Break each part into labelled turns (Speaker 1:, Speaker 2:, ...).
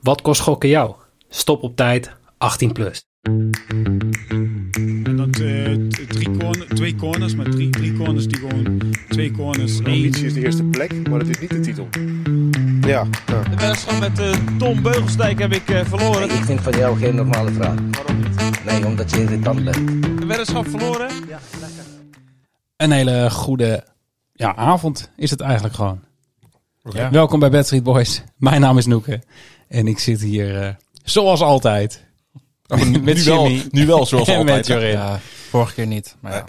Speaker 1: Wat kost gokken jou? Stop op tijd, 18 plus.
Speaker 2: En dat eh, t- drie corner, twee corners, maar drie, drie corners die gewoon twee corners.
Speaker 3: De
Speaker 2: één.
Speaker 3: ambitie is de eerste plek, maar dat is niet de titel. Ja, ja.
Speaker 4: De wedstrijd met eh, Tom Beugelsdijk heb ik eh, verloren.
Speaker 5: Ik vind van jou geen normale vraag. Nee, omdat je irritant bent.
Speaker 4: De wedstrijd verloren.
Speaker 6: Een hele goede ja, avond is het eigenlijk gewoon. Ja. Welkom bij Bad Street Boys. Mijn naam is Noeke. En ik zit hier eh, zoals altijd.
Speaker 7: Oh,
Speaker 6: met
Speaker 7: nu Wel, nu wel, zoals
Speaker 6: en
Speaker 7: altijd.
Speaker 6: met Jorin.
Speaker 7: Ja, vorige keer niet, maar ja,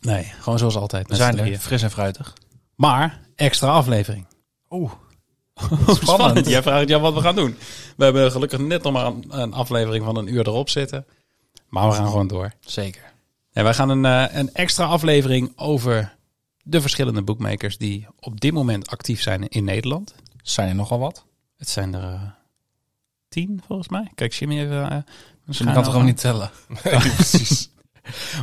Speaker 6: Nee, gewoon zoals altijd.
Speaker 7: we
Speaker 6: met
Speaker 7: zijn
Speaker 6: z'n
Speaker 7: er,
Speaker 6: drieën.
Speaker 7: fris en fruitig.
Speaker 6: Maar extra aflevering.
Speaker 7: Oeh.
Speaker 6: Spannend. Jij vraagt ja, wat we gaan doen. We hebben gelukkig net nog maar een, een aflevering van een uur erop zitten. Maar we gaan gewoon door.
Speaker 7: Zeker.
Speaker 6: En wij gaan een, eh, een extra aflevering over de verschillende bookmakers die op dit moment actief zijn in Nederland.
Speaker 7: Zijn er nogal wat?
Speaker 6: Het zijn er eh, tien volgens mij. Kijk Jimmy even. eh, een
Speaker 7: Ik
Speaker 6: schuin
Speaker 7: kan het gewoon
Speaker 6: aan.
Speaker 7: niet tellen.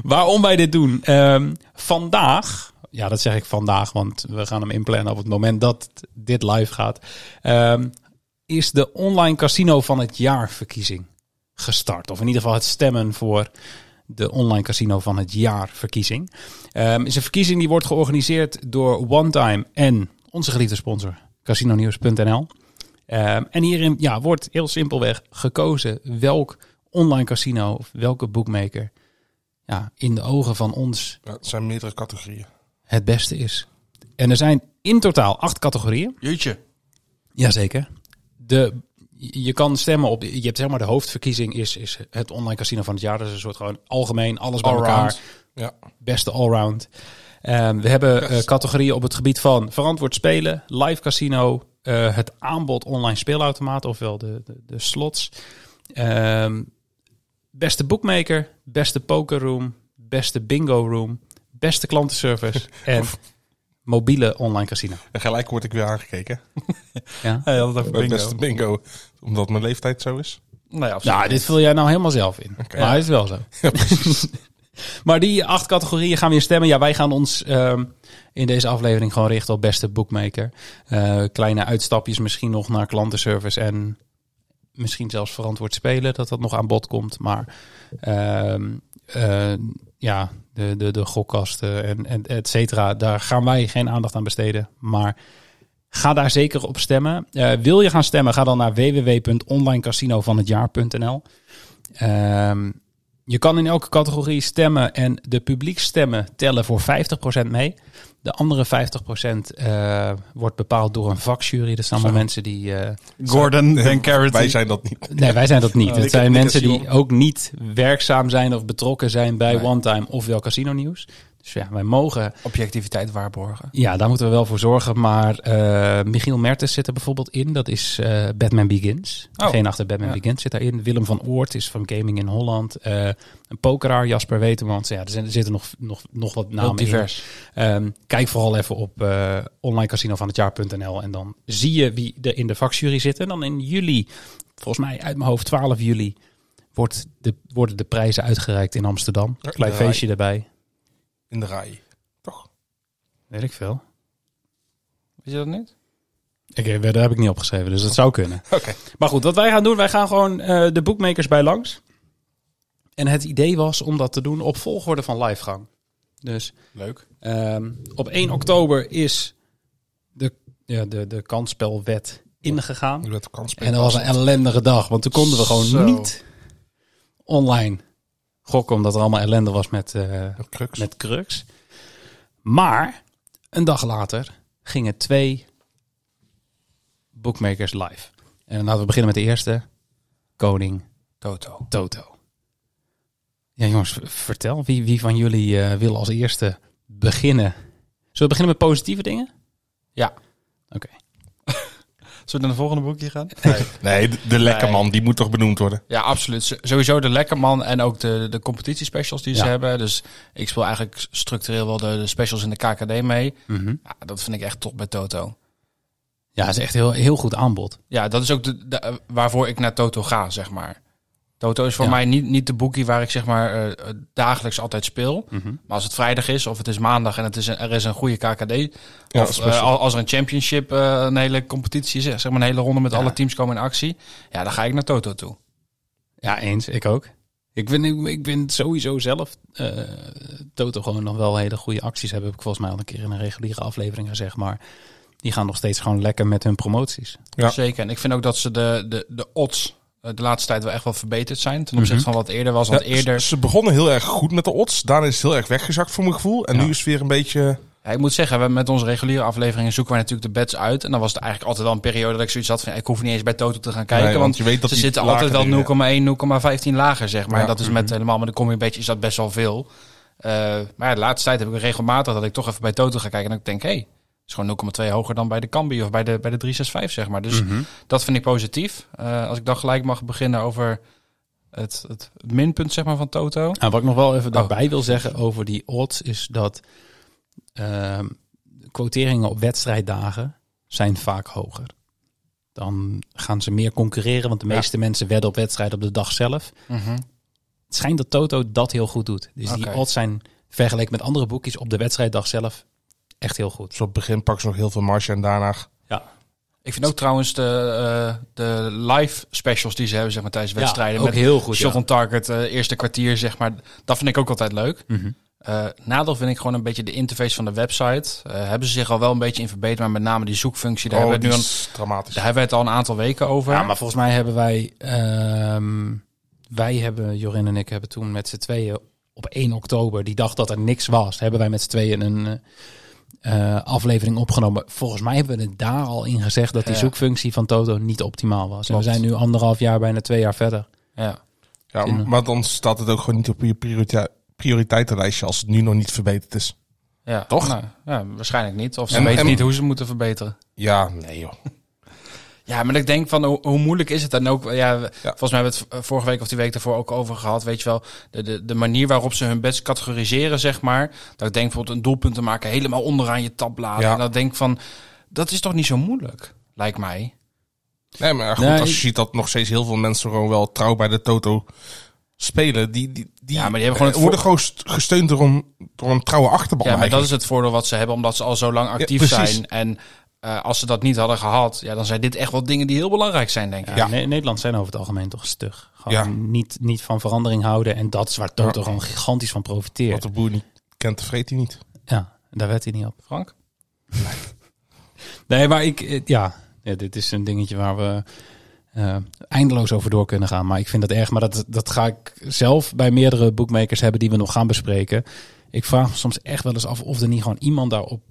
Speaker 6: Waarom wij dit doen? Ehm, vandaag, ja dat zeg ik vandaag, want we gaan hem inplannen op het moment dat dit live gaat. ehm, is de online casino van het jaar verkiezing gestart. Of in ieder geval het stemmen voor de online casino van het jaar verkiezing. Ehm, is een verkiezing die wordt georganiseerd door One Time en onze geliefde sponsor casinonieuws.nl. Ehm, en hierin ja, wordt heel simpelweg gekozen welk online casino of welke bookmaker ja, in de ogen van ons
Speaker 3: Het zijn meerdere categorieën.
Speaker 6: het beste is. En er zijn in totaal acht categorieën.
Speaker 7: Jeetje.
Speaker 6: Jazeker. De, je kan stemmen op. Je hebt zeg maar de hoofdverkiezing is, is het online casino van het jaar. Dat is een soort gewoon algemeen, alles bij elkaar.
Speaker 7: Allround.
Speaker 3: Ja.
Speaker 6: Beste allround. Ehm, we hebben eh, categorieën op het gebied van verantwoord spelen, live casino, eh, het aanbod online speelautomaten, ofwel de, de, de slots. Ehm, beste bookmaker, beste pokerroom, beste bingo room, beste klantenservice en mobiele online casino.
Speaker 8: En gelijk word ik weer aangekeken.
Speaker 6: Ja.
Speaker 7: Hij had het over
Speaker 8: Het
Speaker 7: bingo.
Speaker 8: beste bingo. Omdat mijn leeftijd zo is.
Speaker 7: Nou ja, op zich.
Speaker 6: Nou, dit vul jij nou helemaal zelf in. Maar het is wel zo. maar die acht categorieën gaan we in stemmen. Ja, wij gaan ons ehm, in deze aflevering gewoon richten op beste bookmaker. Eh, kleine uitstapjes misschien nog naar klantenservice en misschien zelfs verantwoord spelen. Dat dat nog aan bod komt. Maar ehm, eh, ja, de, de, de gokkasten en, en et cetera. Daar gaan wij geen aandacht aan besteden. Maar Ga daar zeker op stemmen. Eh, wil je gaan stemmen, ga dan naar www.onlinecasinovanhetjaar.nl. Ehm je kan in elke categorie stemmen en de publiekstemmen tellen voor 50% mee. De andere 50% eh, wordt bepaald door een vakjury. Dat zijn allemaal mensen die... eh,
Speaker 7: Gordon, Ben
Speaker 8: Wij
Speaker 7: Carrot.
Speaker 8: zijn dat niet.
Speaker 6: Nee, wij zijn dat niet.
Speaker 8: Nou, ik
Speaker 6: het
Speaker 8: heb-
Speaker 6: zijn
Speaker 8: ik heb
Speaker 6: mensen die
Speaker 8: Simon.
Speaker 6: ook niet werkzaam zijn of betrokken zijn bij
Speaker 7: Nee.
Speaker 6: One Time ofwel Casino Nieuws. Dus ja, wij mogen
Speaker 7: Objectiviteit waarborgen.
Speaker 6: ja, daar moeten we wel voor zorgen. Maar eh, Michiel Mertens zit er bijvoorbeeld in. Dat is eh, Batman Begins.
Speaker 7: Oh.
Speaker 6: Geen achter Batman
Speaker 7: Ja.
Speaker 6: Begins zit daarin. Willem van Oort is van Gaming in Holland. Eh, een pokeraar, Jasper Wetemans. Ja, er, zijn, er zitten nog, nog, nog wat
Speaker 7: Heel
Speaker 6: namen in.
Speaker 7: divers.
Speaker 6: Ehm, kijk vooral even op eh onlinecasinovanhetjaar.nl. En dan zie je wie er in de vakjury zit. En dan in juli, volgens mij uit mijn hoofd 12 juli... Wordt de, worden de prijzen uitgereikt in Amsterdam.
Speaker 8: Ja,
Speaker 6: Klein
Speaker 8: ja.
Speaker 6: feestje erbij.
Speaker 8: In de rij. Toch?
Speaker 6: Weet ik veel.
Speaker 7: Weet je dat niet?
Speaker 6: Oké, daar heb ik niet opgeschreven, dus dat zou kunnen.
Speaker 8: Oké.
Speaker 6: Maar goed, wat wij gaan doen, wij gaan gewoon eh, de bookmakers bij langs. En het idee was om dat te doen op volgorde van livegang. Dus
Speaker 7: Leuk.
Speaker 6: ehm, op 1 oktober is de, ja, de, de kansspelwet ingegaan.
Speaker 8: Nu dat kan spelen.
Speaker 6: En dat was een ellendige dag, want toen konden we gewoon
Speaker 7: Zo.
Speaker 6: niet online gokken, omdat er allemaal ellende was met, eh,
Speaker 8: Een crux.
Speaker 6: met Crux. Maar een dag later gingen twee bookmakers live. En dan laten we beginnen met de eerste. Koning
Speaker 7: Toto.
Speaker 6: Toto. Ja jongens, v- vertel. Wie, wie van jullie eh, wil als eerste beginnen? Zullen we beginnen met positieve dingen?
Speaker 7: Ja.
Speaker 6: Oké.
Speaker 7: Zullen we naar de volgende boekje gaan?
Speaker 8: Nee, de, de lekker man. Die moet toch benoemd worden.
Speaker 7: Ja, absoluut. S- Sowieso de Lekkerman en ook de, de competitiespecials die ze
Speaker 6: Ja.
Speaker 7: hebben. Dus ik speel eigenlijk structureel wel de, de specials in de KKD mee. Ja, dat vind ik echt top bij Toto.
Speaker 6: Ja, dat is echt heel, heel goed aanbod.
Speaker 7: Ja, dat is ook de, de- eh, waarvoor ik naar Toto ga, zeg maar. Toto is voor
Speaker 6: Ja.
Speaker 7: mij niet, niet de boekie waar ik zeg maar eh, eh, dagelijks altijd speel.
Speaker 6: Mhm.
Speaker 7: Maar als het vrijdag is of het is maandag en het is een, er is een goede KKD.
Speaker 8: Ja,
Speaker 7: of
Speaker 8: special.
Speaker 7: eh, al- als er een championship, eh, een hele competitie is, eh, zeg maar een hele ronde met alle teams komen in actie. Ja, dan ga ik naar Toto toe.
Speaker 6: Ja, eens. Ik ook. Ik ben, ik, ik ben sowieso zelf eh, Toto gewoon nog wel hele goede acties hebben. Heb ik volgens mij al een keer in een reguliere aflevering gezegd. Maar die gaan nog steeds gewoon lekker met hun promoties.
Speaker 8: Ja.
Speaker 7: Zeker. En ik vind ook dat ze de, de, de odds eh, de laatste tijd wel echt wel verbeterd zijn. Ten opzichte van wat eerder was. Want
Speaker 8: Mhm. Ja,
Speaker 7: eerder...
Speaker 8: Ze ze begonnen heel erg goed met de odds. Daarna is het heel erg weggezakt voor mijn gevoel. En nu is het weer een beetje...
Speaker 7: Ja, ik moet zeggen, we, met onze reguliere afleveringen zoeken wij natuurlijk de bets uit. En dan was het eigenlijk altijd wel een periode dat ik zoiets had van... ik hoef niet eens bij Toto te gaan kijken,
Speaker 8: Nee,
Speaker 7: want,
Speaker 8: want je weet dat
Speaker 7: ze
Speaker 8: die
Speaker 7: zitten
Speaker 8: lager
Speaker 7: altijd wel
Speaker 8: liggen,
Speaker 7: 0,1, 0,15 lager, zeg maar.
Speaker 8: Ja, mhm.
Speaker 7: En dat is met helemaal met de combi beetje is dat best wel veel. Eh, maar ja, de laatste tijd heb ik regelmatig dat ik toch even bij Toto ga kijken... en ik denk, hé, hey, het is gewoon 0,2 hoger dan bij de Cambi of bij de, bij de 365, zeg maar. Dus
Speaker 8: Mhm.
Speaker 7: dat vind ik positief. Eh, als ik dan gelijk mag beginnen over het, het, het minpunt, zeg maar, van Toto.
Speaker 6: En Nou, wat ik nog wel even
Speaker 7: Oh.
Speaker 6: daarbij wil zeggen over die odds is dat ehm, quoteringen op wedstrijddagen zijn vaak hoger. Dan gaan ze meer concurreren, want de meeste mensen wedden op wedstrijd op de dag zelf. Het schijnt dat Toto dat heel goed doet. Dus die
Speaker 7: Mhm. Oké.
Speaker 6: odds zijn vergeleken met andere boekjes op de wedstrijddag zelf echt heel goed.
Speaker 8: Dus op het begin pakken ze nog heel veel marge. En daarna...
Speaker 7: Ik vind ook trouwens de, eh, de live specials die ze hebben zeg maar, tijdens
Speaker 6: Ja,
Speaker 7: wedstrijden.
Speaker 6: ook
Speaker 7: met
Speaker 6: heel goed,
Speaker 7: Shot
Speaker 6: ja.
Speaker 7: on target, eh, eerste kwartier, zeg maar. Dat vind ik ook altijd leuk.
Speaker 6: Mhm.
Speaker 7: Eh, nadeel vind ik gewoon een beetje de interface van de website. Eh, hebben ze zich al wel een beetje in verbeterd, maar met name die zoekfunctie, daar,
Speaker 8: oh,
Speaker 7: hebben, we
Speaker 8: die
Speaker 7: het nu
Speaker 8: is dramatisch.
Speaker 7: al, daar hebben we het al een aantal weken over.
Speaker 6: Ja, maar volgens mij hebben wij, ehm, wij hebben, Jorin en ik hebben toen met z'n tweeën op 1 oktober, die dag dat er niks was, hebben wij met z'n tweeën een eh, eh, aflevering opgenomen. Volgens mij hebben we het daar al in gezegd dat die
Speaker 7: Ja.
Speaker 6: zoekfunctie van Toto niet optimaal was.
Speaker 7: Klopt.
Speaker 6: En we zijn nu anderhalf jaar, bijna twee jaar verder.
Speaker 7: Ja.
Speaker 8: Ja,
Speaker 6: Ja.
Speaker 8: maar dan staat het ook gewoon niet op je priorita- prioriteitenlijstje als het nu nog niet verbeterd is.
Speaker 7: Ja,
Speaker 8: Toch?
Speaker 7: Nou, ja, waarschijnlijk niet. Of ze
Speaker 8: En-
Speaker 7: weten
Speaker 8: en-
Speaker 7: niet hoe ze moeten verbeteren.
Speaker 8: Ja, nee joh.
Speaker 7: Ja, maar ik denk van hoe, hoe moeilijk is het dan ook? Ja, we- Volgens mij hebben we het eh, vorige week of die week daarvoor ook over gehad. Weet je wel, de, de, de manier waarop ze hun bets categoriseren, zeg maar. Dat ik denk bijvoorbeeld een doelpunt te maken helemaal onderaan je tabbladen.
Speaker 8: Ja.
Speaker 7: En dat denk ik van, dat is toch niet zo moeilijk, lijkt
Speaker 8: Oh,
Speaker 7: mij.
Speaker 8: Nee, maar goed,
Speaker 6: Nee.
Speaker 8: als je ziet dat nog steeds heel veel mensen gewoon wel trouw bij de Toto spelen, die, die, die,
Speaker 7: Ja, maar die hebben gewoon het
Speaker 8: eh, worden gewoon st- gesteund door een, door een trouwe achterban.
Speaker 7: Ja, maar dat
Speaker 8: eigenlijk.
Speaker 7: is het voordeel wat ze hebben, omdat ze al zo lang actief
Speaker 8: precies.
Speaker 7: zijn. En eh, als ze dat niet hadden gehad, ja, dan zijn dit echt wel dingen die heel belangrijk zijn, denk ik.
Speaker 6: Ja,
Speaker 8: Ja.
Speaker 6: Ne- Nederland zijn over het algemeen toch stug. Gewoon
Speaker 8: Ja.
Speaker 6: niet, niet van verandering houden. En dat is waar Toto gewoon gigantisch van
Speaker 8: Wat
Speaker 6: profiteert.
Speaker 8: de boer niet kent, vreet hij niet.
Speaker 6: Ja, daar werd hij niet op.
Speaker 7: Frank?
Speaker 6: Nee, maar ik, eh, ja, ja, dit is een dingetje waar we eh, eindeloos over door kunnen gaan. Maar ik vind dat erg. Maar dat, dat ga ik zelf bij meerdere bookmakers hebben die we nog gaan bespreken. Ik vraag me soms echt wel eens af of er niet gewoon iemand daar op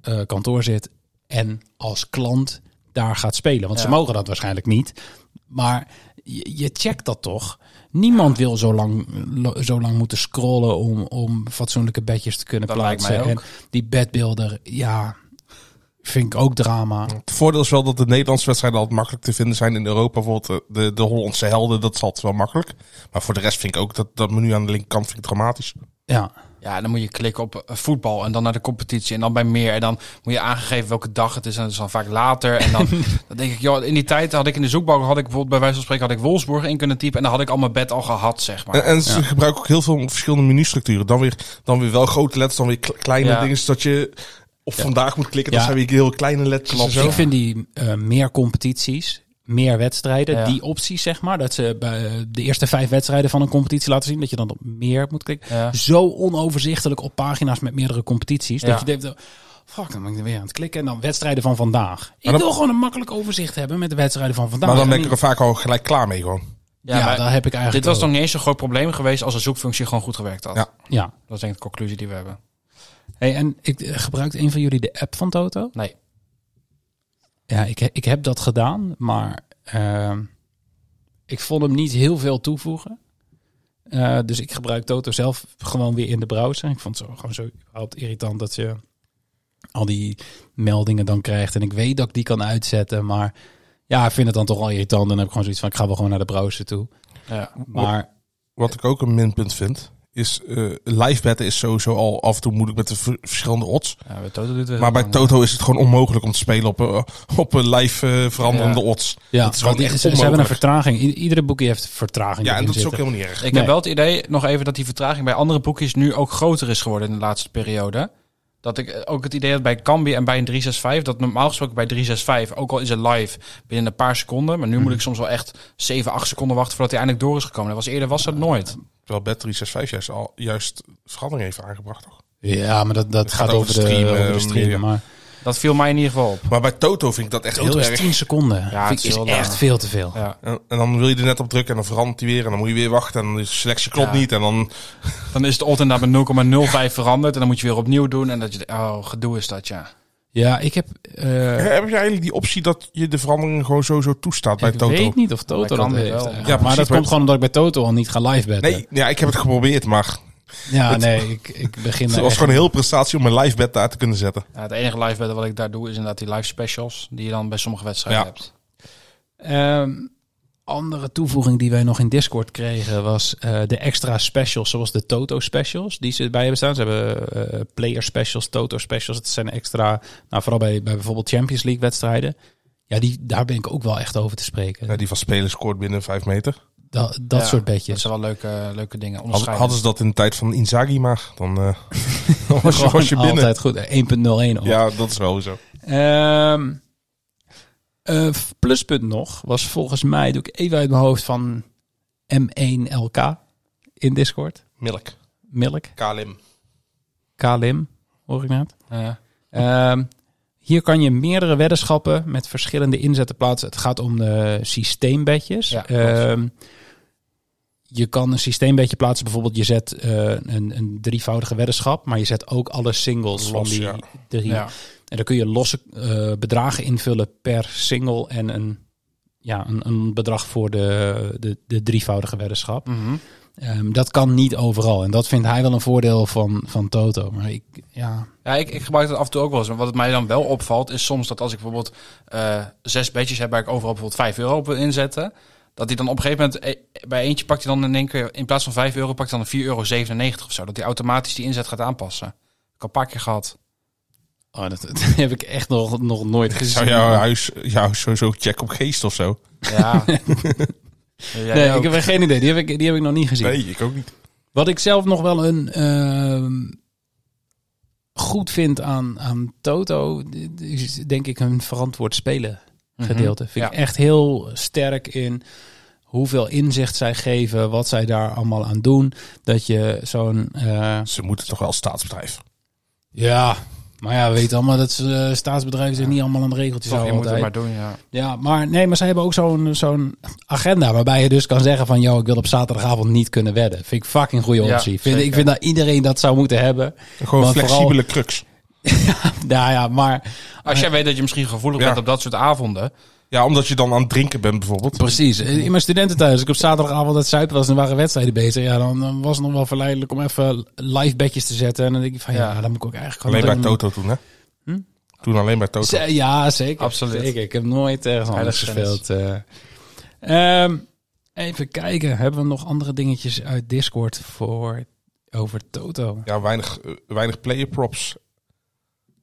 Speaker 6: eh, kantoor zit en als klant daar gaat spelen. Want ze
Speaker 7: Ja.
Speaker 6: mogen dat waarschijnlijk niet. Maar je, je checkt dat toch? Niemand wil zo lang, lo- zo lang moeten scrollen om, om fatsoenlijke bedjes te kunnen
Speaker 7: Dat lijkt
Speaker 6: plaatsen.
Speaker 7: mij ook.
Speaker 6: En die bedbeelder, ja, vind ik ook drama.
Speaker 8: Het voordeel is wel dat de Nederlandse wedstrijden altijd makkelijk te vinden zijn in Europa. Bijvoorbeeld eh, de, de Hollandse helden, dat is altijd wel makkelijk. Maar voor de rest vind ik ook dat, dat menu aan de linkerkant vind ik dramatisch.
Speaker 6: Ja,
Speaker 7: Ja, dan moet je klikken op eh, voetbal en dan naar de competitie en dan bij meer. En dan moet je aangegeven welke dag het is en dat is dan vaak later. En dan, dan denk ik, joh, in die tijd had ik in de zoekbalk, had ik bijvoorbeeld bij wijze van spreken, had ik Wolfsburg in kunnen typen. En dan had ik al mijn bed al gehad, zeg
Speaker 6: Eh,
Speaker 7: maar.
Speaker 8: En, en ze gebruiken ook heel veel verschillende menustructuren. Dan weer, dan weer wel grote letters, dan weer kle- kleine
Speaker 7: Ja.
Speaker 8: dingen. Zodat je of vandaag moet klikken, dan
Speaker 6: Ja.
Speaker 8: zijn weer heel kleine letters en zo.
Speaker 6: ik vind die eh, meer competities, meer wedstrijden,
Speaker 7: Ja.
Speaker 6: die opties zeg maar, dat ze bij eh, de eerste vijf wedstrijden van een competitie laten zien, dat je dan op meer moet klikken.
Speaker 7: Ja.
Speaker 6: Zo onoverzichtelijk op pagina's met meerdere competities,
Speaker 7: Ja.
Speaker 6: dat je denkt, fuck, dan ben ik er weer aan het klikken en dan wedstrijden van vandaag. Ik
Speaker 8: dan-
Speaker 6: wil gewoon een makkelijk overzicht hebben met de wedstrijden van vandaag.
Speaker 8: Maar dan ben
Speaker 6: En
Speaker 8: ik er vaak al gelijk klaar mee gewoon.
Speaker 6: Ja,
Speaker 7: maar
Speaker 6: daar heb ik eigenlijk
Speaker 7: dit was
Speaker 6: ook.
Speaker 7: nog niet eens zo'n groot probleem geweest als de zoekfunctie gewoon goed gewerkt had.
Speaker 8: Ja.
Speaker 6: Ja.
Speaker 7: Dat is denk ik de conclusie die we hebben.
Speaker 6: Hey, en ik, eh, gebruikt een van jullie de app van Toto?
Speaker 7: Nee.
Speaker 6: Ja, ik, ik heb dat gedaan, maar ehm, ik vond hem niet heel veel toevoegen. Eh, dus ik gebruik Toto zelf gewoon weer in de browser. Ik vond het zo, gewoon zo überhaupt irritant dat je al die meldingen dan krijgt. En ik weet dat ik die kan uitzetten, maar ja, ik vind het dan toch al irritant. En dan heb ik gewoon zoiets van, ik ga wel gewoon naar de browser toe.
Speaker 7: Ja.
Speaker 6: Maar
Speaker 8: Wat ik ook een minpunt vind, is eh live betten is sowieso al af en toe moeilijk met de v- verschillende odds.
Speaker 7: Ja, bij Toto doet het wel
Speaker 8: Maar bij
Speaker 7: lang.
Speaker 8: Toto is het gewoon onmogelijk om te spelen op, een- op een live eh, veranderende odds.
Speaker 6: Ja,
Speaker 8: dat is gewoon
Speaker 6: want ze,
Speaker 8: echt
Speaker 6: ze hebben een
Speaker 8: onmogelijk.
Speaker 6: vertraging. I- iedere boekje heeft vertraging.
Speaker 8: Ja, en
Speaker 6: erin
Speaker 8: dat is ook
Speaker 6: zitten.
Speaker 8: helemaal niet erg.
Speaker 7: Ik
Speaker 6: Nee.
Speaker 7: heb wel het idee, nog even, dat die vertraging bij andere boekjes nu ook groter is geworden in de laatste periode. Dat ik eh, ook het idee had bij Cambi en bij een 365, dat normaal gesproken bij 365, ook al is het live binnen een paar seconden, maar nu moet ik soms wel echt 7, 8 seconden wachten voordat hij eindelijk door is gekomen. Dat was eerder was dat nooit.
Speaker 8: Terwijl Bet 365 juist, al, juist verandering heeft aangebracht. Toch?
Speaker 6: Ja, maar dat, dat gaat, over de
Speaker 8: stream,
Speaker 6: stream.
Speaker 8: eh,
Speaker 6: de stream
Speaker 8: meer.
Speaker 6: maar
Speaker 7: Dat viel mij in ieder geval op.
Speaker 8: Maar bij Toto vind ik dat echt
Speaker 6: Toto
Speaker 8: heel
Speaker 6: is
Speaker 8: erg.
Speaker 6: 10 seconden.
Speaker 7: Ja,
Speaker 6: Vind
Speaker 7: het
Speaker 6: ik
Speaker 7: is
Speaker 6: is
Speaker 7: wel
Speaker 6: echt
Speaker 7: lang.
Speaker 6: veel te veel.
Speaker 7: Ja.
Speaker 8: En, en dan wil je er net op drukken en dan verandert hij weer. En dan moet je weer wachten en de selectie klopt
Speaker 7: Ja.
Speaker 8: niet. En dan
Speaker 7: Dan is het odd inderdaad met 0,05 veranderd en dan moet je weer opnieuw doen en dat je, oh, gedoe is dat ja.
Speaker 6: Ja, ik heb... eh,
Speaker 8: Eh, heb je eigenlijk die optie dat je de veranderingen gewoon sowieso toestaat bij
Speaker 6: ik
Speaker 8: Toto.
Speaker 6: weet niet of Toto
Speaker 7: Bij
Speaker 6: dat
Speaker 7: Kambi
Speaker 6: heeft.
Speaker 7: wel.
Speaker 6: eigenlijk.
Speaker 7: Ja,
Speaker 6: maar
Speaker 8: precies,
Speaker 6: dat
Speaker 8: maar-
Speaker 6: komt gewoon omdat ik bij Toto al niet ga live betten.
Speaker 8: Nee, ja, ik heb het geprobeerd, maar
Speaker 6: ja,
Speaker 8: het-
Speaker 6: nee, ik, ik begin...
Speaker 8: het
Speaker 6: daar
Speaker 8: was
Speaker 6: echt-
Speaker 8: gewoon een heel prestatie om mijn live bed daar te kunnen zetten.
Speaker 7: Ja, het enige live battle wat ik daar doe is inderdaad die live specials die je dan bij sommige wedstrijden
Speaker 8: Ja.
Speaker 7: hebt.
Speaker 6: Ehm, andere toevoeging die wij nog in Discord kregen was eh, de extra specials, zoals de Toto specials, die ze bij hebben staan. Ze hebben eh, player specials, Toto specials. Het zijn extra, nou vooral bij, bij bijvoorbeeld Champions League wedstrijden. Ja, die, daar ben ik ook wel echt over te spreken.
Speaker 8: Ja, die van spelers scoort binnen vijf meter.
Speaker 6: Da- dat
Speaker 7: Ja,
Speaker 6: soort
Speaker 7: Dat
Speaker 6: bedjes.
Speaker 7: zijn wel leuke, leuke dingen.
Speaker 8: Hadden,
Speaker 7: Onderscheiden.
Speaker 8: hadden ze dat in de tijd van Inzaghi maar, dan, eh, dan was, je,
Speaker 6: Gewoon
Speaker 8: was je binnen.
Speaker 6: Altijd goed. 1.01 ook.
Speaker 8: Ja, dat is wel zo.
Speaker 6: Ehm, eh, f- pluspunt nog was volgens mij, doe ik even uit mijn hoofd, van M1LK in Discord.
Speaker 8: Milk,
Speaker 6: Milk.
Speaker 8: Kalim.
Speaker 6: KLM, hoor ik nou. net.
Speaker 7: Ja.
Speaker 6: Ehm, hier kan je meerdere weddenschappen met verschillende inzetten plaatsen. Het gaat om de systeembedjes.
Speaker 7: Ja, klopt.
Speaker 6: Ehm, je kan een systeembedje plaatsen. Bijvoorbeeld je zet eh, een, een drievoudige weddenschap. Maar je zet ook alle singles van
Speaker 8: Los,
Speaker 6: die
Speaker 8: ja.
Speaker 6: drie.
Speaker 7: Ja.
Speaker 6: En dan kun je losse eh, bedragen invullen per single. En een, ja, een, een bedrag voor de, de, de drievoudige weddenschap.
Speaker 7: Mhm.
Speaker 6: Ehm, dat kan niet overal. En dat vindt hij wel een voordeel van, van Toto. Maar ik, ja,
Speaker 7: Ja, ik, ik gebruik dat af en toe ook wel eens. Maar wat het mij dan wel opvalt, is soms dat als ik bijvoorbeeld eh, zes bedjes heb waar ik overal bijvoorbeeld 5 euro op wil inzetten. Dat hij dan op een gegeven moment eh, bij eentje pakt hij dan in één keer, in plaats van 5 euro, pakt hij dan 4,97 euro of zo. Dat hij automatisch die inzet gaat aanpassen. Ik heb een paar keer gehad.
Speaker 6: Oh, dat, dat heb ik echt nog, nog nooit gezien.
Speaker 8: Zou jouw huis, jouw huis sowieso check op geest of zo?
Speaker 7: Ja.
Speaker 6: nee, ik heb er geen idee. Die heb ik, die heb ik nog niet gezien.
Speaker 8: Nee, ik ook niet.
Speaker 6: Wat ik zelf nog wel een ehm, goed vind aan, aan Toto, dit is denk ik een verantwoord spelen gedeelte. Vind ik
Speaker 7: Mhm. Ja.
Speaker 6: echt heel sterk in hoeveel inzicht zij geven, wat zij daar allemaal aan doen. Dat je zo'n... eh,
Speaker 8: Ze moeten toch wel staatsbedrijf.
Speaker 6: ja, maar ja, we weten allemaal dat ze, eh, staatsbedrijven zich niet allemaal aan de regeltjes
Speaker 7: Toch, je
Speaker 6: houden.
Speaker 7: moet het
Speaker 6: altijd.
Speaker 7: maar doen, ja.
Speaker 6: Ja, maar nee, maar ze hebben ook zo'n zo'n agenda waarbij je dus kan zeggen van, joh, ik wil op zaterdagavond niet kunnen wedden. Vind ik fucking goede
Speaker 7: Ja,
Speaker 6: optie. vind, ik
Speaker 7: zeker.
Speaker 6: vind dat iedereen dat zou moeten hebben.
Speaker 8: Gewoon
Speaker 6: Maar
Speaker 8: flexibele
Speaker 6: vooral-
Speaker 8: crux.
Speaker 6: Nou ja, maar
Speaker 7: Als jij weet dat je misschien gevoelig
Speaker 8: Ja.
Speaker 7: bent op dat soort avonden.
Speaker 8: Ja, omdat je dan aan het drinken bent bijvoorbeeld.
Speaker 6: precies. In mijn studententijd, als ik op zaterdagavond dat zuipen was en er waren wedstrijden bezig, ja, dan eh, was het nog wel verleidelijk om even live bedjes te zetten. En dan denk ik van, ja,
Speaker 7: Ja.
Speaker 6: dan moet ik ook eigenlijk gewoon...
Speaker 8: Alleen bij
Speaker 6: doen.
Speaker 8: Toto toen, hè? Toen alleen bij Toto.
Speaker 6: Hm? Ze- ja, zeker.
Speaker 7: Absoluut.
Speaker 6: Zeker. Ik heb nooit ergens anders
Speaker 7: Heilige
Speaker 6: gespeeld. eh. Ehm, even kijken, hebben we nog andere dingetjes uit Discord voor over Toto?
Speaker 8: Ja, weinig, eh, weinig player props.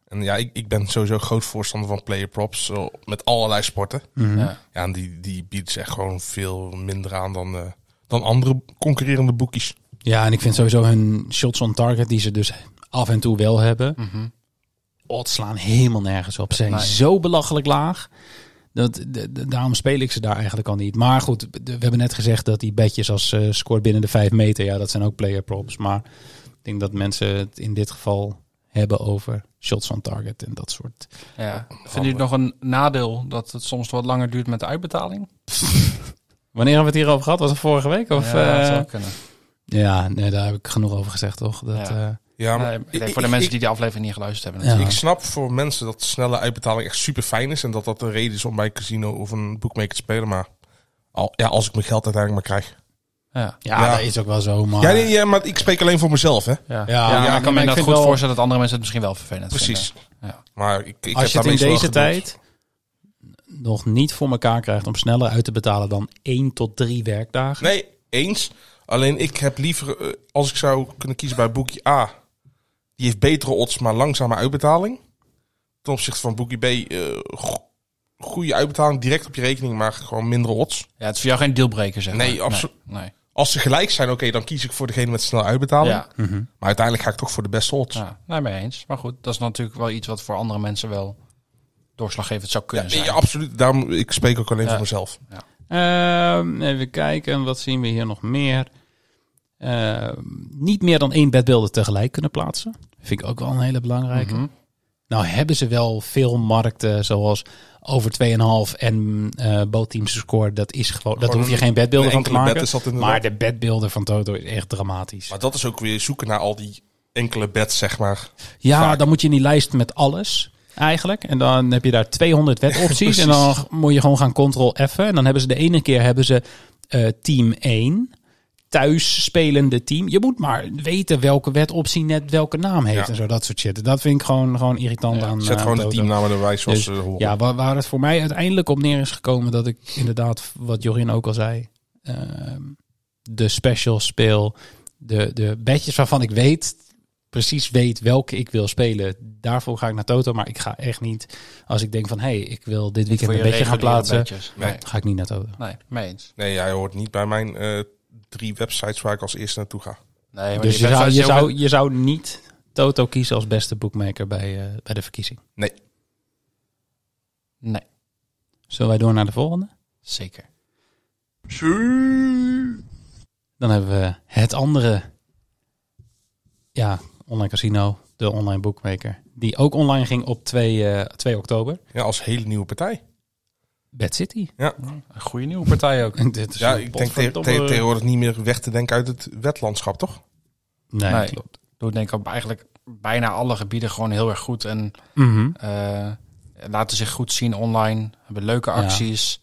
Speaker 8: En ja, ik, ik ben sowieso groot voorstander van player props eh, met allerlei sporten.
Speaker 6: Mhm.
Speaker 7: Ja.
Speaker 8: Ja, en die, die biedt ze echt gewoon veel minder aan dan, eh, dan andere concurrerende boekjes.
Speaker 6: Ja, en ik vind sowieso hun shots on target, die ze dus af en toe wel hebben, odds slaan helemaal nergens op. Ze zijn
Speaker 7: Nee.
Speaker 6: zo belachelijk laag. Dat, de- de- daarom speel ik ze daar eigenlijk al niet. Maar goed, de- we hebben net gezegd dat die bedjes als eh scoort binnen de 5 meter, ja, dat zijn ook player props. Maar ik denk dat mensen het in dit geval hebben over shots on target en dat soort.
Speaker 7: Ja. Vind je het nog een nadeel dat het soms wat langer duurt met de uitbetaling?
Speaker 6: Wanneer hebben we het hierover gehad? Was het vorige week? Of,
Speaker 7: ja, dat
Speaker 6: eh,
Speaker 7: zou kunnen.
Speaker 6: ja nee, daar heb ik genoeg over gezegd, toch? Dat,
Speaker 7: Ja.
Speaker 6: eh, Dus
Speaker 8: Ja, maar
Speaker 7: Nee, ik denk
Speaker 8: ik-
Speaker 7: voor de
Speaker 8: ik-
Speaker 7: mensen
Speaker 8: ik-
Speaker 7: die de aflevering niet geluisterd hebben.
Speaker 6: ja.
Speaker 7: natuurlijk.
Speaker 8: Ik snap voor mensen dat snelle uitbetaling echt super fijn is. En dat dat de reden is om bij een casino of een boekmaker te spelen. Maar al, ja, als ik mijn geld uiteindelijk maar krijg.
Speaker 7: Ja.
Speaker 6: ja,
Speaker 8: Ja.
Speaker 6: dat is ook wel zo. Maar...
Speaker 8: Ja, nee, ja, maar ik spreek alleen voor mezelf, hè?
Speaker 7: Ja.
Speaker 6: Ja,
Speaker 7: Ja,
Speaker 6: ja,
Speaker 7: maar
Speaker 6: nee,
Speaker 7: ik kan me
Speaker 6: maar ik
Speaker 7: inderdaad
Speaker 6: vind
Speaker 7: goed
Speaker 6: wel-
Speaker 7: voorstellen dat andere mensen het misschien wel vervelend
Speaker 8: Precies.
Speaker 7: Ja.
Speaker 8: Maar ik, ik
Speaker 6: als je
Speaker 8: heb
Speaker 6: het in
Speaker 8: daarmee wel
Speaker 6: deze
Speaker 8: geduld.
Speaker 6: tijd nog niet voor elkaar krijgt om sneller uit te betalen dan 1 tot 3 werkdagen.
Speaker 8: Nee, eens. Alleen ik heb liever, eh, als ik zou kunnen kiezen bij boekje A, die heeft betere odds, maar langzame uitbetaling. Ten opzichte van boekje B, eh, go- goede uitbetaling, direct op je rekening, maar gewoon minder odds.
Speaker 7: Ja, het is voor jou geen dealbreaker, zeg
Speaker 8: Nee,
Speaker 7: maar.
Speaker 8: absolu-
Speaker 7: Nee. nee.
Speaker 8: Als ze gelijk zijn, oké, dan kies ik voor degene met snel uitbetaling.
Speaker 7: Ja,
Speaker 6: Mhm.
Speaker 8: Maar uiteindelijk ga ik toch voor de beste odds.
Speaker 7: ja, nee, mee eens. Maar goed, dat is natuurlijk wel iets wat voor andere mensen wel doorslaggevend zou
Speaker 8: Ja,
Speaker 7: kunnen
Speaker 8: nee,
Speaker 7: zijn.
Speaker 8: absoluut. Daarom, ik spreek ook alleen
Speaker 7: dus Ja.
Speaker 8: voor mezelf.
Speaker 6: Ehm, even kijken, wat zien we hier nog meer? Ehm, niet meer dan één bedbeelden tegelijk kunnen plaatsen. Vind ik ook wel een hele belangrijke. Nou hebben ze wel veel markten zoals over 2,5 en eh bootteams score. Dat is gewoon, dat
Speaker 8: Gewoon
Speaker 6: hoef je
Speaker 8: een-
Speaker 6: geen bedbeelden
Speaker 8: een
Speaker 6: van te
Speaker 8: enkele
Speaker 6: maken.
Speaker 8: bed is dat inderdaad.
Speaker 6: maar de bedbeelden van Toto is echt dramatisch.
Speaker 8: Maar dat is ook weer zoeken naar al die enkele bets, zeg maar.
Speaker 6: Ja,
Speaker 8: Vaak.
Speaker 6: dan moet je in die lijst met alles eigenlijk. En dan heb je daar 200 wetopties. en dan moet je gewoon gaan control effen. En dan hebben ze de ene keer hebben ze eh, team 1. Thuis spelende team. Je moet maar weten welke wetoptie net welke naam heeft.
Speaker 8: Ja.
Speaker 6: En zo dat soort shit. Dat vind ik gewoon, gewoon irritant aan.
Speaker 8: Zet
Speaker 6: eh,
Speaker 8: gewoon de
Speaker 6: Toto.
Speaker 8: teamnamen erbij zoals eh,
Speaker 6: Dus,
Speaker 8: ze horen.
Speaker 6: ja, waar, waar het voor mij uiteindelijk op neer is gekomen. Dat ik inderdaad, wat Jorin ook al zei. ehm, de special speel. De, de bedjes waarvan ik weet, precies weet welke ik wil spelen. Daarvoor ga ik naar Toto. Maar ik ga echt niet, als ik denk van... hé, hey, ik wil dit weekend
Speaker 7: Voor
Speaker 6: een
Speaker 7: je
Speaker 6: bedje gaan
Speaker 7: reguliere
Speaker 6: plaatsen.
Speaker 7: bedjes. Nee.
Speaker 6: Ga ik niet naar Toto.
Speaker 7: nee, mee eens.
Speaker 8: Nee, jij hoort niet bij mijn eh, drie websites waar ik als eerste naartoe ga.
Speaker 7: Nee, maar
Speaker 6: Dus
Speaker 7: die
Speaker 6: je zou,
Speaker 7: website
Speaker 6: je,
Speaker 7: is heel-
Speaker 6: zou, je zou niet Toto kiezen als beste boekmaker bij, eh, bij de verkiezing.
Speaker 8: Nee.
Speaker 7: Nee,
Speaker 6: Zullen wij door naar de volgende?
Speaker 7: zeker.
Speaker 6: Dan hebben we het andere. Ja, online casino, de online boekmaker. Die ook online ging op 2, eh, 2 oktober.
Speaker 8: Ja, als hele nieuwe partij.
Speaker 6: Bad City.
Speaker 8: Ja,
Speaker 7: Een goede nieuwe partij ook.
Speaker 6: Dit is
Speaker 8: ja
Speaker 6: een
Speaker 8: ik denk
Speaker 6: potverdomme-
Speaker 8: tegen tegenwoordig niet meer weg te denken uit het wetlandschap, toch?
Speaker 6: Nee,
Speaker 7: Nee.
Speaker 6: klopt.
Speaker 7: Doet denk ik op eigenlijk bijna alle gebieden gewoon heel erg goed. En
Speaker 6: Mhm.
Speaker 7: eh, laten zich goed zien online. Hebben leuke acties.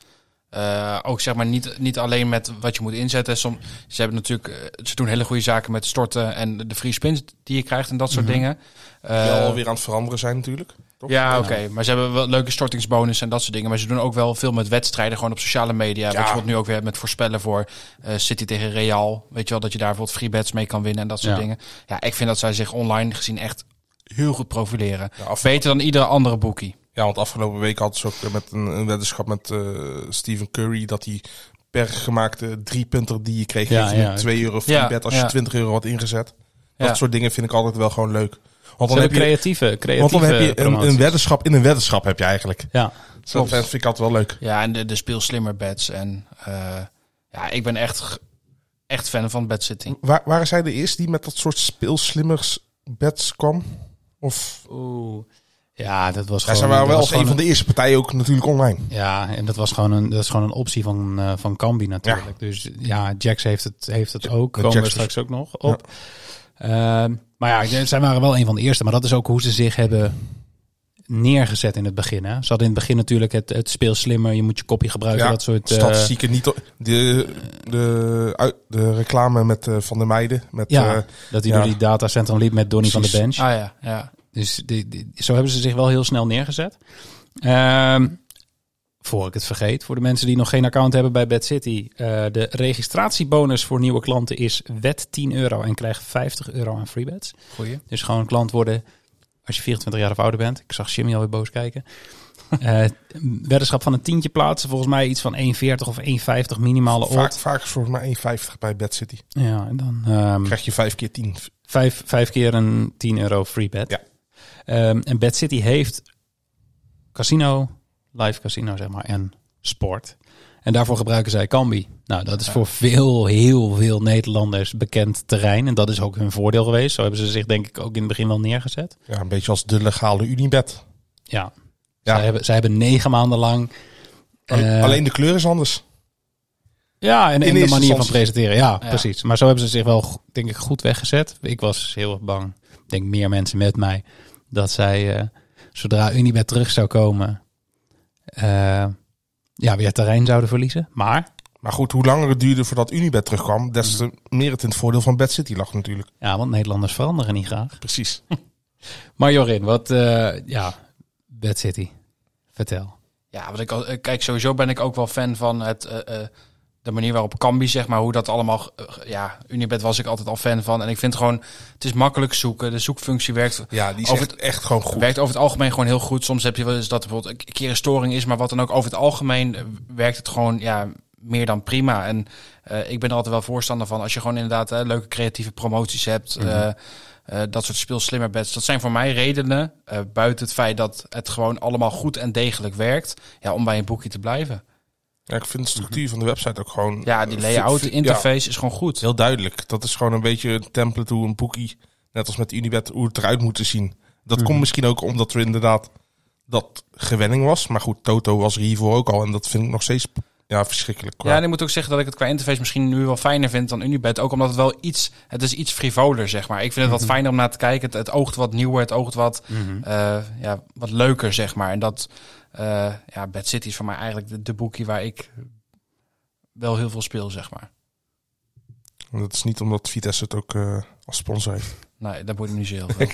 Speaker 7: Eh, ook zeg maar niet, niet alleen met wat je moet inzetten. Som, ze hebben natuurlijk, eh, ze doen hele goede zaken met storten en de free spins die je krijgt en dat soort dingen.
Speaker 8: Die
Speaker 7: Eh,
Speaker 8: alweer aan het veranderen zijn natuurlijk. Toch?
Speaker 7: Ja, oké. Maar ze hebben wel leuke stortingsbonussen en dat soort dingen. Maar ze doen ook wel veel met wedstrijden, gewoon op sociale media. Weet je wat nu ook weer hebt met voorspellen voor eh, City tegen Real. Weet je wel, dat je daar bijvoorbeeld free bets mee kan winnen en dat soort
Speaker 6: Ja.
Speaker 7: dingen. Ja, ik vind dat zij zich online gezien echt heel goed profileren.
Speaker 8: Ja, af-
Speaker 7: Beter dan iedere andere boekie.
Speaker 8: Ja, want afgelopen week hadden ze ook eh, met een, een weddenschap met eh Steven Curry... dat hij per gemaakte driepunter die je kreeg...
Speaker 6: Ja,
Speaker 8: Ja, je
Speaker 6: ja.
Speaker 8: met 2 euro free
Speaker 7: Ja,
Speaker 8: bet als je
Speaker 7: ja.
Speaker 8: 20 euro had ingezet.
Speaker 7: Ja.
Speaker 8: Dat soort dingen vind ik altijd wel gewoon leuk. Want
Speaker 6: Ze
Speaker 8: dan, heb
Speaker 6: hebben
Speaker 8: je,
Speaker 6: creatieve,
Speaker 8: want
Speaker 6: creatieve
Speaker 8: dan heb je een,
Speaker 6: promoties.
Speaker 8: een weddenschap in een weddenschap heb je eigenlijk.
Speaker 6: Ja,
Speaker 8: Dat vind ik altijd wel leuk.
Speaker 7: Ja, en de, de speel slimmer bets. En eh, ja, ik ben echt, g- echt fan van bed sitting.
Speaker 8: Waar, waren zij de eerste die met dat soort speelslimmers bets kwam? Of...
Speaker 6: Oeh. ja dat was
Speaker 8: Ja,
Speaker 6: gewoon...
Speaker 8: zij
Speaker 6: dat
Speaker 8: waren
Speaker 6: was
Speaker 8: wel als een
Speaker 6: gewoon
Speaker 8: van de eerste partijen ook natuurlijk online.
Speaker 6: Ja, en dat was gewoon een, dat is gewoon een optie van, eh van Cambi natuurlijk. Dus ja, Jax heeft het, heeft het ook. Komen
Speaker 8: Jax
Speaker 6: we
Speaker 8: is-
Speaker 6: straks ook nog op. Ehm, maar ja, zij waren wel een van de eerste. Maar dat is ook hoe ze zich hebben neergezet in het begin. Hè? Ze hadden in het begin natuurlijk het, het speel slimmer. Je moet je kopje gebruiken. dat soort eh,
Speaker 8: statistieken niet... o- De, de, uit- de reclame met eh, Van der Meijden. Met,
Speaker 6: ja,
Speaker 8: eh,
Speaker 6: dat hij
Speaker 8: ja.
Speaker 6: door die datacentrum liep met Donny van de Bench.
Speaker 7: Ah ja, ja.
Speaker 6: Dus die, die- zo hebben ze zich wel heel snel neergezet. Ehm, voor ik het vergeet, voor de mensen die nog geen account hebben bij Bad City. eh, de registratiebonus voor nieuwe klanten is wet 10 euro en krijg 50 euro aan freebets.
Speaker 7: Goeie.
Speaker 6: Dus gewoon een klant worden als je 24 jaar of ouder bent. Ik zag Jimmy alweer boos kijken. Eh, een weddenschap van een tientje plaatsen. Volgens mij iets van 1,40 of 1,50 minimale
Speaker 8: vaak,
Speaker 6: odd.
Speaker 8: vaak is volgens mij 1,50 bij Bad City.
Speaker 6: Ja, en dan... ehm,
Speaker 8: krijg je 5 keer 10.
Speaker 6: Vijf, vijf keer een 10 euro free bet.
Speaker 8: Ja.
Speaker 6: Ehm, en Bad City heeft casino, live casino zeg maar, en sport. En daarvoor gebruiken zij Cambi. Nou, dat is voor veel, heel veel Nederlanders bekend terrein. En dat is ook hun voordeel geweest. Zo hebben ze zich denk ik ook in het begin wel neergezet.
Speaker 8: Ja, een beetje als de legale Unibet.
Speaker 6: Ja.
Speaker 8: Ja.
Speaker 6: Zij, hebben, zij hebben negen maanden lang... eh,
Speaker 8: Alleen de kleur is anders.
Speaker 6: Ja, en, en de
Speaker 8: eerste
Speaker 6: manier van
Speaker 8: instantie.
Speaker 6: presenteren. Ja,
Speaker 7: Ja.
Speaker 6: precies. Maar zo hebben ze zich wel, go- denk ik, goed weggezet. Ik was heel erg bang, ik denk meer mensen met mij, dat zij, eh, zodra Unibet terug zou komen, eh, ja, weer terrein zouden verliezen. Maar,
Speaker 8: Maar goed, hoe langer het duurde voordat Unibet terugkwam... des te meer het in het voordeel van Bad City lag natuurlijk.
Speaker 6: ja, want Nederlanders veranderen niet graag.
Speaker 8: Precies.
Speaker 6: Maar Jorin, wat, eh, ja, Bad City, vertel.
Speaker 7: Ja, want ik, al- eh, kijk, sowieso ben ik ook wel fan van het eh, eh, de manier waarop Kambi, zeg maar, hoe dat allemaal... ge- eh, ge- Ja, Unibet was ik altijd al fan van. En ik vind gewoon, het is makkelijk zoeken. De zoekfunctie werkt...
Speaker 8: Ja, die is
Speaker 7: Over
Speaker 8: echt, echt gewoon goed.
Speaker 7: Werkt over het algemeen gewoon heel goed. Soms heb je wel eens dat er bijvoorbeeld een keer een storing is, maar wat dan ook. Over het algemeen eh, werkt het gewoon ja, meer dan prima. En eh, ik ben er altijd wel voorstander van als je gewoon inderdaad eh, leuke creatieve promoties hebt. eh, eh, dat soort speel slimmer bets. Dat zijn voor mij redenen, eh, buiten het feit dat het gewoon allemaal goed en degelijk werkt, ja, om bij een boekje te blijven.
Speaker 8: Ja, ik vind de structuur van de website ook gewoon...
Speaker 7: Ja, die
Speaker 8: eh,
Speaker 7: layout,
Speaker 8: fit-
Speaker 7: de
Speaker 8: fit-
Speaker 7: interface is gewoon goed.
Speaker 8: ja, heel duidelijk. Dat is gewoon een beetje een template hoe een boekie, net als met Unibet, hoe het eruit moet zien. Dat komt misschien ook omdat er inderdaad dat gewenning was. Maar goed, Toto was er hiervoor ook al. En dat vind ik nog steeds ja, verschrikkelijk. Qua.
Speaker 7: Ja, en ik moet ook zeggen dat ik het qua interface misschien nu wel fijner vind dan Unibet. Ook omdat het wel iets, het is iets frivoler, zeg maar. Ik vind het
Speaker 8: Mhm.
Speaker 7: wat fijner om naar te kijken. Het, het oogt wat nieuwer, het oogt wat, eh, ja, wat leuker, zeg maar. En dat, eh, ja, Bad City is voor mij eigenlijk de, de boekie waar ik wel heel veel speel, zeg maar.
Speaker 8: En Dat is niet omdat Vitesse het ook eh, als sponsor heeft.
Speaker 7: Nee, dat boeit me niet zo heel veel.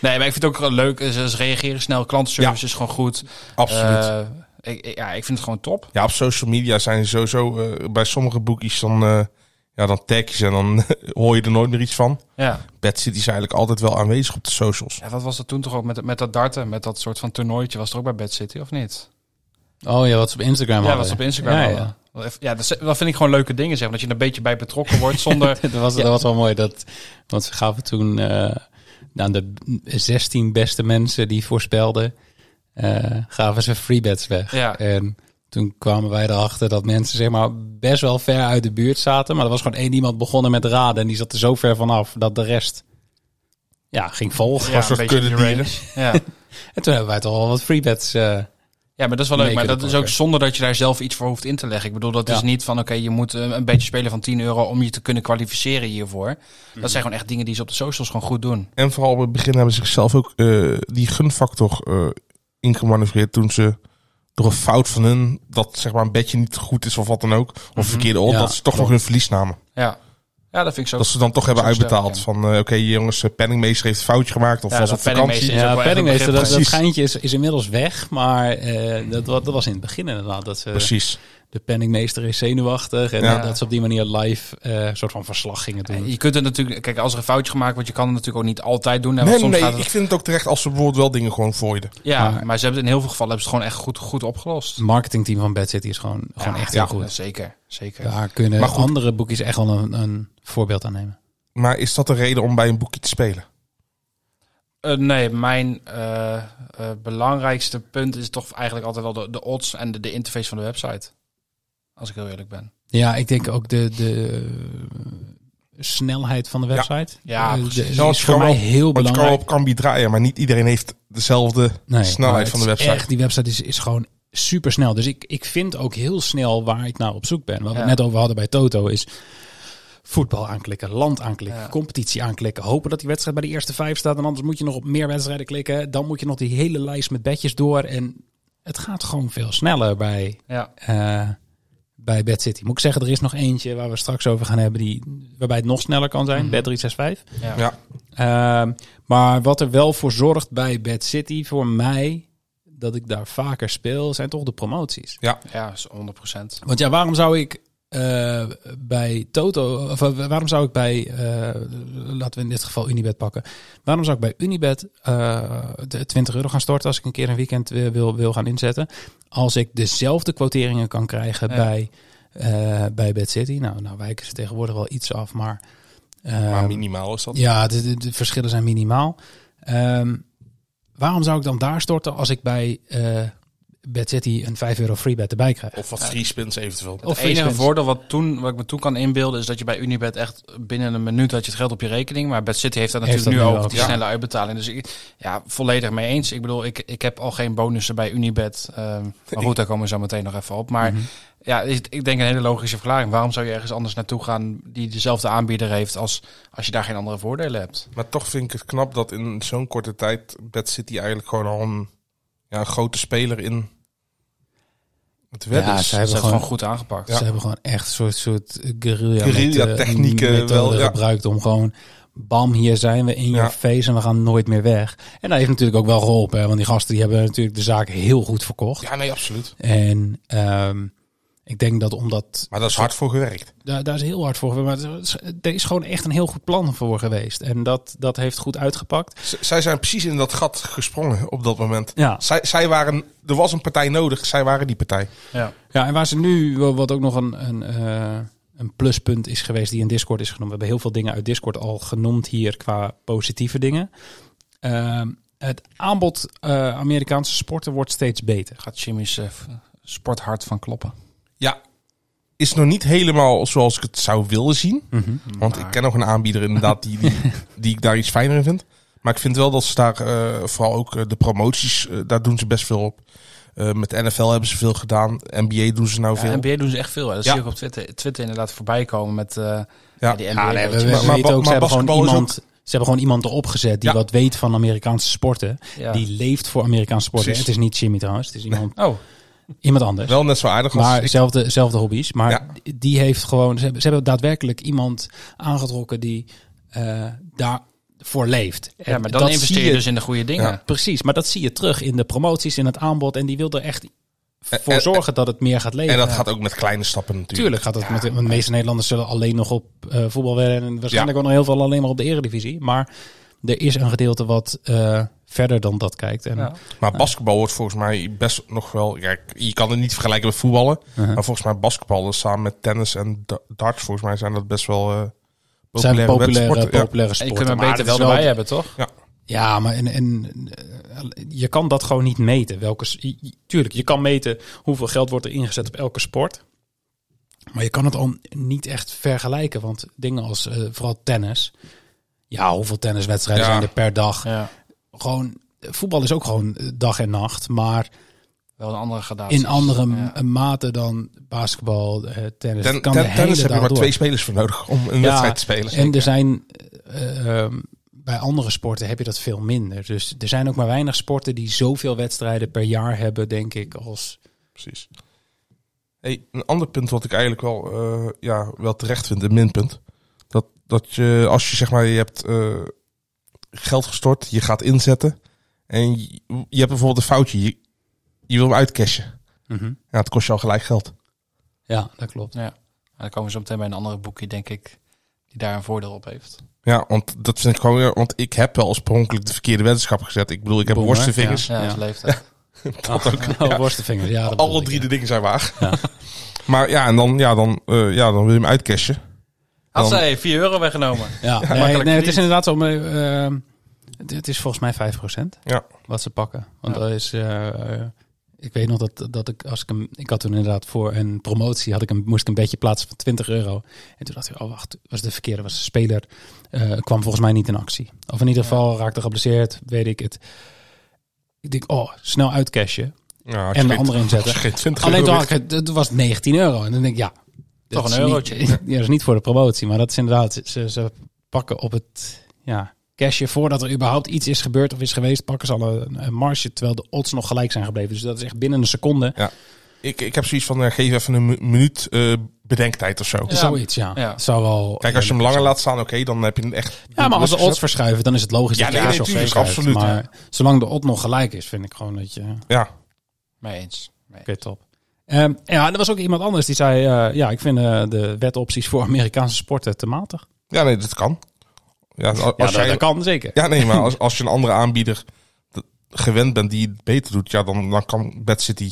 Speaker 7: nee, maar ik vind het ook wel leuk. Ze, ze reageren snel. Klantenservice is gewoon goed.
Speaker 8: Absoluut.
Speaker 7: Eh, ik, ik- ja, ik vind het gewoon top.
Speaker 8: Ja, op social media zijn ze sowieso eh, bij sommige boekies dan, eh, ja, dan tag je ze en dan hoor je er nooit meer iets van.
Speaker 7: Ja.
Speaker 8: Bad City is eigenlijk altijd wel aanwezig op de socials.
Speaker 7: ja, wat was dat toen toch ook met, met dat darten? Met dat soort van toernooitje was er ook bij Bad City, of niet?
Speaker 6: Oh ja, wat ze op Instagram
Speaker 7: Ja,
Speaker 6: hadden.
Speaker 7: wat ze op Instagram
Speaker 6: Ja, ja.
Speaker 7: hadden. Wel even- Ja, dat, is- dat vind ik gewoon leuke dingen, zeg maar. Dat je er een beetje bij betrokken wordt zonder...
Speaker 6: dat, was, dat was wel mooi. Dat, want ze gaven toen eh, aan de 16 beste mensen die voorspelden, eh, gaven ze free bets weg.
Speaker 7: Ja.
Speaker 6: En toen kwamen wij erachter dat mensen zeg maar best wel ver uit de buurt zaten. Maar er was gewoon één iemand begonnen met raden. En die zat er zo ver vanaf dat de rest ja, ging volgen.
Speaker 7: ja,
Speaker 8: soort
Speaker 7: beetje
Speaker 8: kudde
Speaker 7: de Raiders. Ja.
Speaker 6: En toen hebben wij toch al wat free bets. eh,
Speaker 7: ja, maar dat is wel leuk.
Speaker 6: Nee,
Speaker 7: Maar
Speaker 6: ik
Speaker 7: dat
Speaker 6: heb
Speaker 7: is
Speaker 6: het
Speaker 7: ook
Speaker 6: ook,
Speaker 7: zonder dat je daar zelf iets voor hoeft in te leggen. Ik bedoel, dat
Speaker 6: Ja.
Speaker 7: is niet van... Oké, je moet eh, een beetje spelen van 10 euro om je te kunnen kwalificeren hiervoor. Dat zijn gewoon echt dingen die ze op de socials gewoon goed doen.
Speaker 8: En vooral op het begin hebben ze zichzelf ook eh, die gunfactor eh ingemanoeuvreerd toen ze door een fout van hun, dat zeg maar een bedje niet goed is of wat dan ook, of
Speaker 7: Mhm.
Speaker 8: verkeerde op,
Speaker 6: Ja,
Speaker 8: dat ze toch nog hun verlies namen.
Speaker 7: Ja, ja dat vind ik zo...
Speaker 8: Dat ze dan toch hebben
Speaker 7: Zo sterk,
Speaker 8: uitbetaald
Speaker 7: ja.
Speaker 8: van, eh, oké jongens, eh, penningmeester heeft een foutje gemaakt of
Speaker 7: Ja,
Speaker 8: was
Speaker 7: dat
Speaker 8: op vakantie.
Speaker 7: penningmeester- is ook
Speaker 6: ja,
Speaker 7: wel echt een
Speaker 6: penningmeester, dat,
Speaker 7: begrip.
Speaker 6: dat
Speaker 8: Precies.
Speaker 6: schijntje is, is inmiddels weg. Maar eh, dat, wa- dat was in het begin inderdaad. Dat ze,
Speaker 7: eh,
Speaker 8: Precies.
Speaker 6: de penningmeester is zenuwachtig. En
Speaker 8: Ja.
Speaker 6: dat ze op die manier live eh, een soort van verslag gingen doen.
Speaker 7: Eh, Je kunt het natuurlijk... Kijk, als er een foutje gemaakt wordt, je kan het natuurlijk ook niet altijd doen. Hè, want
Speaker 8: Nee,
Speaker 7: soms
Speaker 8: nee,
Speaker 7: gaat het-
Speaker 8: ik vind het ook terecht als ze bijvoorbeeld wel dingen gewoon voiden.
Speaker 7: ja,
Speaker 6: Maar-
Speaker 7: maar, ze hebben het in heel veel gevallen hebben ze het gewoon echt goed, goed opgelost.
Speaker 6: Het marketingteam van Bad City is gewoon, gewoon echt heel goed.
Speaker 7: Zeker, zeker.
Speaker 6: Daar kunnen
Speaker 8: Maar goed.
Speaker 6: andere boekjes echt wel een, een voorbeeld aan nemen.
Speaker 8: Maar is dat een reden om bij een boekje te spelen?
Speaker 7: Eh, nee, mijn eh, eh, belangrijkste punt is toch eigenlijk altijd wel de, de odds en de, de interface van de website. Als ik heel eerlijk ben.
Speaker 6: Ja, ik denk ook de, de eh, snelheid van de website.
Speaker 7: Ja,
Speaker 6: Eh, de-
Speaker 7: precies.
Speaker 6: die
Speaker 8: Nou, het
Speaker 6: is voor
Speaker 8: kan
Speaker 6: mij
Speaker 8: wel-
Speaker 6: heel
Speaker 8: Want je kan wel
Speaker 6: belangrijk.
Speaker 8: op Cambi draaien, maar niet iedereen heeft dezelfde
Speaker 6: Nee, maar
Speaker 8: snelheid
Speaker 6: het
Speaker 8: van de
Speaker 6: is
Speaker 8: website.
Speaker 6: Echt, die website is, is gewoon super snel. Dus ik, ik vind ook heel snel waar ik naar op zoek ben. Wat we
Speaker 7: Ja.
Speaker 6: net over hadden bij Toto is voetbal aanklikken, land aanklikken,
Speaker 7: Ja.
Speaker 6: competitie aanklikken. Hopen dat die wedstrijd bij de eerste vijf staat. En anders moet je nog op meer wedstrijden klikken. Dan moet je nog die hele lijst met bedjes door. En het gaat gewoon veel sneller bij,
Speaker 7: Ja,
Speaker 6: eh, bij Bad City. Moet ik zeggen, er is nog eentje waar we straks over gaan hebben. Die, waarbij het nog sneller kan zijn. Bad 365.
Speaker 7: ja.
Speaker 8: Ja.
Speaker 6: Ehm, maar wat er wel voor zorgt bij Bad City, voor mij, dat ik daar vaker speel, zijn toch de promoties.
Speaker 7: Ja, is 100 procent.
Speaker 6: Want ja, waarom zou ik eh, bij Toto, of eh, waarom zou ik bij, eh, laten we in dit geval Unibet pakken, waarom zou ik bij Unibet eh, de 20 euro gaan storten als ik een keer een weekend eh, wil, wil gaan inzetten, als ik dezelfde quoteringen kan krijgen
Speaker 7: Ja.
Speaker 6: bij, eh, bij Bad City? Nou, nou wijken ze tegenwoordig wel iets af, maar...
Speaker 8: maar
Speaker 6: ehm,
Speaker 8: minimaal is dat.
Speaker 6: ja, de, de, de verschillen zijn minimaal. Ehm, waarom zou ik dan daar storten als ik bij eh Bad City een 5 euro freebet erbij krijg?
Speaker 8: Of wat free spins eventueel.
Speaker 7: Het
Speaker 6: free
Speaker 7: enige
Speaker 6: spins.
Speaker 7: voordeel wat, toen, wat ik me toen kan inbeelden is dat je bij Unibet echt binnen een minuut had je het geld op je rekening. Maar Bad City heeft dat
Speaker 6: Heeft
Speaker 7: natuurlijk nu
Speaker 6: dat nu
Speaker 7: ook,
Speaker 6: ook,
Speaker 7: die
Speaker 6: ja.
Speaker 7: snelle uitbetaling. Dus ik, ja, volledig mee eens. Ik bedoel, ik, ik heb al geen bonussen bij Unibet. ehm, maar goed, daar komen we zo meteen nog even op. Maar
Speaker 6: Mhm.
Speaker 7: ja, is het- ik denk een hele logische verklaring. Waarom zou je ergens anders naartoe gaan die dezelfde aanbieder heeft als, als je daar geen andere voordelen hebt?
Speaker 8: Maar toch vind ik het knap dat in zo'n korte tijd Bad City eigenlijk gewoon al een, ja, een grote speler in het web
Speaker 6: Ja,
Speaker 8: is.
Speaker 6: zij hebben
Speaker 7: Ze hebben gewoon
Speaker 6: gewoon,
Speaker 7: goed aangepakt.
Speaker 6: ze hebben gewoon echt een soort, soort guerrilla,
Speaker 8: Guerrilla
Speaker 6: met, eh,
Speaker 8: technieken
Speaker 6: methode
Speaker 8: wel, ja.
Speaker 6: gebruikt om gewoon bam, hier zijn we in je
Speaker 8: Ja.
Speaker 6: face en we gaan nooit meer weg. En dat heeft natuurlijk ook wel geholpen, hè, want die gasten die hebben natuurlijk de zaak heel goed verkocht.
Speaker 8: Ja, nee, absoluut.
Speaker 6: En ehm, Ik denk dat omdat
Speaker 8: Maar dat is hard voor gewerkt.
Speaker 6: daar, daar is heel hard voor geweest. Maar het is- er is gewoon echt een heel goed plan voor geweest. En dat, dat heeft goed uitgepakt.
Speaker 8: Z- zij zijn precies in dat gat gesprongen op dat moment.
Speaker 6: Ja.
Speaker 8: Zij, zij waren, er was een partij nodig, zij waren die partij.
Speaker 6: Ja, en waar ze nu, wat ook nog een, een, eh, een pluspunt is geweest die in Discord is genoemd. We hebben heel veel dingen uit Discord al genoemd hier qua positieve dingen. Ehm, het aanbod eh, Amerikaanse sporten wordt steeds beter.
Speaker 7: Gaat Jimmy's eh, f- sporthart van kloppen.
Speaker 8: Ja. Is nog niet helemaal zoals ik het zou willen zien.
Speaker 6: Mhm.
Speaker 8: Want ik ken nog een aanbieder inderdaad die, die, die ik daar iets fijner in vind. Maar ik vind wel dat ze daar eh, vooral ook eh, de promoties, eh, daar doen ze best veel op. Eh, met NFL hebben ze veel gedaan. NBA doen ze nou
Speaker 7: Ja,
Speaker 8: veel.
Speaker 7: NBA doen ze echt veel. hè. Dat
Speaker 8: Ja.
Speaker 7: zie ik op Twitter, Twitter inderdaad voorbij komen met eh, ja, die NBA.
Speaker 6: Ja, Ah, nee, we, we
Speaker 7: coaches.
Speaker 8: Maar- maar
Speaker 6: weten ook,
Speaker 8: ba-
Speaker 6: ze
Speaker 8: maar
Speaker 6: hebben gewoon
Speaker 8: basketbal is
Speaker 6: iemand... Ze hebben gewoon iemand erop gezet die
Speaker 8: Ja.
Speaker 6: wat weet van Amerikaanse sporten.
Speaker 7: Ja.
Speaker 6: Die leeft voor Amerikaanse sporten.
Speaker 8: Precies.
Speaker 6: Het is niet Jimmy trouwens, het is iemand,
Speaker 7: Oh,
Speaker 6: iemand anders.
Speaker 8: Wel net zo aardig als
Speaker 6: Maar
Speaker 8: ik.
Speaker 6: zelfde, zelfde hobby's. Maar
Speaker 8: Ja.
Speaker 6: die- die heeft gewoon. Ze hebben, ze hebben daadwerkelijk iemand aangetrokken die eh, daarvoor leeft.
Speaker 7: ja, maar dan investeer je dus in de goede dingen.
Speaker 8: Ja.
Speaker 6: Precies, maar dat zie je terug in de promoties, in het aanbod. En die wil er echt voor
Speaker 8: en-
Speaker 6: zorgen dat het meer gaat leven.
Speaker 8: En dat gaat ook met kleine stappen natuurlijk.
Speaker 6: Tuurlijk gaat dat met want de meeste Nederlanders zullen alleen nog op eh voetbal werden. En waarschijnlijk ook nog heel veel alleen maar op de eredivisie. Maar er is een gedeelte wat eh, verder dan dat kijkt. En,
Speaker 7: Ja.
Speaker 8: Maar basketbal wordt volgens mij best nog wel... Ja, je kan het niet vergelijken met voetballen.
Speaker 6: Uh-huh.
Speaker 8: Maar volgens mij basketbal is samen met tennis en da- darts... volgens mij zijn dat best wel eh,
Speaker 6: zijn
Speaker 8: populaire,
Speaker 6: populaire,
Speaker 8: wedsporten. Ja.
Speaker 6: populaire
Speaker 7: En je
Speaker 6: sporten.
Speaker 7: kunt hem
Speaker 6: Maar
Speaker 7: beter
Speaker 6: dat is
Speaker 7: wel
Speaker 6: wel-
Speaker 7: erbij hebben, toch?
Speaker 6: Ja, maar en, en eh, je kan dat gewoon niet meten. Welke, s- i- i- tuurlijk, je kan meten hoeveel geld wordt er ingezet op elke sport. Maar je kan het al niet echt vergelijken. Want dingen als eh, vooral tennis. Ja, hoeveel tenniswedstrijden
Speaker 8: Ja.
Speaker 6: zijn er per dag?
Speaker 7: Ja.
Speaker 6: Gewoon, eh, voetbal is ook gewoon eh, dag en nacht. Maar
Speaker 7: Wel een andere gradatie.
Speaker 6: in andere m-
Speaker 7: Ja.
Speaker 6: mate dan basketbal, eh, tennis.
Speaker 8: Ten-
Speaker 6: Het kan
Speaker 8: ten-
Speaker 6: de hele
Speaker 8: tennis heb je
Speaker 6: dag
Speaker 8: maar
Speaker 6: door.
Speaker 8: twee spelers voor nodig om een
Speaker 6: Ja,
Speaker 8: wedstrijd te spelen.
Speaker 6: En er zijn eh, ehm, bij andere sporten heb je dat veel minder. Dus er zijn ook maar weinig sporten die zoveel wedstrijden per jaar hebben, denk ik, als
Speaker 8: Precies. Hey, een ander punt wat ik eigenlijk wel, eh, ja, wel terecht vind, een minpunt. Dat, dat je, als je zeg maar, je hebt eh, geld gestort, je gaat inzetten. En je, je hebt bijvoorbeeld een foutje, je, je wil hem uitcashen.
Speaker 6: Mhm.
Speaker 8: Ja, het kost je al gelijk geld.
Speaker 6: ja, dat klopt.
Speaker 7: Ja. Maar dan komen we zo meteen bij een andere boekje, denk ik, die daar een voordeel op heeft.
Speaker 8: Ja, want dat vind ik gewoon, weer- want ik heb wel oorspronkelijk de verkeerde weddenschap gezet. Ik bedoel, ik heb
Speaker 6: Bom, hè?
Speaker 8: worstenvingers.
Speaker 7: Ja, dat is leeftijd.
Speaker 6: Oh, worstenvingers, ja. dat bedoel
Speaker 8: Alle
Speaker 6: ik,
Speaker 8: drie
Speaker 6: ja.
Speaker 8: de dingen zijn waar. maar ja, en dan, ja, dan, eh, ja, dan wil je hem uitcashen.
Speaker 7: Had
Speaker 8: Dan-
Speaker 7: zij 4 euro weggenomen.
Speaker 6: Ja, nee,
Speaker 7: makkelijk
Speaker 6: nee, het is
Speaker 7: niet.
Speaker 6: inderdaad om. eh, ehm, het- het is volgens mij 5%
Speaker 8: Ja.
Speaker 6: wat ze pakken. Want
Speaker 7: Ja.
Speaker 6: dat is. eh, eh, ik weet nog dat, dat ik als ik hem. Ik had toen inderdaad voor een promotie had ik een, moest ik een beetje plaatsen van 20 euro. En toen dacht ik, oh wacht, was de verkeerde, was de speler. eh, kwam volgens mij niet in actie. Of in ieder geval raakte geblesseerd, weet ik het. Ik denk, oh, snel uitcashen.
Speaker 8: Ja,
Speaker 6: En de andere inzetten.
Speaker 8: Geen 20
Speaker 6: Alleen
Speaker 8: euro
Speaker 6: toen
Speaker 8: meer.
Speaker 6: had ik het- het was 19 euro. En dan denk ik, ja.
Speaker 7: Toch
Speaker 6: dat
Speaker 7: een
Speaker 6: is
Speaker 7: eurotje.
Speaker 6: Niet, ja, dat is niet voor de promotie. Maar dat is inderdaad, ze, ze pakken op het ja, cashje voordat er überhaupt iets is gebeurd of is geweest, pakken ze al een, een marge. Terwijl de odds nog gelijk zijn gebleven. Dus dat is echt binnen een seconde.
Speaker 8: Ik, ik heb zoiets van, eh, geef even een mu- minuut eh, bedenktijd of zo.
Speaker 6: Zoiets, ja.
Speaker 7: Ja.
Speaker 6: Het Zou wel,
Speaker 8: Kijk, als je hem langer laat staan, oké, dan heb je een echt...
Speaker 6: ja, maar als de
Speaker 8: Dus-
Speaker 6: odds verschuiven, dan is het logisch
Speaker 8: Ja,
Speaker 6: dat
Speaker 8: nee,
Speaker 6: je
Speaker 8: nee,
Speaker 6: cash
Speaker 8: tuurlijk,
Speaker 6: zekerheid.
Speaker 8: absoluut,
Speaker 6: Maar zolang de odd nog gelijk is, vind ik gewoon dat je...
Speaker 8: Ja,
Speaker 7: Mee eens.
Speaker 6: Oké, top. Ehm, ja, en er was ook iemand anders die zei... eh, ja, ik vind eh, de wetopties voor Amerikaanse sporten te matig.
Speaker 8: ja nee, dat kan. Ja, als
Speaker 6: Ja,
Speaker 8: jij,
Speaker 6: dat, dat kan zeker.
Speaker 8: ja nee, maar als, als je een andere aanbieder d- gewend bent die het beter doet, ja, dan, dan kan Bad City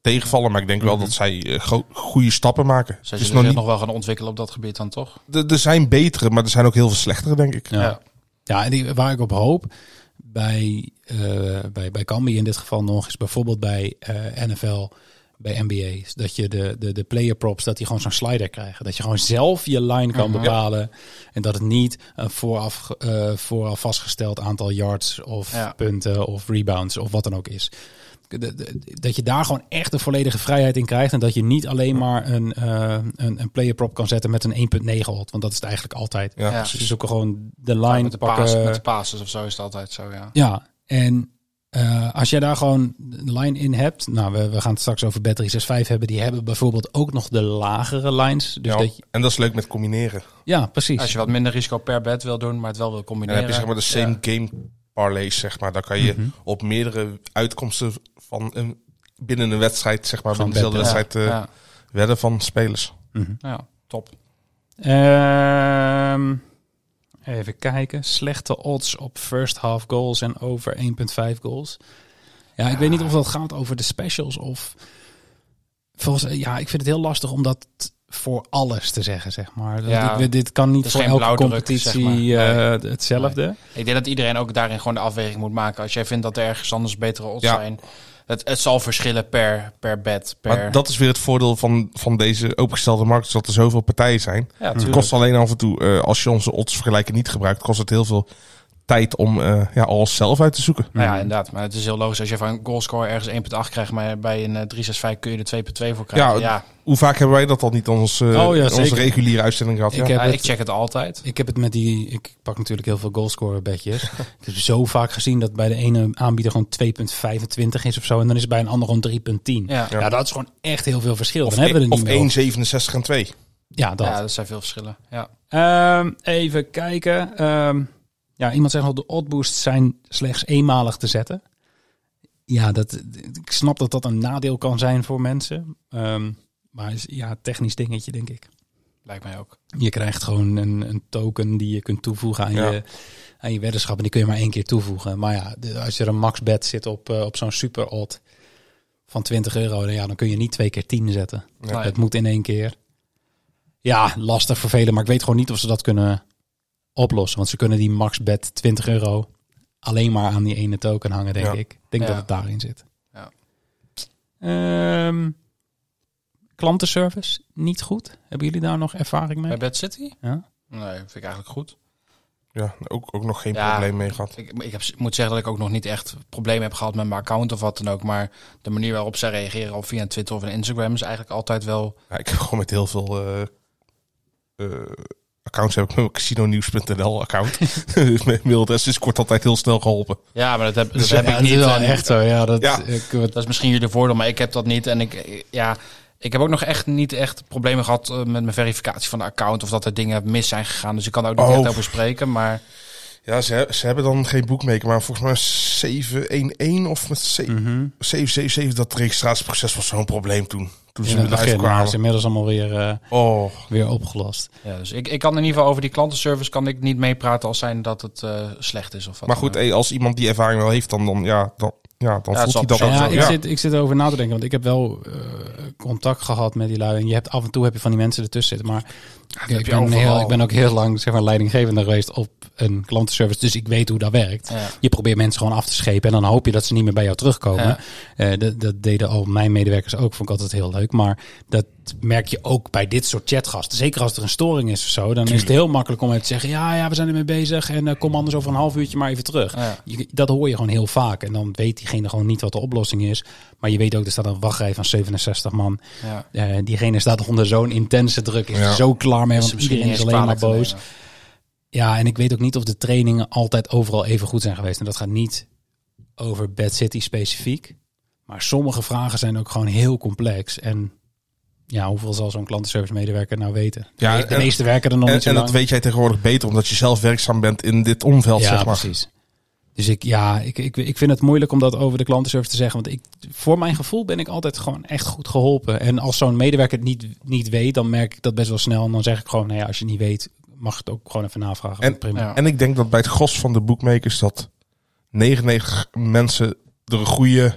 Speaker 8: tegenvallen. Maar ik denk
Speaker 6: Mhm.
Speaker 8: wel dat zij eh, gro- goede stappen maken.
Speaker 7: Ze
Speaker 8: Het
Speaker 7: zullen
Speaker 8: is
Speaker 7: Dus nog,
Speaker 8: nog niet,
Speaker 7: nog wel gaan ontwikkelen op dat gebied dan, toch?
Speaker 8: er- er zijn betere, maar er zijn ook heel veel slechtere, denk ik.
Speaker 6: Ja. ja. en die, waar ik op hoop bij, eh bij, bij Cambi in dit geval nog is bijvoorbeeld bij eh, NFL, bij NBA, is dat je de, de, de player props, dat die gewoon zo'n slider krijgen. Dat je gewoon zelf je line kan
Speaker 7: Mhm.
Speaker 6: bepalen en dat het niet een vooraf, ge- eh, vooraf vastgesteld aantal yards of
Speaker 7: Ja.
Speaker 6: punten of rebounds of wat dan ook is. De- de- Dat je daar gewoon echt de volledige vrijheid in krijgt. En dat je niet alleen maar een, eh een, een player prop kan zetten met een 1.9 odd. Want dat is het eigenlijk altijd.
Speaker 8: Ja,
Speaker 7: Ja.
Speaker 6: Ze zoeken gewoon de line
Speaker 7: Met de,
Speaker 6: pakken.
Speaker 7: paas, met de passes of zo is het altijd zo, ja.
Speaker 6: Ja, en eh, als jij daar gewoon een line in hebt. Nou, we, we gaan het straks over Battery 6.5 hebben. Die hebben bijvoorbeeld ook nog de lagere lines. Dus
Speaker 8: Ja,
Speaker 6: ja, dat je,
Speaker 8: En dat is leuk met combineren.
Speaker 6: ja precies.
Speaker 7: Als je wat minder risico per bed wil doen, maar het wel wil
Speaker 8: En dan
Speaker 7: combineren.
Speaker 8: heb je zeg maar de same game parlays, zeg maar. Daar kan je
Speaker 6: Mhm.
Speaker 8: op meerdere uitkomsten van een, binnen een wedstrijd, zeg maar,
Speaker 6: Gewoon
Speaker 8: binnen dezelfde
Speaker 6: bed-
Speaker 8: wedstrijd eh,
Speaker 7: ja.
Speaker 8: Wedden van spelers.
Speaker 7: Nou ja, top.
Speaker 6: Ehm, even kijken. Slechte odds op first half goals en over 1,5 goals. Ja, ik weet niet of dat gaat over de specials of... Volgens, eh, ja, ik vind het heel lastig om dat voor alles te zeggen, zeg maar. Dat-
Speaker 7: Ja,
Speaker 6: dit, dit kan niet
Speaker 7: is
Speaker 6: voor
Speaker 7: geen
Speaker 6: elke
Speaker 7: blauwdruk,
Speaker 6: competitie
Speaker 7: zeg maar. Nee.
Speaker 6: eh, hetzelfde.
Speaker 7: Ik denk dat iedereen ook daarin gewoon de afweging moet maken. Als jij vindt dat er ergens anders betere odds
Speaker 8: Ja.
Speaker 7: zijn. Het, het zal verschillen per, per bed. Per...
Speaker 8: Maar dat is weer het voordeel van, van deze opengestelde markt, is dat er zoveel partijen zijn.
Speaker 7: ja,
Speaker 8: Het
Speaker 7: tuurlijk.
Speaker 8: kost alleen af en toe, eh, als je onze odds vergelijken niet gebruikt, kost het heel veel tijd om eh, ja, alles zelf uit te zoeken.
Speaker 7: Nou
Speaker 6: Mhm.
Speaker 7: ja, inderdaad. Maar het is heel logisch. Als je van een goalscore ergens 1.8 krijgt, maar bij een eh, 365 kun je er 2.2 voor krijgen.
Speaker 8: Ja,
Speaker 7: Ja,
Speaker 8: Hoe vaak hebben wij dat al niet in ons, eh,
Speaker 6: Oh ja,
Speaker 8: in onze
Speaker 6: zeker.
Speaker 8: reguliere uitzending gehad?
Speaker 6: Ik
Speaker 8: ja.
Speaker 6: heb
Speaker 7: ja, ik
Speaker 6: het-
Speaker 7: check het altijd.
Speaker 6: Ik heb het met die. Ik pak natuurlijk heel veel goalscorer bedjes. ik heb zo vaak gezien dat bij de ene aanbieder gewoon 2,25 is of zo. En dan is het bij een ander gewoon 3,10. Ja.
Speaker 7: Ja, e- ja.
Speaker 6: dat is gewoon echt heel veel verschil.
Speaker 8: Of,
Speaker 6: dan hebben we er
Speaker 8: of
Speaker 6: niet meer
Speaker 8: 1,67 en 2.
Speaker 6: op. Ja, dat.
Speaker 7: dat zijn veel verschillen. Ja.
Speaker 6: Ehm, even kijken. Ehm, ja, iemand zegt al, de oddboosts zijn slechts eenmalig te zetten. Ja, dat, ik snap dat dat een nadeel kan zijn voor mensen. Ehm, maar is, ja, technisch dingetje, denk ik.
Speaker 7: Lijkt mij ook.
Speaker 6: Je krijgt gewoon een, een token die je kunt toevoegen aan,
Speaker 8: Ja.
Speaker 6: je, aan je weddenschap. En die kun je maar één keer toevoegen. Maar ja, de- als er een max bet zit op, eh, op zo'n super odd van 20 euro, dan, ja, dan kun je niet twee keer 10 zetten.
Speaker 7: Nee.
Speaker 6: Het moet in één keer. Ja, lastig voor velen. Maar ik weet gewoon niet of ze dat kunnen oplossen. Want ze kunnen die max bet 20 euro alleen maar aan die ene token hangen, denk
Speaker 8: Ja.
Speaker 6: ik. Ik denk
Speaker 7: Ja.
Speaker 6: dat het daarin zit.
Speaker 7: Ja.
Speaker 6: Ehm, klantenservice, niet goed. Hebben jullie daar nog ervaring mee?
Speaker 7: Bij Bad City?
Speaker 6: Ja.
Speaker 7: Nee, vind ik eigenlijk goed.
Speaker 8: Ja, ook, ook nog geen
Speaker 7: Ja.
Speaker 8: probleem mee gehad.
Speaker 7: Ik, ik heb, moet zeggen dat ik ook nog niet echt problemen heb gehad met mijn account of wat dan ook. Maar de manier waarop zij reageren op via Twitter of Instagram is eigenlijk altijd wel...
Speaker 8: Ja, ik heb gewoon met heel veel eh, eh, accounts heb ik mijn casinonews.nl account. Dus mijn mailadres is kort altijd heel snel geholpen.
Speaker 7: Ja, maar dat heb, dat
Speaker 6: Dus, Ja,
Speaker 7: heb ik
Speaker 6: het is
Speaker 7: niet.
Speaker 6: wel
Speaker 7: en-
Speaker 6: eh, echt zo. Ja, dat,
Speaker 8: Ja.
Speaker 6: ik- wat-
Speaker 7: Dat is misschien jullie voordeel, maar ik heb dat niet. En ik, eh, ja, ik heb ook nog echt niet echt problemen gehad eh, met mijn verificatie van de account. Of dat er dingen mis zijn gegaan. Dus ik kan daar ook niet
Speaker 8: Oh.
Speaker 7: echt over spreken. Maar
Speaker 8: Ja, ze, ze hebben dan geen boekmaker, maar volgens mij 711 of met ze-
Speaker 6: Hmm. Mhm.
Speaker 8: 777, dat registratieproces was zo'n probleem toen. Toen ze
Speaker 6: in het
Speaker 8: met live
Speaker 6: begin, maar is
Speaker 8: kwamen.
Speaker 6: inmiddels allemaal weer, eh,
Speaker 8: Oh,
Speaker 6: weer opgelost.
Speaker 7: ja, dus ik, ik kan in ieder geval over die klantenservice kan ik niet meepraten als zijn dat het eh, slecht is. Of wat
Speaker 8: maar
Speaker 7: dan
Speaker 8: goed,
Speaker 7: ook.
Speaker 8: eh, als iemand die ervaring wel heeft, dan, dan, ja, dan, ja, dan
Speaker 7: Ja,
Speaker 8: voelt hij
Speaker 7: het
Speaker 8: dat
Speaker 7: zal
Speaker 8: ook
Speaker 6: ja,
Speaker 8: zo.
Speaker 6: ik,
Speaker 8: Ja.
Speaker 6: Zit, ik zit erover na te denken, want ik heb wel eh, contact gehad met die lui. En je hebt af en toe heb je van die mensen ertussen zitten. Maar ik,
Speaker 7: heb
Speaker 6: ik
Speaker 7: je
Speaker 6: ben
Speaker 7: overal.
Speaker 6: heel, ik ben ook heel lang zeg maar, leidinggevende geweest op een klantenservice. Dus ik weet hoe dat werkt.
Speaker 7: Ja.
Speaker 6: Je probeert mensen gewoon af te schepen. En dan hoop je dat ze niet meer bij jou terugkomen.
Speaker 7: Ja.
Speaker 6: Eh, dat, dat deden al mijn medewerkers ook. Vond ik altijd heel leuk. Maar dat merk je ook bij dit soort chatgasten. Zeker als er een storing is of zo. Dan is het heel makkelijk om even te zeggen. Ja, ja, we zijn ermee bezig. En eh, kom anders over een half uurtje maar even terug.
Speaker 7: Ja.
Speaker 6: Je- dat hoor je gewoon heel vaak. En dan weet diegene gewoon niet wat de oplossing is. Maar je weet ook, er staat een wachtrij van 67 man.
Speaker 7: Ja.
Speaker 6: Eh, diegene staat onder zo'n intense druk. Is er
Speaker 8: Ja.
Speaker 6: zo klaar mee. Want
Speaker 7: Is het misschien
Speaker 6: iedereen is
Speaker 7: niet eens
Speaker 6: alleen maar
Speaker 7: kwalijk te
Speaker 6: boos.
Speaker 7: nemen.
Speaker 6: Ja, en ik weet ook niet of de trainingen altijd overal even goed zijn geweest. En dat gaat niet over Bad City specifiek. Maar sommige vragen zijn ook gewoon heel complex. En ja, hoeveel zal zo'n klantenservice medewerker nou weten?
Speaker 8: Ja,
Speaker 6: de
Speaker 8: en-
Speaker 6: meeste werken er nog
Speaker 8: En,
Speaker 6: niet zo
Speaker 8: en
Speaker 6: lang.
Speaker 8: dat weet jij tegenwoordig beter, omdat je zelf werkzaam bent in dit omveld,
Speaker 6: ja,
Speaker 8: zeg maar.
Speaker 6: precies. Dus ik, ja, ik, ik, ik vind het moeilijk om dat over de klantenservice te zeggen. Want ik, voor mijn gevoel ben ik altijd gewoon echt goed geholpen. En als zo'n medewerker het niet, niet weet, dan merk ik dat best wel snel. En dan zeg ik gewoon, nou ja, als je het niet weet, mag het ook gewoon even navragen.
Speaker 8: En-
Speaker 6: prima.
Speaker 7: Ja.
Speaker 8: En ik denk dat bij het gros van de boekmakers dat 99 mensen er een goede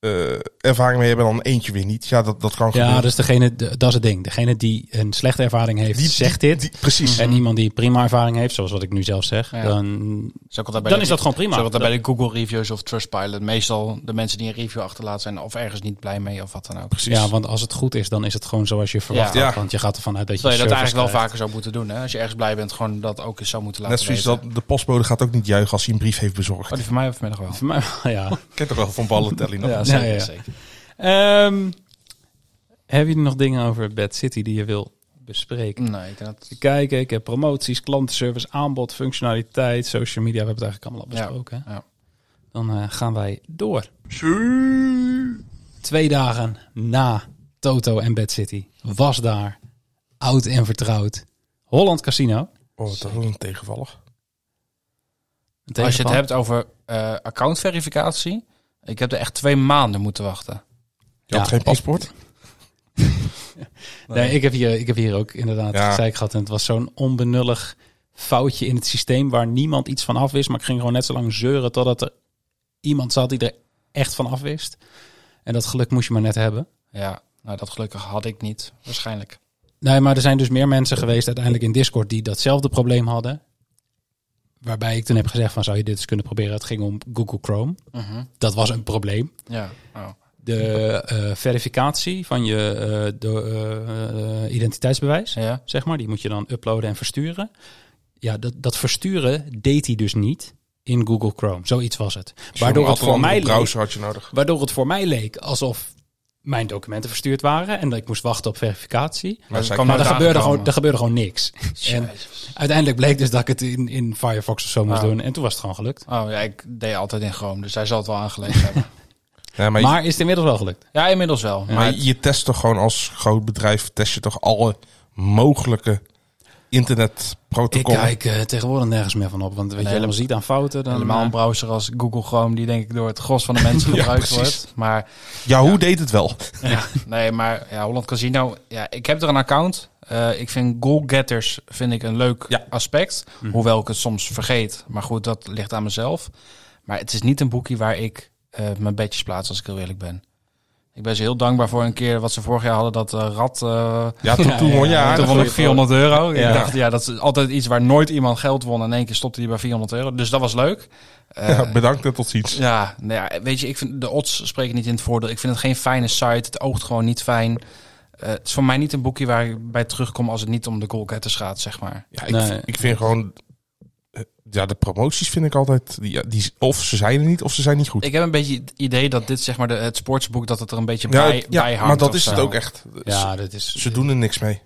Speaker 8: eh, ervaring mee hebben en dan eentje weer niet. Ja, dat, dat kan
Speaker 6: Ja,
Speaker 8: gebeuren.
Speaker 6: dus degene, de- dat is het ding. Degene die een slechte ervaring heeft,
Speaker 8: Die-
Speaker 6: zegt dit.
Speaker 8: Die- precies.
Speaker 6: en iemand die prima ervaring heeft, zoals wat ik nu zelf zeg,
Speaker 7: Ja.
Speaker 6: dan,
Speaker 7: Is ook altijd bij
Speaker 6: dan
Speaker 7: de-
Speaker 6: is dat gewoon prima.
Speaker 7: Zo wat er bij de Google reviews of Trustpilot. Meestal de mensen die een review achterlaten zijn of ergens niet blij mee of wat dan ook.
Speaker 8: precies.
Speaker 6: ja, want als het goed is, dan is het gewoon zoals je verwacht
Speaker 7: Ja.
Speaker 6: had.
Speaker 8: Ja.
Speaker 6: Want je gaat ervan uit dat je,
Speaker 7: Terwijl je dat
Speaker 6: service
Speaker 7: eigenlijk
Speaker 6: krijgt.
Speaker 7: wel vaker zou moeten doen. Hè? Als je ergens blij bent, gewoon dat ook eens zou moeten laten
Speaker 8: Net zoals
Speaker 7: weten.
Speaker 8: dat de postbode gaat ook niet juichen als hij een brief heeft bezorgd.
Speaker 7: Oh, die van mij vanmiddag wel.
Speaker 6: Voor mij wel, ja.
Speaker 8: Ik ken toch wel van Ballentelli nog.
Speaker 6: Ja, zeker,
Speaker 7: ja,
Speaker 6: zeker. Ehm, hebben jullie nog dingen over Bad City die je wil bespreken?
Speaker 7: Nee, ik denk dat...
Speaker 6: Even kijken, ik heb promoties, klantenservice, aanbod, functionaliteit, social media. We hebben het eigenlijk allemaal
Speaker 7: Ja.
Speaker 6: besproken. hè?
Speaker 7: Ja.
Speaker 6: Dan eh, gaan wij door. Twee dagen na Toto en Bad City was daar oud en vertrouwd Holland Casino.
Speaker 8: Oh, dat was een tegenvallig.
Speaker 6: Een
Speaker 7: Als je het
Speaker 6: tegenval.
Speaker 7: hebt over eh, accountverificatie, ik heb er echt twee maanden moeten wachten.
Speaker 8: Je had
Speaker 6: Ja,
Speaker 8: geen paspoort.
Speaker 6: Nee, ik heb hier, ik heb hier ook inderdaad
Speaker 8: Ja.
Speaker 6: gezeik gehad. En het was zo'n onbenullig foutje in het systeem waar niemand iets van af wist. Maar ik ging gewoon net zo lang zeuren totdat er iemand zat die er echt van af wist. En dat geluk moest je maar net hebben.
Speaker 7: Ja, nou dat gelukkig had ik niet. Waarschijnlijk.
Speaker 6: Nee, maar er zijn dus meer mensen geweest uiteindelijk in Discord die datzelfde probleem hadden. Waarbij ik toen heb gezegd van zou je dit eens kunnen proberen. Het ging om Google Chrome. Dat was een probleem.
Speaker 7: Mhm. Ja. Oh.
Speaker 6: De eh, verificatie van je eh, do- eh, eh, identiteitsbewijs.
Speaker 7: Ja.
Speaker 6: zeg maar. Die moet je dan uploaden en versturen. Ja, dat, dat versturen deed hij dus niet in Google Chrome. Zoiets was het. Waardoor het,
Speaker 8: Zo'n
Speaker 6: voor mij leek,
Speaker 8: browser had je nodig.
Speaker 6: waardoor het voor mij leek alsof mijn documenten verstuurd waren en dat ik moest wachten op verificatie.
Speaker 8: Maar zij
Speaker 7: kan
Speaker 6: Maar
Speaker 7: nooit
Speaker 6: er gebeurde,
Speaker 7: aangekomen.
Speaker 6: gewoon, er gebeurde gewoon niks. En uiteindelijk bleek dus dat ik het in, in Firefox of zo moest
Speaker 7: Ah.
Speaker 6: doen. En toen was het gewoon gelukt.
Speaker 7: Oh ja, ik deed altijd in Chrome, dus hij zal het wel aangelezen hebben.
Speaker 8: Ja, maar,
Speaker 6: Maar is het inmiddels wel gelukt?
Speaker 7: Ja, inmiddels wel.
Speaker 8: je,
Speaker 7: Maar
Speaker 8: maar
Speaker 7: het-
Speaker 8: je test toch gewoon als groot bedrijf, test je toch alle mogelijke
Speaker 6: Ik
Speaker 8: internetprotocollen.
Speaker 6: kijk eh, tegenwoordig nergens meer van op. Want wat je
Speaker 7: helemaal-
Speaker 6: helemaal ziet aan fouten, dan... eh,
Speaker 7: helemaal een browser als Google Chrome, die denk ik door het gros van de mensen
Speaker 8: Ja,
Speaker 7: gebruikt
Speaker 8: precies.
Speaker 7: wordt. Maar
Speaker 8: Yahoo deed het wel.
Speaker 7: ja, nee, maar ja, Holland Casino, ja, ik heb er een account. Eh, ik vind goalgetters vind ik een leuk
Speaker 8: Ja.
Speaker 7: aspect. Hoewel ik het soms vergeet. Maar goed, dat ligt aan mezelf. Maar het is niet een boekje waar ik eh, mijn bedjes plaats, als ik heel eerlijk ben. Ik ben ze heel dankbaar voor een keer wat ze vorig jaar hadden, dat eh, rat... eh,
Speaker 8: Ja, toen, toen won je
Speaker 7: Ja,
Speaker 8: aardig.
Speaker 7: toen won ik 400 euro.
Speaker 6: Ja.
Speaker 7: Ik dacht, ja, dat is altijd iets waar nooit iemand geld won. En in één keer stopte hij bij 400 euro. Dus dat was leuk. Eh,
Speaker 8: Ja, bedankt en tot ziens.
Speaker 7: ja, nou ja, weet je, ik vind de odds spreken niet in het voordeel. Ik vind het geen fijne site. Het oogt gewoon niet fijn. Eh, het is voor mij niet een boekje waar ik bij terugkom als het niet om de goalgetters gaat, zeg maar.
Speaker 8: Ja, ik,
Speaker 6: Nee.
Speaker 8: ik vind gewoon... eh, Ja, de promoties vind ik altijd... Die, die, of ze zijn er niet, of ze zijn niet goed.
Speaker 7: Ik heb een beetje het idee dat dit, zeg maar, de, het sportsboek, dat het er een beetje
Speaker 8: ja,
Speaker 7: bij,
Speaker 8: het-
Speaker 7: bij
Speaker 8: ja
Speaker 7: hangt.
Speaker 8: maar dat
Speaker 7: of
Speaker 8: is het
Speaker 7: zo.
Speaker 8: ook echt. Ze,
Speaker 6: Ja, dat is...
Speaker 8: ze doen er niks mee.
Speaker 6: Nee,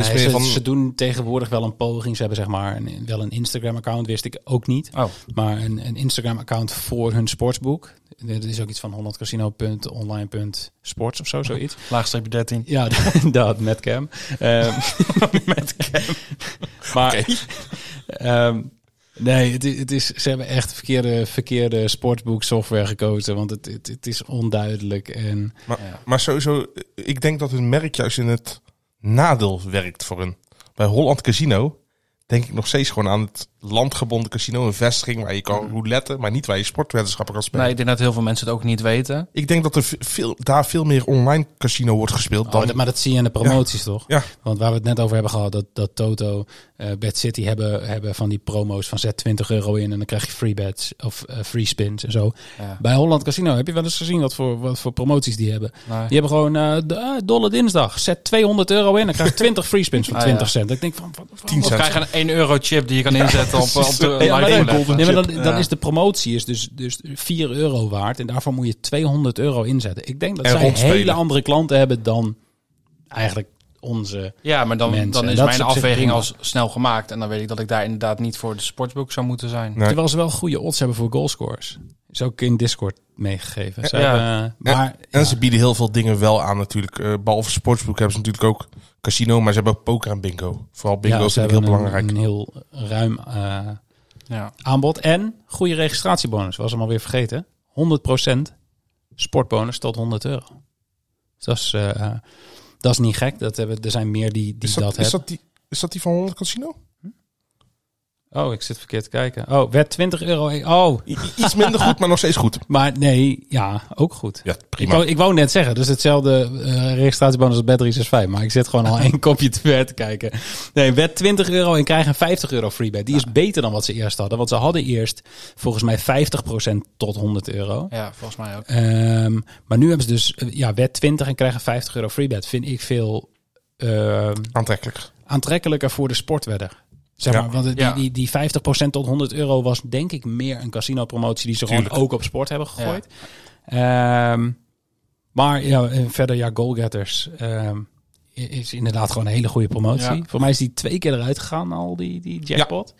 Speaker 8: Het is meer
Speaker 6: ze,
Speaker 8: van-
Speaker 6: ze doen tegenwoordig wel een poging. Ze hebben zeg maar een, wel een Instagram-account, wist ik ook niet.
Speaker 7: Oh,
Speaker 6: Maar een, een Instagram-account voor hun sportsboek. Dat is ook iets van hollandcasino.online.sports of zo, zoiets.
Speaker 7: laagstreepje 13.
Speaker 6: Ja, dat, met Cam. Ehm, maar, ehm, nee, het, i- het is, ze hebben echt verkeerde, verkeerde sportsboek-software gekozen. Want het, het, het is onduidelijk. En
Speaker 8: Maar,
Speaker 7: Ja.
Speaker 8: maar sowieso, eh, ik denk dat hun merk juist in het nadeel werkt voor hun. Bij Holland Casino denk ik nog steeds gewoon aan het landgebonden casino. Een vestiging waar je kan roulette, maar niet waar je sportwetenschappen kan spelen.
Speaker 7: Nee, ik denk dat heel veel mensen het ook niet weten.
Speaker 8: Ik denk dat er ve- veel, daar veel meer online casino wordt gespeeld dan...
Speaker 6: Oh, dat- maar dat zie je in de promoties toch?
Speaker 8: Ja.
Speaker 6: Want waar we het net over hebben gehad, dat, dat Toto, eh Bad City hebben, hebben van die promo's van zet 20 euro in en dan krijg je free bets of eh, free spins en zo.
Speaker 7: Ja.
Speaker 6: Bij Holland Casino heb je wel eens gezien wat voor, wat voor promoties die hebben.
Speaker 7: Nou,
Speaker 6: Die hebben gewoon eh d- eh, dolle dinsdag, zet 200 euro in en krijg je 20 free spins van
Speaker 7: Ah, ja.
Speaker 6: 20 cent. Ik denk van, wat, wat-
Speaker 8: 10
Speaker 7: Of
Speaker 8: cent.
Speaker 7: krijg je een 1 euro chip die je kan inzetten op, op de
Speaker 6: Ja, maar
Speaker 7: live
Speaker 6: dan,
Speaker 7: roulette.
Speaker 6: nee, maar dan,
Speaker 7: chip.
Speaker 6: dan
Speaker 7: Ja.
Speaker 6: is de promotie is dus, dus 4 euro waard en daarvoor moet je 200 euro inzetten. Ik denk dat
Speaker 8: En
Speaker 6: zij
Speaker 8: rondspelen.
Speaker 6: hele andere klanten hebben dan eigenlijk onze...
Speaker 7: Ja, maar dan,
Speaker 6: mensen.
Speaker 7: dan
Speaker 6: En
Speaker 7: is
Speaker 6: dat
Speaker 7: mijn
Speaker 6: is op zich
Speaker 7: afweging
Speaker 6: prima.
Speaker 7: al s- snel gemaakt. En dan weet ik dat ik daar inderdaad niet voor de sportsboek zou moeten zijn.
Speaker 8: Nee.
Speaker 6: Terwijl ze wel goede odds hebben voor goalscorers. Is ook in Discord meegegeven. Ze
Speaker 7: Ja.
Speaker 6: hebben, eh, maar
Speaker 8: En ze bieden heel veel dingen wel aan natuurlijk. Eh, behalve sportsboek hebben ze natuurlijk ook casino, maar ze hebben ook poker en bingo. Vooral bingo
Speaker 6: ja,
Speaker 8: is
Speaker 6: ze
Speaker 8: natuurlijk
Speaker 6: hebben
Speaker 8: heel
Speaker 6: een,
Speaker 8: belangrijk.
Speaker 6: een heel ruim eh,
Speaker 7: Ja.
Speaker 6: aanbod. En goede registratiebonus. Was hem alweer vergeten. 100% sportbonus tot 100 euro. Dus dat is, eh, eh, dat is niet gek. Dat hebben, er zijn meer die, die
Speaker 8: Is
Speaker 6: dat,
Speaker 8: dat, is,
Speaker 6: hebben.
Speaker 8: dat die, is dat die van 100 Casino?
Speaker 6: Oh, ik zit verkeerd te kijken. Oh, werd 20 euro. e- Oh,
Speaker 8: I- i- Iets minder goed, maar nog steeds goed.
Speaker 6: maar nee, ja, ook goed.
Speaker 8: Ja,
Speaker 6: Ik wou, ik wou net zeggen, dus hetzelfde eh, registratiebonus als Bad 365. Maar ik zit gewoon al één kopje te ver te kijken. Nee, wed 20 euro en krijg een 50 euro free bet. Die is beter dan wat ze eerst hadden. Want ze hadden eerst volgens mij 50% tot 100 euro.
Speaker 7: ja, volgens mij ook.
Speaker 6: Ehm, maar nu hebben ze dus, eh, ja, wed 20 en krijgen 50 euro free bet. Vind ik veel ehm,
Speaker 8: Aantrekkelijk.
Speaker 6: aantrekkelijker voor de sportwedder. Zeg
Speaker 8: Ja.
Speaker 6: maar, want die,
Speaker 7: Ja.
Speaker 6: die, die 50% tot 100 euro was denk ik meer een casino promotie die ze
Speaker 8: Tuurlijk.
Speaker 6: gewoon ook op sport hebben gegooid. Ehm, maar ja, en verder ja, goalgetters ehm, i- is inderdaad gewoon een hele goede promotie.
Speaker 7: Ja.
Speaker 6: Voor mij is die twee keer eruit gegaan al, die, die jackpot.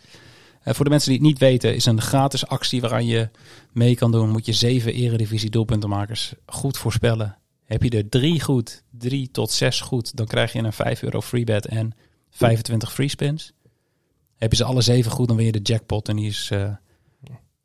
Speaker 6: Eh, voor de mensen die het niet weten, is een gratis actie waaraan je mee kan doen. Moet je zeven eredivisie doelpuntenmakers goed voorspellen. Heb je er drie goed, drie tot zes goed, dan krijg je een 5 euro free bet en 25 free spins. Heb je ze alle zeven goed, dan win je de jackpot en die is eh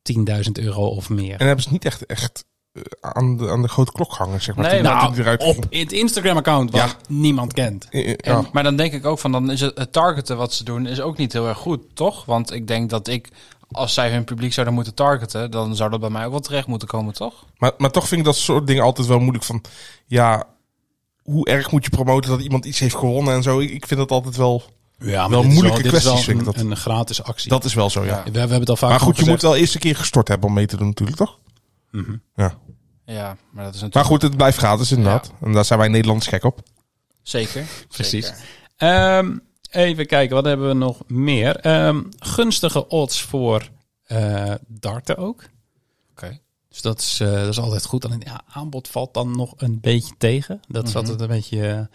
Speaker 6: 10.000 euro of meer.
Speaker 8: En hebben ze niet echt, echt eh, aan, de, aan de grote klok hangen, zeg maar.
Speaker 7: Nee,
Speaker 8: toen-
Speaker 7: nou,
Speaker 8: toen die eruit
Speaker 6: Op
Speaker 8: ging.
Speaker 6: het Instagram-account wat
Speaker 8: Ja.
Speaker 6: niemand kent.
Speaker 8: Eh, eh,
Speaker 7: En,
Speaker 8: ja.
Speaker 7: Maar dan denk ik ook van, dan is het, het targeten wat ze doen, is ook niet heel erg goed, toch? Want ik denk dat ik, als zij hun publiek zouden moeten targeten, dan zou dat bij mij ook wel terecht moeten komen, toch?
Speaker 8: Maar, maar toch vind ik dat soort dingen altijd wel moeilijk. Van ja, hoe erg moet je promoten dat iemand iets heeft gewonnen en zo. Ik, ik vind dat altijd wel.
Speaker 6: Ja, maar
Speaker 8: Wel
Speaker 6: dit is
Speaker 8: moeilijke
Speaker 6: dit is
Speaker 8: kwesties, vind ik
Speaker 6: een,
Speaker 8: dat.
Speaker 6: een gratis actie.
Speaker 8: Dat is wel zo, ja.
Speaker 6: we, we hebben het al vaak
Speaker 8: Maar goed, je
Speaker 6: gezegd.
Speaker 8: moet wel eerst een keer gestort hebben om mee te doen, natuurlijk, toch? Ja.
Speaker 7: Ja, maar dat is
Speaker 8: Maar
Speaker 7: natuurlijk...
Speaker 8: goed, het blijft gratis, inderdaad. En daar zijn wij Nederlanders gek op.
Speaker 7: Zeker.
Speaker 6: Precies.
Speaker 7: zeker.
Speaker 6: Ehm, even kijken, wat hebben we nog meer? Ehm, gunstige odds voor eh, darten ook.
Speaker 7: Oké.
Speaker 6: Dus dat is, eh, dat is altijd goed. Alleen ja, aanbod valt dan nog een beetje tegen. Dat is altijd een beetje, eh, een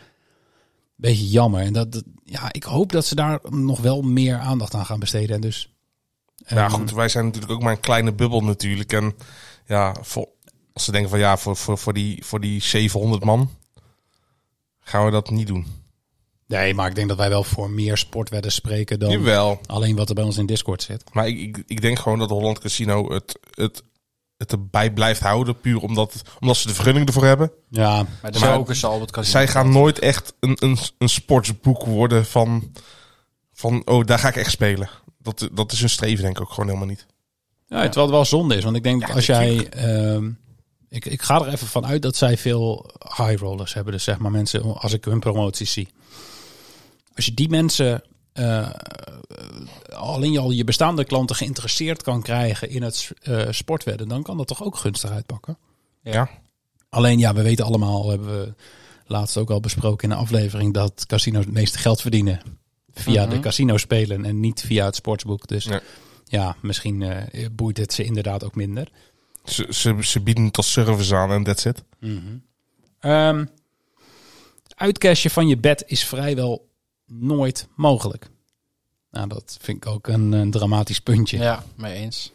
Speaker 6: beetje jammer. En dat, dat- ja, ik hoop dat ze daar nog wel meer aandacht aan gaan besteden. En dus,
Speaker 8: ja,
Speaker 6: ehm,
Speaker 8: goed, wij zijn natuurlijk ook maar een kleine bubbel, natuurlijk. En ja, voor, als ze denken van ja, voor, voor, voor, die, voor die 700 man gaan we dat niet doen.
Speaker 6: Nee, maar ik denk dat wij wel voor meer sportwedden spreken dan
Speaker 8: Jawel.
Speaker 6: alleen wat er bij ons in Discord zit.
Speaker 8: Maar ik, ik, ik denk gewoon dat Holland Casino het, het, het erbij blijft houden. Puur omdat, omdat ze de vergunning ervoor hebben.
Speaker 6: Ja,
Speaker 7: Maar de
Speaker 8: Maar-
Speaker 7: focus zal op het casino.
Speaker 8: Zij gaan nooit echt een, een, een sportsboek worden van, van... Oh, daar ga ik echt spelen. Dat, dat is hun streven denk ik ook gewoon helemaal niet.
Speaker 6: Ja, terwijl het wel zonde is. Want ik denk dat als jij... ehm, ik, ik ga er even van uit dat zij veel high rollers hebben. Dus zeg maar mensen, als ik hun promoties zie. Als je die mensen... eh, alleen al je bestaande klanten geïnteresseerd kan krijgen in het eh, sportwedden... dan kan dat toch ook gunstig uitpakken?
Speaker 8: Ja.
Speaker 6: Alleen ja, we weten allemaal, hebben we laatst ook al besproken in een aflevering... dat casino's het meeste geld verdienen via de casino spelen en niet via het sportsboek. Dus
Speaker 8: Nee.
Speaker 6: ja, misschien eh, boeit het ze inderdaad ook minder.
Speaker 8: Ze, ze, ze bieden het als service aan en that's it.
Speaker 6: Mhm. Ehm uitcashen van je bed is vrijwel nooit mogelijk. Nou, dat vind ik ook een, een dramatisch puntje.
Speaker 7: Ja, mee eens.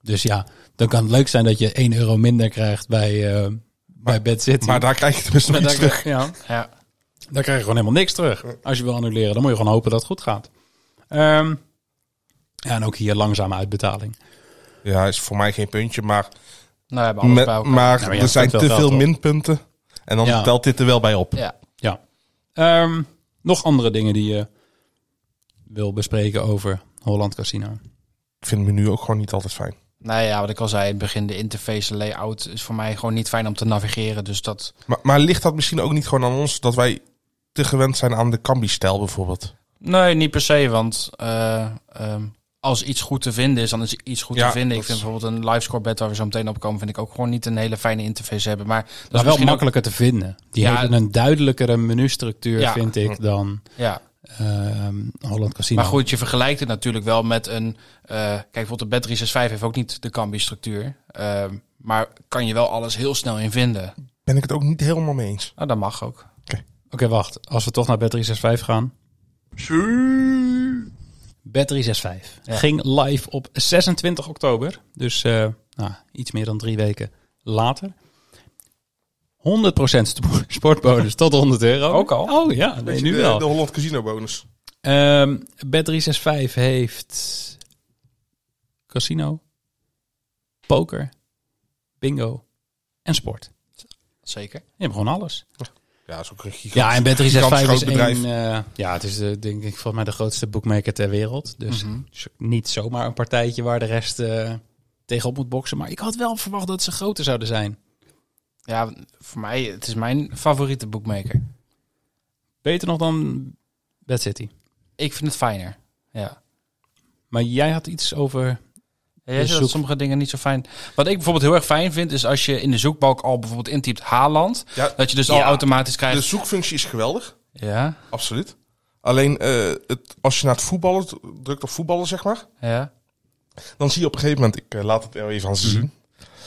Speaker 6: Dus ja, dan kan het leuk zijn dat je 1 euro minder krijgt bij, eh bij bed zitten.
Speaker 8: Maar daar krijg je tenminste nog iets terug.
Speaker 6: Ja,
Speaker 7: Ja. Nou,
Speaker 6: Daar krijg je gewoon helemaal niks terug. Als je wil annuleren, dan moet je gewoon hopen dat het goed gaat. Ehm, ja, en ook hier langzame uitbetaling.
Speaker 8: Ja, is voor mij geen puntje, maar,
Speaker 7: Nou, we hebben alles
Speaker 8: met-
Speaker 7: bij elkaar.
Speaker 8: maar
Speaker 6: Nou ja,
Speaker 8: er
Speaker 6: dat
Speaker 8: zijn
Speaker 6: telt
Speaker 8: te
Speaker 6: wel
Speaker 8: veel
Speaker 6: toch?
Speaker 8: minpunten. En dan
Speaker 6: Ja.
Speaker 8: telt dit er wel bij op.
Speaker 7: Ja.
Speaker 6: Ja. Ehm, nog andere dingen die je wil bespreken over Holland Casino.
Speaker 8: Ik vind het menu ook gewoon niet altijd fijn.
Speaker 7: Nou ja, wat ik al zei in het begin, de interface de layout is voor mij gewoon niet fijn om te navigeren. Dus dat...
Speaker 8: Maar, maar ligt dat misschien ook niet gewoon aan ons dat wij te gewend zijn aan de Cambi-stijl bijvoorbeeld?
Speaker 7: Nee, niet per se, want eh, ehm, als iets goed te vinden is, dan is iets goed
Speaker 8: Ja,
Speaker 7: te vinden. Ik
Speaker 8: dat
Speaker 7: vind
Speaker 8: is-
Speaker 7: bijvoorbeeld een livescore bed waar we zo meteen op komen, vind ik ook gewoon niet een hele fijne interface hebben. Maar
Speaker 8: Nou,
Speaker 7: dat
Speaker 6: Dat
Speaker 7: is
Speaker 6: is wel
Speaker 7: misschien ook-
Speaker 6: makkelijker te vinden. Die
Speaker 7: Ja.
Speaker 6: hebben een duidelijkere menustructuur,
Speaker 7: Ja.
Speaker 6: vind ik, dan
Speaker 7: ja.
Speaker 6: ehm, Holland Casino.
Speaker 7: Maar goed, je vergelijkt het natuurlijk wel met een... eh, kijk, bijvoorbeeld de bed 365 heeft ook niet de Cambi-structuur. ehm, maar kan je wel alles heel snel in vinden.
Speaker 8: Ben ik het ook niet helemaal mee eens.
Speaker 7: Nou, dat mag ook.
Speaker 6: Oké, wacht. Als we toch naar Bet365 gaan. Bet365
Speaker 7: Ja.
Speaker 6: ging live op 26 oktober. Dus eh, nou, iets meer dan drie weken later. 100% spo- sportbonus tot 100 euro.
Speaker 7: Ook al?
Speaker 6: Oh ja, nee, nu
Speaker 8: de,
Speaker 6: wel.
Speaker 8: de Holland Casino bonus.
Speaker 6: Ehm Bet365 heeft casino, poker, bingo en sport.
Speaker 7: Zeker.
Speaker 6: Je hebt gewoon alles.
Speaker 8: Ja, is ook een gigantisch,
Speaker 6: Ja, en
Speaker 8: gigantisch
Speaker 6: Bet365
Speaker 8: groot
Speaker 6: is
Speaker 8: bedrijf.
Speaker 6: een... eh, ja, het is eh, denk ik volgens mij de grootste bookmaker ter wereld. Dus
Speaker 7: Mhm.
Speaker 6: het is ook niet zomaar een partijtje waar de rest eh, tegenop moet boksen. Maar ik had wel verwacht dat ze groter zouden zijn.
Speaker 7: Ja, voor mij, het is mijn favoriete boekmaker.
Speaker 6: Beter nog dan Bad City.
Speaker 7: Ik vind het fijner. Ja.
Speaker 6: Maar jij had iets over...
Speaker 7: Ja,
Speaker 6: De
Speaker 7: Jij zegt
Speaker 6: zoek-
Speaker 7: dat sommige dingen niet zo fijn. Wat ik bijvoorbeeld heel erg fijn vind, is als je in de zoekbalk al bijvoorbeeld intypt Haaland,
Speaker 8: Ja,
Speaker 7: dat je dus al
Speaker 8: ja.
Speaker 7: automatisch
Speaker 8: De
Speaker 7: krijgt.
Speaker 8: zoekfunctie is geweldig,
Speaker 7: Ja,
Speaker 8: absoluut. Alleen eh, het, als je naar het voetballen d- drukt op voetballen, zeg maar,
Speaker 7: ja.
Speaker 8: dan zie je op een gegeven moment, ik eh, laat het er even aan ze zien.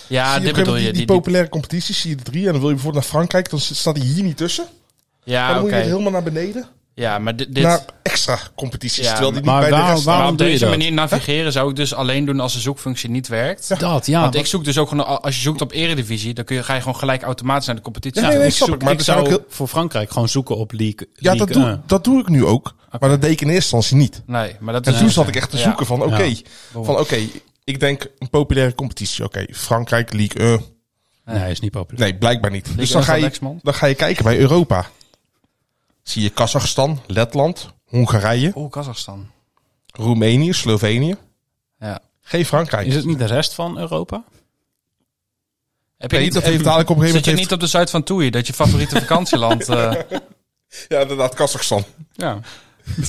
Speaker 7: Ja, dit
Speaker 8: zie je op een gegeven moment
Speaker 7: bedoel
Speaker 8: die,
Speaker 7: je.
Speaker 8: die
Speaker 7: Die, die-
Speaker 8: populaire competities, zie je de drie, en dan wil je bijvoorbeeld naar Frankrijk, dan staat hij hier niet tussen.
Speaker 7: ja,
Speaker 8: dan
Speaker 7: Ah, oké.
Speaker 8: moet je weer helemaal naar beneden,
Speaker 7: Ja, maar dit, dit-
Speaker 8: naar extra competities,
Speaker 7: Ja,
Speaker 8: terwijl die
Speaker 6: maar
Speaker 8: niet bij
Speaker 6: waar-
Speaker 8: de rest
Speaker 6: waar-
Speaker 7: maar
Speaker 6: waarom
Speaker 7: op
Speaker 6: doe je
Speaker 7: deze
Speaker 6: dat?
Speaker 7: manier navigeren zou ik dus alleen doen als de zoekfunctie niet werkt.
Speaker 6: Dat, ja.
Speaker 7: Want
Speaker 6: wat-
Speaker 7: ik zoek dus ook gewoon, al- als je zoekt op Eredivisie, dan kun je, ga je gewoon gelijk automatisch naar de competitie.
Speaker 8: Ja, nee, nee,
Speaker 6: ik
Speaker 8: snap
Speaker 6: zoek,
Speaker 8: ik, maar
Speaker 6: ik
Speaker 8: er zijn
Speaker 6: zou
Speaker 8: ook heel-
Speaker 6: voor Frankrijk gewoon zoeken op League.
Speaker 8: Ja, dat
Speaker 7: eh.
Speaker 6: League,
Speaker 8: doe, dat doe ik nu ook, maar dat deed ik in eerste instantie niet.
Speaker 7: Nee, maar dat
Speaker 8: En
Speaker 7: is
Speaker 8: toen zat ik echt te
Speaker 7: Ja.
Speaker 8: zoeken van, oké,
Speaker 6: Ja.
Speaker 8: van oké, ik denk een populaire competitie, oké, Frankrijk, League, eh,
Speaker 6: Nee, is niet populair.
Speaker 8: Nee, blijkbaar niet. Dus dan
Speaker 7: als
Speaker 8: ga,
Speaker 7: de
Speaker 8: je,
Speaker 7: Lexman.
Speaker 8: dan ga je kijken bij Europa. Zie je Kazachstan, Letland, Hongarije,
Speaker 7: Oeh, Kazachstan.
Speaker 8: Roemenië, Slovenië.
Speaker 7: Ja.
Speaker 8: Geen Frankrijk.
Speaker 6: Is het niet de rest van Europa?
Speaker 7: Heb je
Speaker 8: Nee,
Speaker 7: niet,
Speaker 8: dat
Speaker 7: eh,
Speaker 8: heeft dadelijk op een
Speaker 7: zit
Speaker 8: gegeven
Speaker 7: je
Speaker 8: moment...
Speaker 7: niet op de zuid van Toei, dat je favoriete vakantieland... eh,
Speaker 8: heeft- Ja, inderdaad, Kazachstan.
Speaker 6: Ja.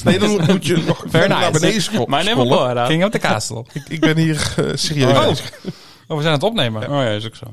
Speaker 8: Nee, dan moet je nog verder naar beneden scho-
Speaker 6: Maar neem maar
Speaker 8: scrollen.
Speaker 6: door.
Speaker 7: King op de Castle.
Speaker 8: nou. Ik, ik ben hier eh, serieus
Speaker 6: Oh.
Speaker 8: bezig.
Speaker 7: Oh, we zijn aan het opnemen.
Speaker 6: Oh ja, is ook zo.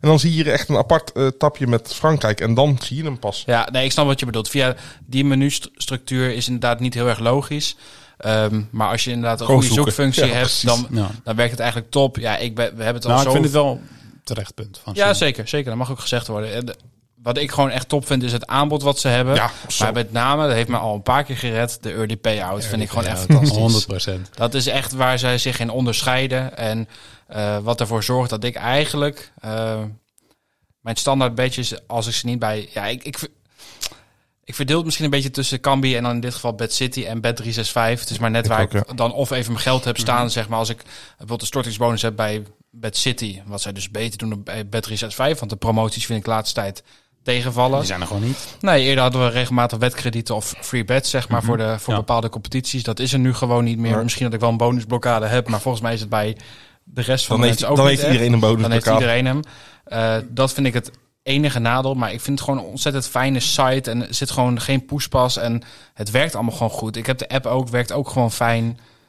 Speaker 8: En dan zie je hier echt een apart eh, tapje met Frankrijk. En dan zie je hem pas.
Speaker 7: Ja, nee, ik snap wat je bedoelt. Via die menustructuur is inderdaad niet heel erg logisch. Ehm, maar als je inderdaad een
Speaker 8: Gewoon
Speaker 7: goede
Speaker 8: zoeken.
Speaker 7: zoekfunctie
Speaker 8: Ja,
Speaker 7: hebt,
Speaker 8: precies.
Speaker 7: dan,
Speaker 6: Ja.
Speaker 7: dan werkt het eigenlijk top. Ja, ik ben, we hebben het al
Speaker 6: Nou,
Speaker 7: zo...
Speaker 6: ik vind het wel een terecht punt van
Speaker 7: Ja,
Speaker 6: Sony.
Speaker 7: zeker, zeker. Dat mag ook gezegd worden. En de- Wat ik gewoon echt top vind, is het aanbod wat ze hebben.
Speaker 8: Ja, zo.
Speaker 7: maar met name, dat heeft me al een paar keer gered, de early payout. vind ik gewoon echt
Speaker 6: Ja,
Speaker 7: fantastisch.
Speaker 6: 100%.
Speaker 7: Dat is echt waar zij zich in onderscheiden. En eh, wat ervoor zorgt dat ik eigenlijk eh, mijn standaard bedjes, als ik ze niet bij. Ja, ik, ik, ver- ik verdeel het misschien een beetje tussen Cambi en dan in dit geval Bad City en Bad 365. Het is maar net
Speaker 8: Ik
Speaker 7: waar
Speaker 8: ook, Mhm.
Speaker 7: ik dan of even mijn geld heb staan. Zeg maar als ik bijvoorbeeld de stortingsbonus heb bij Bad City. Wat zij dus beter doen dan bij Bad 365. Want de promoties vind ik de laatste tijd tegenvallen.
Speaker 6: Die zijn er gewoon niet.
Speaker 7: Nee, eerder hadden we regelmatig wedkredieten of free bets, zeg
Speaker 8: Mhm.
Speaker 7: maar, voor, de, voor
Speaker 6: Ja.
Speaker 7: bepaalde competities. Dat is er nu gewoon niet meer. Misschien dat ik wel een bonusblokkade heb, maar volgens mij is het bij de rest van
Speaker 8: Dan
Speaker 7: de
Speaker 8: heeft,
Speaker 7: mensen ook
Speaker 8: dan
Speaker 7: niet
Speaker 8: heeft
Speaker 7: echt.
Speaker 8: iedereen een
Speaker 7: Dan heeft
Speaker 8: bonusblokkade.
Speaker 7: iedereen hem. Eh, dat vind ik het enige nadeel, maar ik vind het gewoon een ontzettend fijne site en er zit gewoon geen poespas en het werkt allemaal gewoon goed. Ik heb de app ook, werkt ook gewoon fijn.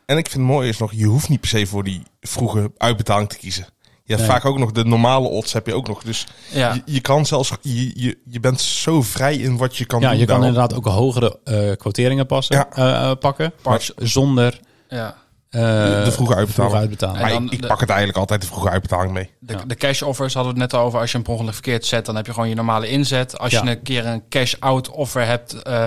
Speaker 8: En ik vind het mooie is nog, je hoeft niet per se voor die vroege uitbetaling te kiezen. Je hebt vaak ook nog de normale odds heb je ook nog. Dus
Speaker 7: Ja,
Speaker 8: je, je kan zelfs, je, je, je bent zo vrij in wat je kan
Speaker 6: Ja,
Speaker 8: doen.
Speaker 6: je kan
Speaker 8: daarop.
Speaker 6: inderdaad ook hogere eh, quoteringen passen,
Speaker 8: Ja.
Speaker 6: eh, eh, pakken.
Speaker 8: Pas.
Speaker 6: Zonder
Speaker 7: ja.
Speaker 6: eh,
Speaker 8: de vroege uitbetaling.
Speaker 6: vroege uitbetaling.
Speaker 8: Maar
Speaker 7: En
Speaker 8: ik,
Speaker 7: dan
Speaker 8: ik
Speaker 7: de-
Speaker 8: pak het eigenlijk altijd de vroege uitbetaling mee.
Speaker 7: De, de cash offers hadden we het net al over. Als je hem per ongeluk verkeerd zet, dan heb je gewoon je normale inzet. Als
Speaker 6: Ja.
Speaker 7: je een keer een cash-out offer hebt. eh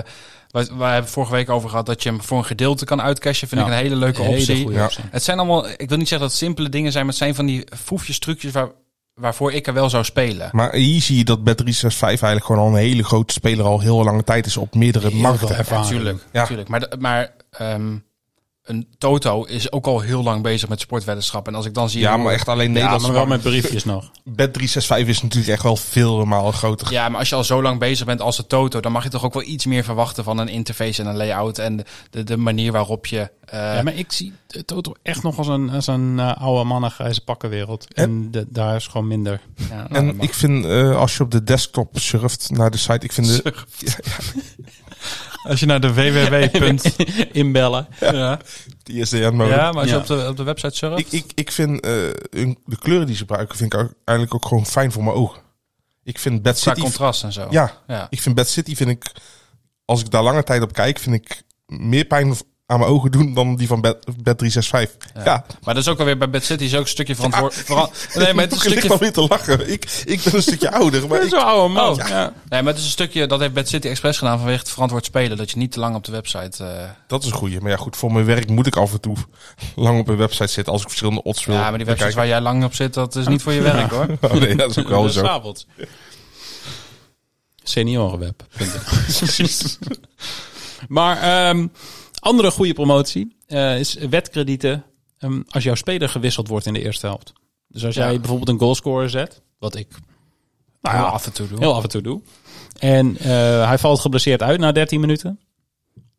Speaker 7: we, we hebben vorige week over gehad dat je hem voor een gedeelte kan uitcashen. Vind
Speaker 6: Ja.
Speaker 7: ik een hele leuke
Speaker 6: Hele
Speaker 7: optie.
Speaker 6: goede
Speaker 8: Ja.
Speaker 6: optie.
Speaker 7: Het zijn allemaal, ik wil niet zeggen dat het simpele dingen zijn, maar het zijn van die foefjes, trucjes waar, waarvoor ik er wel zou spelen.
Speaker 8: Maar hier zie je dat bet 365 eigenlijk gewoon al een hele grote speler al heel lange tijd is op meerdere
Speaker 6: veel
Speaker 8: markten.
Speaker 6: ervaring.
Speaker 7: Tuurlijk,
Speaker 8: Ja.
Speaker 7: tuurlijk. Maar, de- maar ehm, een Toto is ook al heel lang bezig met sportweddenschap. En als ik dan zie...
Speaker 8: Ja,
Speaker 7: hoe-
Speaker 8: maar echt alleen
Speaker 6: Ja,
Speaker 8: Nederlands.
Speaker 6: maar wel met briefjes nog.
Speaker 8: Bet 365 is natuurlijk echt wel veel maal groter.
Speaker 7: Ja, maar als je al zo lang bezig bent als de Toto, dan mag je toch ook wel iets meer verwachten van een interface en een layout en de- de, de manier waarop je. eh,
Speaker 6: Ja, maar ik zie de Toto echt nog als een, als een eh, oude mannengrijze pakkenwereld. En de- daar is gewoon minder.
Speaker 7: ja, nou, dat
Speaker 8: En
Speaker 7: mag.
Speaker 8: ik vind, eh, als je op de desktop surft naar de site, ik vind de,
Speaker 7: als je naar de www. punt-
Speaker 6: Inbellen.
Speaker 7: ja.
Speaker 8: die ISDN-mode.
Speaker 7: ja, maar als je
Speaker 6: Ja.
Speaker 7: op de, op de website surft.
Speaker 8: Ik, ik, ik vind eh, hun- de kleuren die ze gebruiken, vind ik ook, eigenlijk ook gewoon fijn voor mijn ogen. Ik vind Bad
Speaker 7: qua
Speaker 8: City.
Speaker 7: contrast en zo.
Speaker 8: Ja,
Speaker 7: Ja.
Speaker 8: ik vind Bad City, vind ik, als ik daar lange tijd op kijk, vind ik meer pijn aan mijn ogen doen dan die van Bad, Bad 365. Ja,
Speaker 7: Maar dat is ook alweer bij Bad City is ook een stukje verantwoordelijk. Nee, maar het is
Speaker 8: ik
Speaker 7: een
Speaker 8: ligt
Speaker 7: stukje.
Speaker 8: alweer te lachen. Ik, ik ben een stukje ouder, maar ik,
Speaker 6: oude man.
Speaker 7: Oh, Nee, maar het is een stukje dat heeft Bad City expres gedaan vanwege het verantwoord spelen. Dat je niet te lang op de website. eh,
Speaker 8: dat is een goeie. Maar ja, goed, voor mijn werk moet ik af en toe lang op een website zitten als ik verschillende odds wil
Speaker 7: ja, maar die websites waar
Speaker 8: bekijken.
Speaker 7: jij lang op zit, dat is niet voor je werk hoor. Nou,
Speaker 8: Oh, nee, dat is ook wel zo.
Speaker 6: Seniorenweb. maar ehm, andere goede promotie eh, is wetkredieten ehm, als jouw speler gewisseld wordt in de eerste helft. Dus als jij
Speaker 7: Ja.
Speaker 6: bijvoorbeeld een goalscorer zet, wat ik nou ja,
Speaker 7: Heel af en toe Oh, doen.
Speaker 6: heel af en toe doe. En eh, hij valt geblesseerd uit na 13 minuten.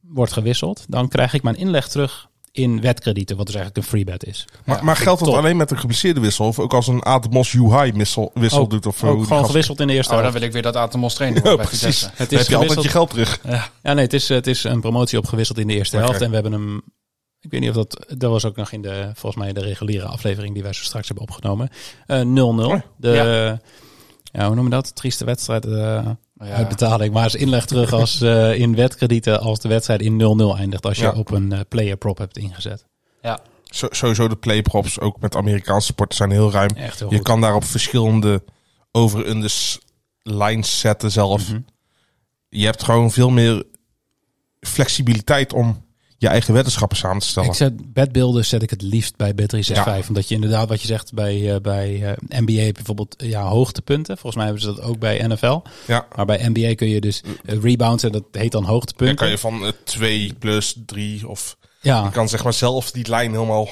Speaker 6: Wordt gewisseld. Dan krijg ik mijn inleg terug in wetkredieten, wat dus eigenlijk een free bet is.
Speaker 8: Maar, maar geldt dat
Speaker 6: top.
Speaker 8: alleen met een geblesseerde wissel? Of ook als een Atmos UI wissel, wissel
Speaker 6: Ook-
Speaker 8: doet? Of eh,
Speaker 6: Oh, ook
Speaker 8: hoe die
Speaker 6: gewoon
Speaker 8: gast-
Speaker 6: gewisseld in de eerste
Speaker 7: Oh, dan
Speaker 6: helft.
Speaker 7: wil ik weer dat Atomos trainen worden bij
Speaker 8: precies.
Speaker 7: Vitesse.
Speaker 6: Het
Speaker 8: Dan heb je altijd
Speaker 6: gewisseld-
Speaker 8: je geld terug.
Speaker 6: Ja, nee, het is, het is een promotie opgewisseld in de eerste
Speaker 8: Oké.
Speaker 6: helft. En we hebben hem. Ik weet niet of dat. Dat was ook nog in de. Volgens mij de reguliere aflevering die wij zo straks hebben opgenomen. Eh, 0-0.
Speaker 8: Oh,
Speaker 6: de. Ja. hoe noem je dat? Trieste wedstrijd. eh Uitbetaling. Maar is inleg terug als eh, in wetkredieten. Als de wedstrijd in 0-0 eindigt. Als je
Speaker 8: Ja.
Speaker 6: op een eh, player prop hebt ingezet.
Speaker 8: Zo- sowieso de playprops, ook met Amerikaanse sporten, zijn heel ruim.
Speaker 6: Echt heel
Speaker 8: je
Speaker 6: goed.
Speaker 8: kan daar op verschillende over-unders lines zetten zelf.
Speaker 6: Mhm.
Speaker 8: Je hebt gewoon veel meer flexibiliteit om je eigen weddenschappen samen te stellen.
Speaker 6: Ik zet bedbeelden zet ik het liefst bij Bet365.
Speaker 8: Ja.
Speaker 6: Omdat je inderdaad wat je zegt bij, eh, bij eh, NBA bijvoorbeeld ja, hoogtepunten. Volgens mij hebben ze dat ook bij NFL.
Speaker 8: Ja.
Speaker 6: Maar bij NBA kun je dus eh, rebounds en dat heet dan
Speaker 8: Dan
Speaker 6: hoogtepunten.
Speaker 8: kan je van 2 eh, plus 3 of...
Speaker 6: Ja,
Speaker 8: Je kan zeg maar zelf die lijn helemaal...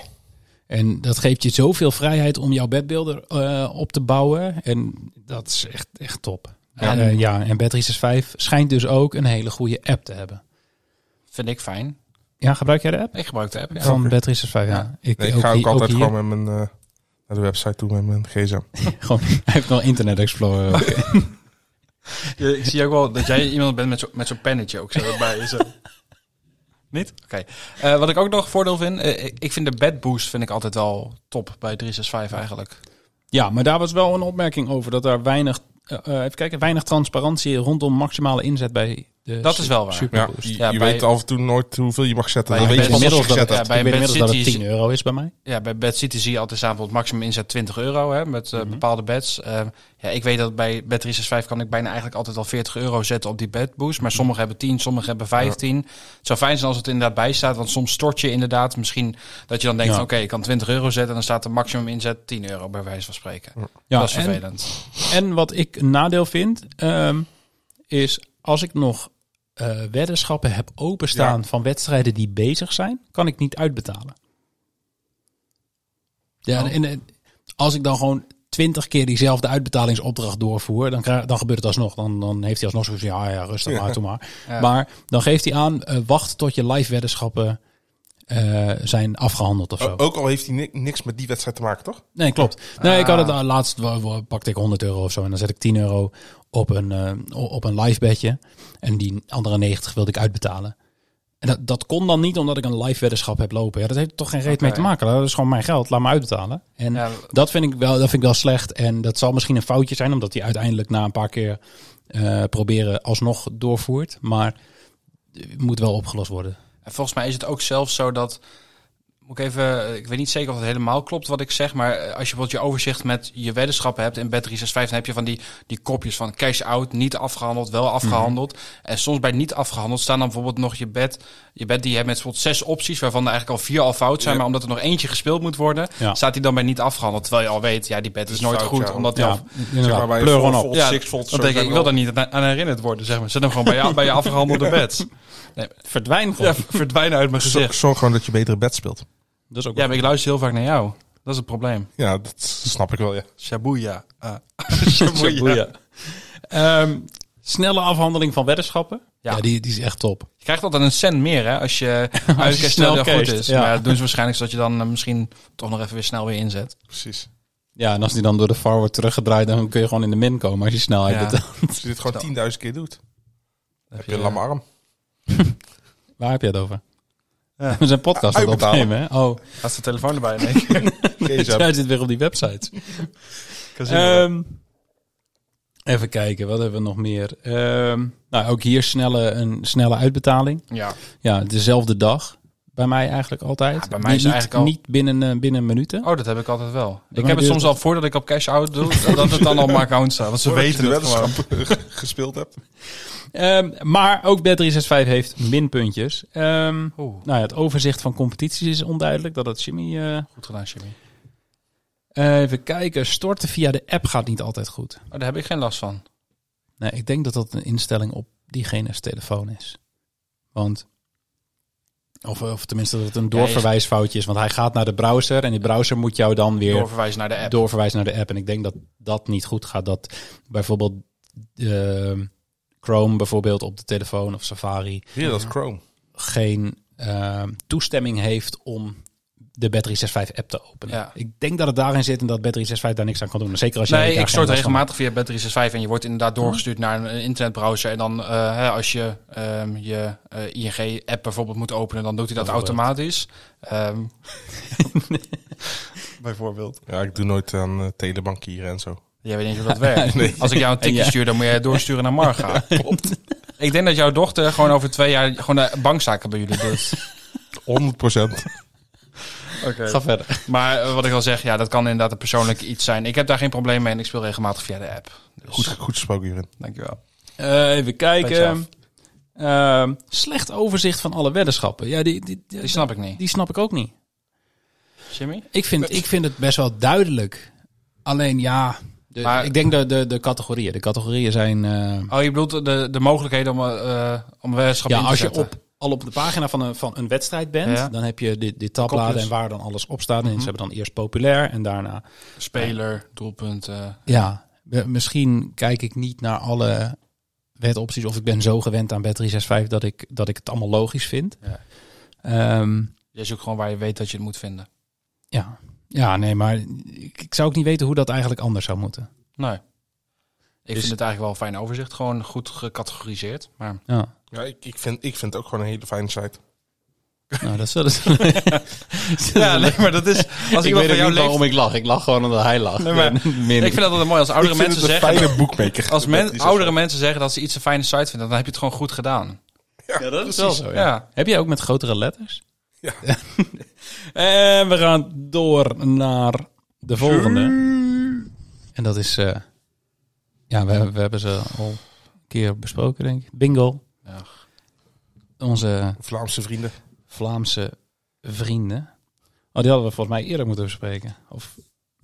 Speaker 6: En dat geeft je zoveel vrijheid om jouw bedbeelden eh, op te bouwen. En dat is echt, echt top. Ja,
Speaker 7: Ja.
Speaker 6: ja, en Bet365 schijnt dus ook een hele goede app te hebben.
Speaker 7: Vind ik fijn.
Speaker 6: Ja, gebruik jij de app?
Speaker 7: Ik gebruik de app. Ja.
Speaker 6: Van Bet365, ja. Ik,
Speaker 8: Nee, ik ga ook
Speaker 6: hier-
Speaker 8: altijd
Speaker 6: hier.
Speaker 8: gewoon met mijn, eh, naar de website toe met mijn gsm.
Speaker 6: Gewoon- hij heeft nog Internet Explorer. ook.
Speaker 7: Je- Eh, ik zie ook wel dat jij iemand bent met zo'n met zo'n pennetje ook zo erbij. Zo. Niet? Oké. Eh, wat ik ook nog voordeel vind, eh, ik vind de bed boost vind ik altijd wel top bij 365 eigenlijk.
Speaker 6: Ja, maar daar was wel een opmerking over dat daar weinig, eh, eh, even kijken, weinig transparantie rondom maximale inzet bij de
Speaker 7: Dat is wel waar.
Speaker 8: Ja,
Speaker 6: Superboost.
Speaker 8: je
Speaker 7: Ja,
Speaker 8: je
Speaker 7: bij-
Speaker 8: weet af en toe nooit hoeveel je mag zetten.
Speaker 6: Bij
Speaker 8: Dan weet je
Speaker 6: Bad
Speaker 8: pas als je
Speaker 6: City-
Speaker 8: gezet
Speaker 7: ja,
Speaker 8: hebt.
Speaker 7: bij
Speaker 6: ik weet
Speaker 7: Bad
Speaker 6: inmiddels dat het
Speaker 7: City is-
Speaker 6: 10 euro is bij mij.
Speaker 7: Ja, bij Bad City zie je altijd staan bijvoorbeeld maximum inzet 20 euro hè, met
Speaker 6: Mhm.
Speaker 7: eh, bepaalde beds. Eh, ja, ik weet dat bij Bed 365 kan ik bijna eigenlijk altijd al 40 euro zetten op die bedboost. Maar sommigen hebben 10, sommigen hebben 15. Het zou fijn zijn als het er inderdaad bij staat, want soms stort je inderdaad misschien dat je dan denkt,
Speaker 6: Ja.
Speaker 7: van, oké, ik kan 20 euro zetten en dan staat de maximum inzet 10 euro bij wijze van spreken.
Speaker 6: Ja,
Speaker 7: dat is
Speaker 6: en,
Speaker 7: vervelend.
Speaker 6: en wat ik een nadeel vind, ehm, is als ik nog eh, weddenschappen heb openstaan van wedstrijden die bezig zijn, kan ik niet uitbetalen. Ja,
Speaker 7: Oh.
Speaker 6: en, en als ik dan gewoon 20 keer diezelfde uitbetalingsopdracht doorvoer, dan, krijg, dan gebeurt het alsnog. Dan, dan heeft hij alsnog zoiets van, ja, ja, rustig maar, doe maar.
Speaker 7: Ja.
Speaker 6: Maar dan geeft hij aan, eh, wacht tot je live weddenschappen eh, zijn afgehandeld
Speaker 7: Oh,
Speaker 6: of zo.
Speaker 8: Ook al heeft hij ni- niks met die wedstrijd te maken, toch?
Speaker 6: Nee, klopt. Nee, ik had het
Speaker 7: Ah.
Speaker 6: eh, laatst wa- wa- pakte ik 100 euro of zo en dan zet ik 10 euro op een, eh, o- op een live bedje. En die andere 90 wilde ik uitbetalen. En dat, dat kon dan niet omdat ik een live weddenschap heb lopen. Ja, dat heeft toch geen reet mee te maken. Dat is gewoon mijn geld. Laat me uitbetalen. En
Speaker 7: Ja.
Speaker 6: dat vind ik wel, dat vind ik wel slecht. En dat zal misschien een foutje zijn, omdat hij uiteindelijk na een paar keer eh, proberen alsnog doorvoert. Maar het moet wel opgelost worden.
Speaker 7: En volgens mij is het ook zelfs zo dat. Moet ik even. Ik weet niet zeker of het helemaal klopt wat ik zeg. Maar eh, als je bijvoorbeeld je overzicht met je weddenschappen hebt in Bet365, dan heb je van die, die kopjes van cash out, niet afgehandeld, wel afgehandeld. En soms bij niet afgehandeld staan dan bijvoorbeeld nog je bed. Je bed die je hebt met bijvoorbeeld zes opties, waarvan er eigenlijk al vier al fout zijn. Maar omdat er nog eentje gespeeld moet worden,
Speaker 6: Ja.
Speaker 7: staat die dan bij niet afgehandeld. Terwijl je al weet, ja, die bed is
Speaker 8: is
Speaker 7: nooit
Speaker 8: fout,
Speaker 7: goed.
Speaker 8: ja.
Speaker 7: Omdat die al-
Speaker 6: Ja, inderdaad.
Speaker 8: bij
Speaker 6: Pleur
Speaker 8: Vol-
Speaker 6: gewoon op.
Speaker 8: Vol-
Speaker 7: ja,
Speaker 8: Six
Speaker 7: dan
Speaker 8: volt, zo
Speaker 7: denk ik,
Speaker 8: zijn
Speaker 7: ik
Speaker 8: we
Speaker 7: wil daar niet aan aan herinnerd worden, zeg maar. Zet hem gewoon bij je, bij je afgehandelde bed.
Speaker 6: Verdwijn
Speaker 7: Ja,
Speaker 6: gewoon.
Speaker 7: verdwijnen uit mijn
Speaker 8: Zo-
Speaker 7: gezicht.
Speaker 8: Zorg gewoon dat je betere bed speelt.
Speaker 6: Dat is ook
Speaker 7: Ja, maar ik luister heel vaak naar jou. Dat is het probleem.
Speaker 8: Ja, dat snap ik wel, ja.
Speaker 7: Shabuya. Ah.
Speaker 6: Shabuya. Ehm, snelle afhandeling van weddenschappen. Ja,
Speaker 7: Ja.
Speaker 6: die, die is echt top.
Speaker 7: Je krijgt altijd een cent meer hè, als je uitkijkt
Speaker 6: snel
Speaker 7: snel goed
Speaker 6: casht,
Speaker 7: is.
Speaker 6: ja.
Speaker 7: Maar dat doen ze waarschijnlijk zodat je dan eh, misschien toch nog even weer snel weer inzet.
Speaker 8: Precies.
Speaker 6: Ja, en als die dan door de VAR wordt teruggedraaid, dan kun je gewoon in de min komen als je snelheid
Speaker 7: Ja.
Speaker 6: betaalt.
Speaker 8: Als je dit gewoon 10.000 keer doet, heb je een
Speaker 7: je-
Speaker 8: lamme arm.
Speaker 6: Waar heb je het over? We zijn podcast aan het
Speaker 8: Uitbetalen.
Speaker 6: opnemen, hè? Oh,
Speaker 7: Had de telefoon erbij in één keer.
Speaker 6: jij zit weer op die websites. Ehm, even kijken, wat hebben we nog meer? Ehm, nou, ook hier snelle, een snelle uitbetaling.
Speaker 7: Ja.
Speaker 6: Ja, dezelfde dag. Bij mij eigenlijk altijd.
Speaker 7: Ja, bij mij is
Speaker 6: niet,
Speaker 7: eigenlijk al-
Speaker 6: niet binnen, eh, binnen minuten.
Speaker 7: Oh, dat heb ik altijd wel.
Speaker 6: mij
Speaker 7: Ik heb het
Speaker 6: duurt
Speaker 7: soms al voordat ik op cash out doe, dat het dan op mijn account staat. Want ze
Speaker 8: Voordat je
Speaker 7: weten
Speaker 8: de
Speaker 7: het gewoon.
Speaker 8: weddenschap gespeeld hebt.
Speaker 6: Ehm, maar ook Bet365 heeft minpuntjes. Ehm,
Speaker 7: Oeh,
Speaker 6: nou ja, het overzicht van competities is onduidelijk. Dat had Jimmy. eh,
Speaker 7: goed gedaan, Jimmy.
Speaker 6: eh, even kijken. Storten via de app gaat niet altijd goed.
Speaker 7: Oh, daar heb ik geen last van.
Speaker 6: Nee, ik denk dat dat een instelling op diegene's telefoon is. Want. Of, of tenminste dat het een doorverwijsfoutje is. Want hij gaat naar de browser. En die browser moet jou dan weer
Speaker 7: Doorverwijzen naar de app.
Speaker 6: doorverwijzen naar de app. En ik denk dat dat niet goed gaat. Dat bijvoorbeeld ehm, Chrome bijvoorbeeld op de telefoon of Safari.
Speaker 8: Hier, dat is Chrome.
Speaker 6: geen ehm, toestemming heeft om de Battery 65 app te openen.
Speaker 7: Ja.
Speaker 6: Ik denk dat het daarin zit en dat Battery 65 daar niks aan kan doen. Zeker als jij
Speaker 7: nee,
Speaker 6: daar
Speaker 7: ik
Speaker 6: geen
Speaker 7: stort
Speaker 6: last van
Speaker 7: regelmatig via Bet365 en je wordt inderdaad
Speaker 6: Hm.
Speaker 7: doorgestuurd naar een internetbrowser. En dan eh, hè, als je ehm, je ING-app bijvoorbeeld moet openen, dan doet hij dat automatisch. Ehm, bijvoorbeeld.
Speaker 8: Ja, ik doe nooit aan eh, telebankieren en zo.
Speaker 7: Jij weet niet hoe dat werkt.
Speaker 6: Nee.
Speaker 7: Als ik jou een tikje
Speaker 6: En ja.
Speaker 7: stuur, dan moet jij doorsturen naar Marga. Ik denk dat jouw dochter gewoon over twee jaar gewoon de bankzaken bij jullie doet.
Speaker 8: 100
Speaker 7: Oké.
Speaker 6: Ga verder.
Speaker 7: Maar eh, wat ik al zeg, ja, dat kan inderdaad een persoonlijk iets zijn. Ik heb daar geen probleem mee en ik speel regelmatig via de app. Dus,
Speaker 8: Goed, goed gesproken hierin.
Speaker 7: dankjewel.
Speaker 6: Eh, even
Speaker 7: Beetje af.
Speaker 6: kijken. Ehm, slecht overzicht van alle weddenschappen. Ja, die, die, die,
Speaker 7: Die snap ik niet.
Speaker 6: die snap ik ook niet.
Speaker 7: Jimmy?
Speaker 6: Ik vind, ik vind het best wel duidelijk. Alleen ja, de-
Speaker 7: Maar-
Speaker 6: ik denk de, de, de categorieën. De categorieën zijn... eh,
Speaker 7: Oh, je bedoelt de, de mogelijkheden om, eh eh, om weddenschap
Speaker 6: ja,
Speaker 7: in te
Speaker 6: als je
Speaker 7: zetten.
Speaker 6: op al op de pagina van een, van een wedstrijd bent,
Speaker 7: Ja.
Speaker 6: dan heb je dit, dit tabbladen
Speaker 7: Kopjes.
Speaker 6: en waar dan alles op staat. En ze hebben dan eerst populair en daarna
Speaker 7: Speler, doelpunt. eh,
Speaker 6: ja, we- misschien kijk ik niet naar alle wetopties. Of ik ben zo gewend aan wet 365 dat ik, dat ik het allemaal logisch vind. Ehm,
Speaker 7: Ja.
Speaker 6: Ja.
Speaker 7: je zoekt gewoon waar je weet dat je het moet vinden.
Speaker 6: ja. ja, nee, maar ik, ik zou ook niet weten hoe dat eigenlijk anders zou moeten.
Speaker 7: Nee. Ik
Speaker 6: Dus-
Speaker 7: vind het eigenlijk wel een fijn overzicht. Gewoon goed gecategoriseerd. Maar
Speaker 6: Ja,
Speaker 8: Ja, ik, ik, vind, ik vind het ook gewoon een hele fijne site.
Speaker 6: nou, dat is wel eens... ja, nee, maar dat is... Als ik
Speaker 7: iemand van
Speaker 6: weet ook
Speaker 7: jou
Speaker 6: niet
Speaker 7: leeft-
Speaker 6: waarom ik lach. Ik lach gewoon omdat hij lacht.
Speaker 7: Nee, maar-
Speaker 6: Meer
Speaker 7: ik
Speaker 6: niet.
Speaker 7: vind dat altijd mooi als oudere
Speaker 8: ik vind
Speaker 7: mensen
Speaker 8: het een
Speaker 7: zeggen...
Speaker 8: fijne boekmaker.
Speaker 7: Als
Speaker 8: Dat
Speaker 7: men,
Speaker 8: is
Speaker 7: oudere mensen zeggen dat ze iets een fijne site vinden, dan heb je het gewoon goed gedaan.
Speaker 6: Oh, Ja, dat is wel zo,
Speaker 7: Ja.
Speaker 6: Heb jij ook met grotere letters?
Speaker 8: Ja.
Speaker 6: en we gaan door naar de volgende. En dat is... eh, ja, we, we hebben ze al een keer besproken, denk ik. Bingo.
Speaker 7: Ja.
Speaker 6: Onze
Speaker 8: Vlaamse vrienden.
Speaker 6: Vlaamse vrienden. Oh, die hadden we volgens mij eerder moeten bespreken. Of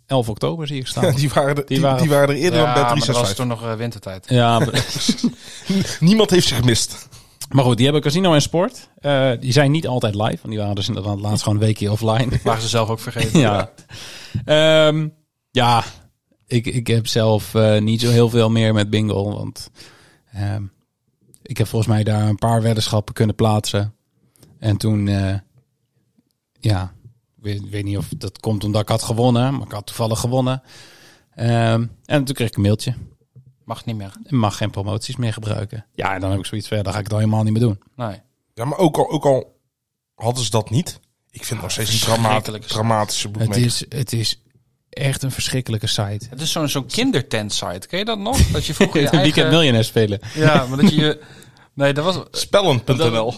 Speaker 6: 11 oktober zie ik
Speaker 8: Ja,
Speaker 6: staan.
Speaker 8: die, waren er, die,
Speaker 6: waren-
Speaker 8: die waren er eerder
Speaker 7: ja,
Speaker 8: dan
Speaker 7: maar
Speaker 8: bij
Speaker 7: dat was
Speaker 8: 365.
Speaker 7: toen nog eh, wintertijd.
Speaker 6: Ja, maar-
Speaker 8: Niemand heeft ze gemist.
Speaker 6: maar goed, die hebben Casino en Sport. Eh, die zijn niet altijd live, want die waren dus inderdaad laatst gewoon een weekje offline.
Speaker 7: Waren ze zelf ook vergeten.
Speaker 6: ja. Ehm, ja, ik, ik heb zelf eh, niet zo heel veel meer met bingo. Want ehm, ik heb volgens mij daar een paar weddenschappen kunnen plaatsen. En toen, eh, ja, ik weet, ik weet niet of dat komt omdat ik had gewonnen. Maar ik had toevallig gewonnen. Ehm, en toen kreeg ik een mailtje.
Speaker 7: Mag niet meer.
Speaker 6: Ik mag geen promoties meer gebruiken. Ja, en dan heb ik zoiets verder. Dan ga ik het al helemaal niet meer doen.
Speaker 7: Nee.
Speaker 8: Ja, maar ook al, ook al hadden ze dat niet. Ik vind het nog steeds een dramaat,
Speaker 7: verschrikkelijke site.
Speaker 8: dramatische
Speaker 6: Het
Speaker 8: boekmaker.
Speaker 6: is, het is echt een verschrikkelijke site.
Speaker 7: Het is zo'n zo'n kindertent site. Ken je dat nog? Dat je vroeger je
Speaker 6: Weekend
Speaker 7: eigen...
Speaker 6: miljonair spelen.
Speaker 7: Ja, maar dat je je... Nee, dat was...
Speaker 8: Spellen.nl.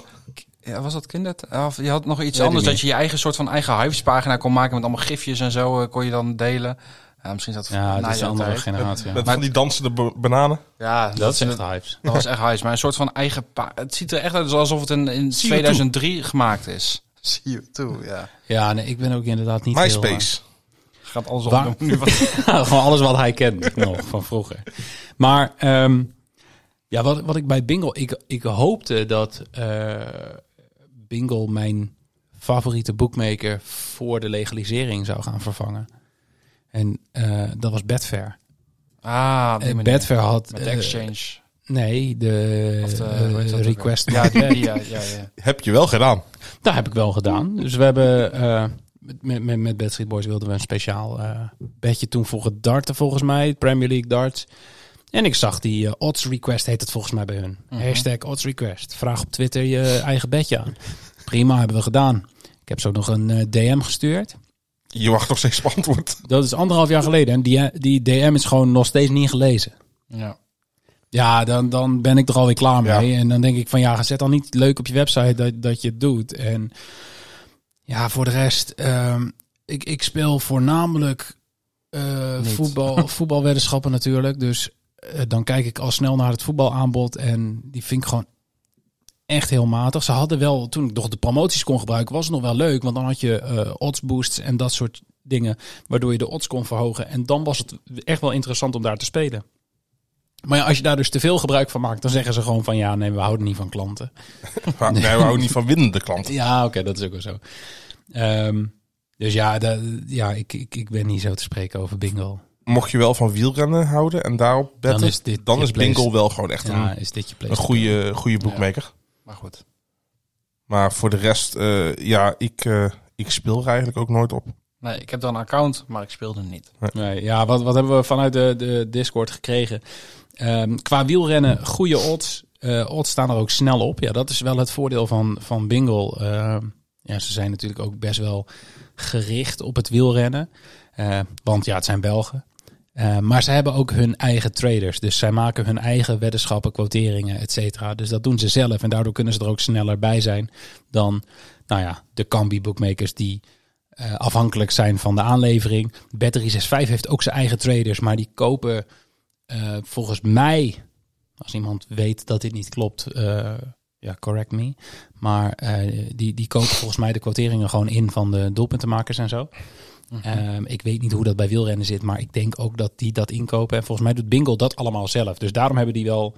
Speaker 7: Ja, was dat kindertent? Of je had nog iets
Speaker 6: Weet
Speaker 7: anders.
Speaker 6: ik
Speaker 7: Dat je je eigen soort van eigen hypespagina kon maken met allemaal gifjes en zo. eh, kon je dan delen. Ja, misschien is dat...
Speaker 6: Ja,
Speaker 7: na
Speaker 6: dat is een
Speaker 7: jouw
Speaker 6: andere
Speaker 7: tijd.
Speaker 6: generatie. ja.
Speaker 8: Met van die dansende ba- bananen.
Speaker 7: Ja,
Speaker 6: Dat is echt hypes.
Speaker 7: Dat was echt huis, maar een soort van eigen pa. Het ziet er echt uit alsof het in, in 2003 gemaakt is. Zie je toe, ja.
Speaker 6: Ja, nee, ik ben ook inderdaad niet
Speaker 8: MySpace.
Speaker 7: Gaat alles
Speaker 6: Waar-
Speaker 7: op. Nu wat-
Speaker 6: heel... eh, gewoon alles wat hij kent nog van vroeger. Maar ehm, ja, wat, wat ik bij Bingo... Ik, ik hoopte dat eh, Bingo mijn favoriete boekmaker... voor de legalisering zou gaan vervangen. En eh, dat was Betfair.
Speaker 7: Ah, op die
Speaker 6: En
Speaker 7: manier.
Speaker 6: Betfair had...
Speaker 7: Met de
Speaker 6: eh,
Speaker 7: exchange.
Speaker 6: nee, de,
Speaker 7: Of de-
Speaker 6: eh,
Speaker 7: hoe heet dat ook
Speaker 6: request.
Speaker 7: weer? Ja, die, die, ja, ja, ja.
Speaker 8: Heb je wel gedaan.
Speaker 6: Dat heb ik wel gedaan. Dus we hebben eh, met, met, met- met Bad Street Boys wilden we een speciaal eh bedje toen voor het darten volgens mij, het Premier League darts. En ik zag die eh, odds request heet het volgens mij bij hun. Hashtag odds request. Vraag op Twitter je eigen bedje aan. Prima, hebben we gedaan. Ik heb zo nog een eh, DM gestuurd.
Speaker 8: Je wacht nog steeds op antwoord.
Speaker 6: Dat is anderhalf jaar geleden. En die, die DM is gewoon nog steeds niet gelezen.
Speaker 7: ja.
Speaker 6: Ja, dan, dan ben ik er alweer klaar
Speaker 8: Ja.
Speaker 6: mee. En dan denk ik van ja, zet dan niet leuk op je website dat, dat je het doet. En ja, voor de rest, ehm, ik, ik speel voornamelijk eh, voetbal, voetbalweddenschappen natuurlijk. Dus eh, dan kijk ik al snel naar het voetbalaanbod. En die vind ik gewoon echt heel matig. Ze hadden wel, toen ik nog de promoties kon gebruiken, was het nog wel leuk. Want dan had je eh odds boosts en dat soort dingen. Waardoor je de odds kon verhogen. En dan was het echt wel interessant om daar te spelen. Maar ja, als je daar dus te veel gebruik van maakt, dan zeggen ze gewoon van ja, nee, we houden niet van klanten.
Speaker 8: Maar, nee, we houden niet van winnende klanten.
Speaker 6: Ja, oké, dat is ook wel zo. Ehm, dus ja, da- ja ik, ik, ik ben niet zo te spreken over bingo.
Speaker 8: Mocht je wel van wielrennen houden en daarop betten, dan
Speaker 6: is
Speaker 8: is,
Speaker 6: dit
Speaker 8: dan
Speaker 6: je
Speaker 8: is
Speaker 6: place-
Speaker 8: Bingo wel gewoon echt
Speaker 6: Ja,
Speaker 8: een,
Speaker 6: is dit je
Speaker 8: een
Speaker 6: place?
Speaker 8: goede, goede boekmaker.
Speaker 7: Maar goed.
Speaker 8: Maar voor de rest, eh, ja, ik, eh, ik speel er eigenlijk ook nooit op.
Speaker 7: Nee, ik heb dan een account, maar ik speelde niet.
Speaker 6: Nee, ja, wat, wat hebben we vanuit de, de Discord gekregen? Ehm, qua wielrennen, goede odds. Eh, odds staan er ook snel op. Ja, dat is wel het voordeel van, van Bingo. Ehm, ja, ze zijn natuurlijk ook best wel gericht op het wielrennen. Eh, want ja, het zijn Belgen. Eh, maar ze hebben ook hun eigen traders. Dus zij maken hun eigen weddenschappen, quoteringen, et cetera. Dus dat doen ze zelf. En daardoor kunnen ze er ook sneller bij zijn dan nou ja, de Cambi-bookmakers die eh, afhankelijk zijn van de aanlevering. Bet365 heeft ook zijn eigen traders, maar die kopen eh, volgens mij, als iemand weet dat dit niet klopt, eh, ja, correct me. Maar eh, die, die kopen volgens mij de quoteringen gewoon in van de doelpuntenmakers en zo. Ehm, ik weet niet hoe dat bij wielrennen zit, maar ik denk ook dat die dat inkopen. En volgens mij doet Bingo dat allemaal zelf. Dus daarom hebben die wel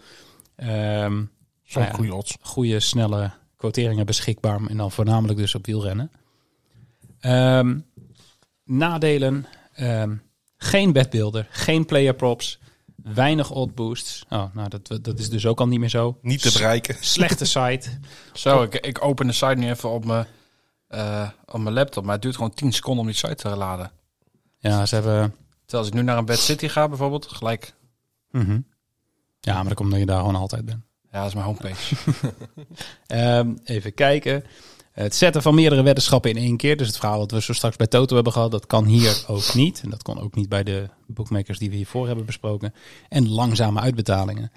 Speaker 6: ehm,
Speaker 8: Zo'n
Speaker 6: nou ja,
Speaker 8: goede odds.
Speaker 6: goede, snelle quoteringen beschikbaar. En dan voornamelijk dus op wielrennen. Ehm, nadelen. ehm, geen bedbeelder, geen player props, weinig odd boosts. Oh, nou, dat, dat is dus ook al niet meer zo.
Speaker 8: Niet te bereiken.
Speaker 6: Slechte site.
Speaker 7: Zo, ik, ik open de site nu even op mijn, eh, op mijn laptop. Maar het duurt gewoon 10 seconden om die site te laden.
Speaker 6: Ja, ze hebben...
Speaker 7: Terwijl als ik nu naar een Bad City ga bijvoorbeeld, gelijk.
Speaker 6: Mhm. Ja, maar dat komt omdat je daar gewoon altijd bent.
Speaker 7: Ja, dat is mijn homepage.
Speaker 6: Ehm, even kijken. Het zetten van meerdere weddenschappen in één keer. Dus het verhaal wat we zo straks bij Toto hebben gehad, dat kan hier ook niet. En dat kon ook niet bij de bookmakers die we hiervoor hebben besproken. En langzame uitbetalingen.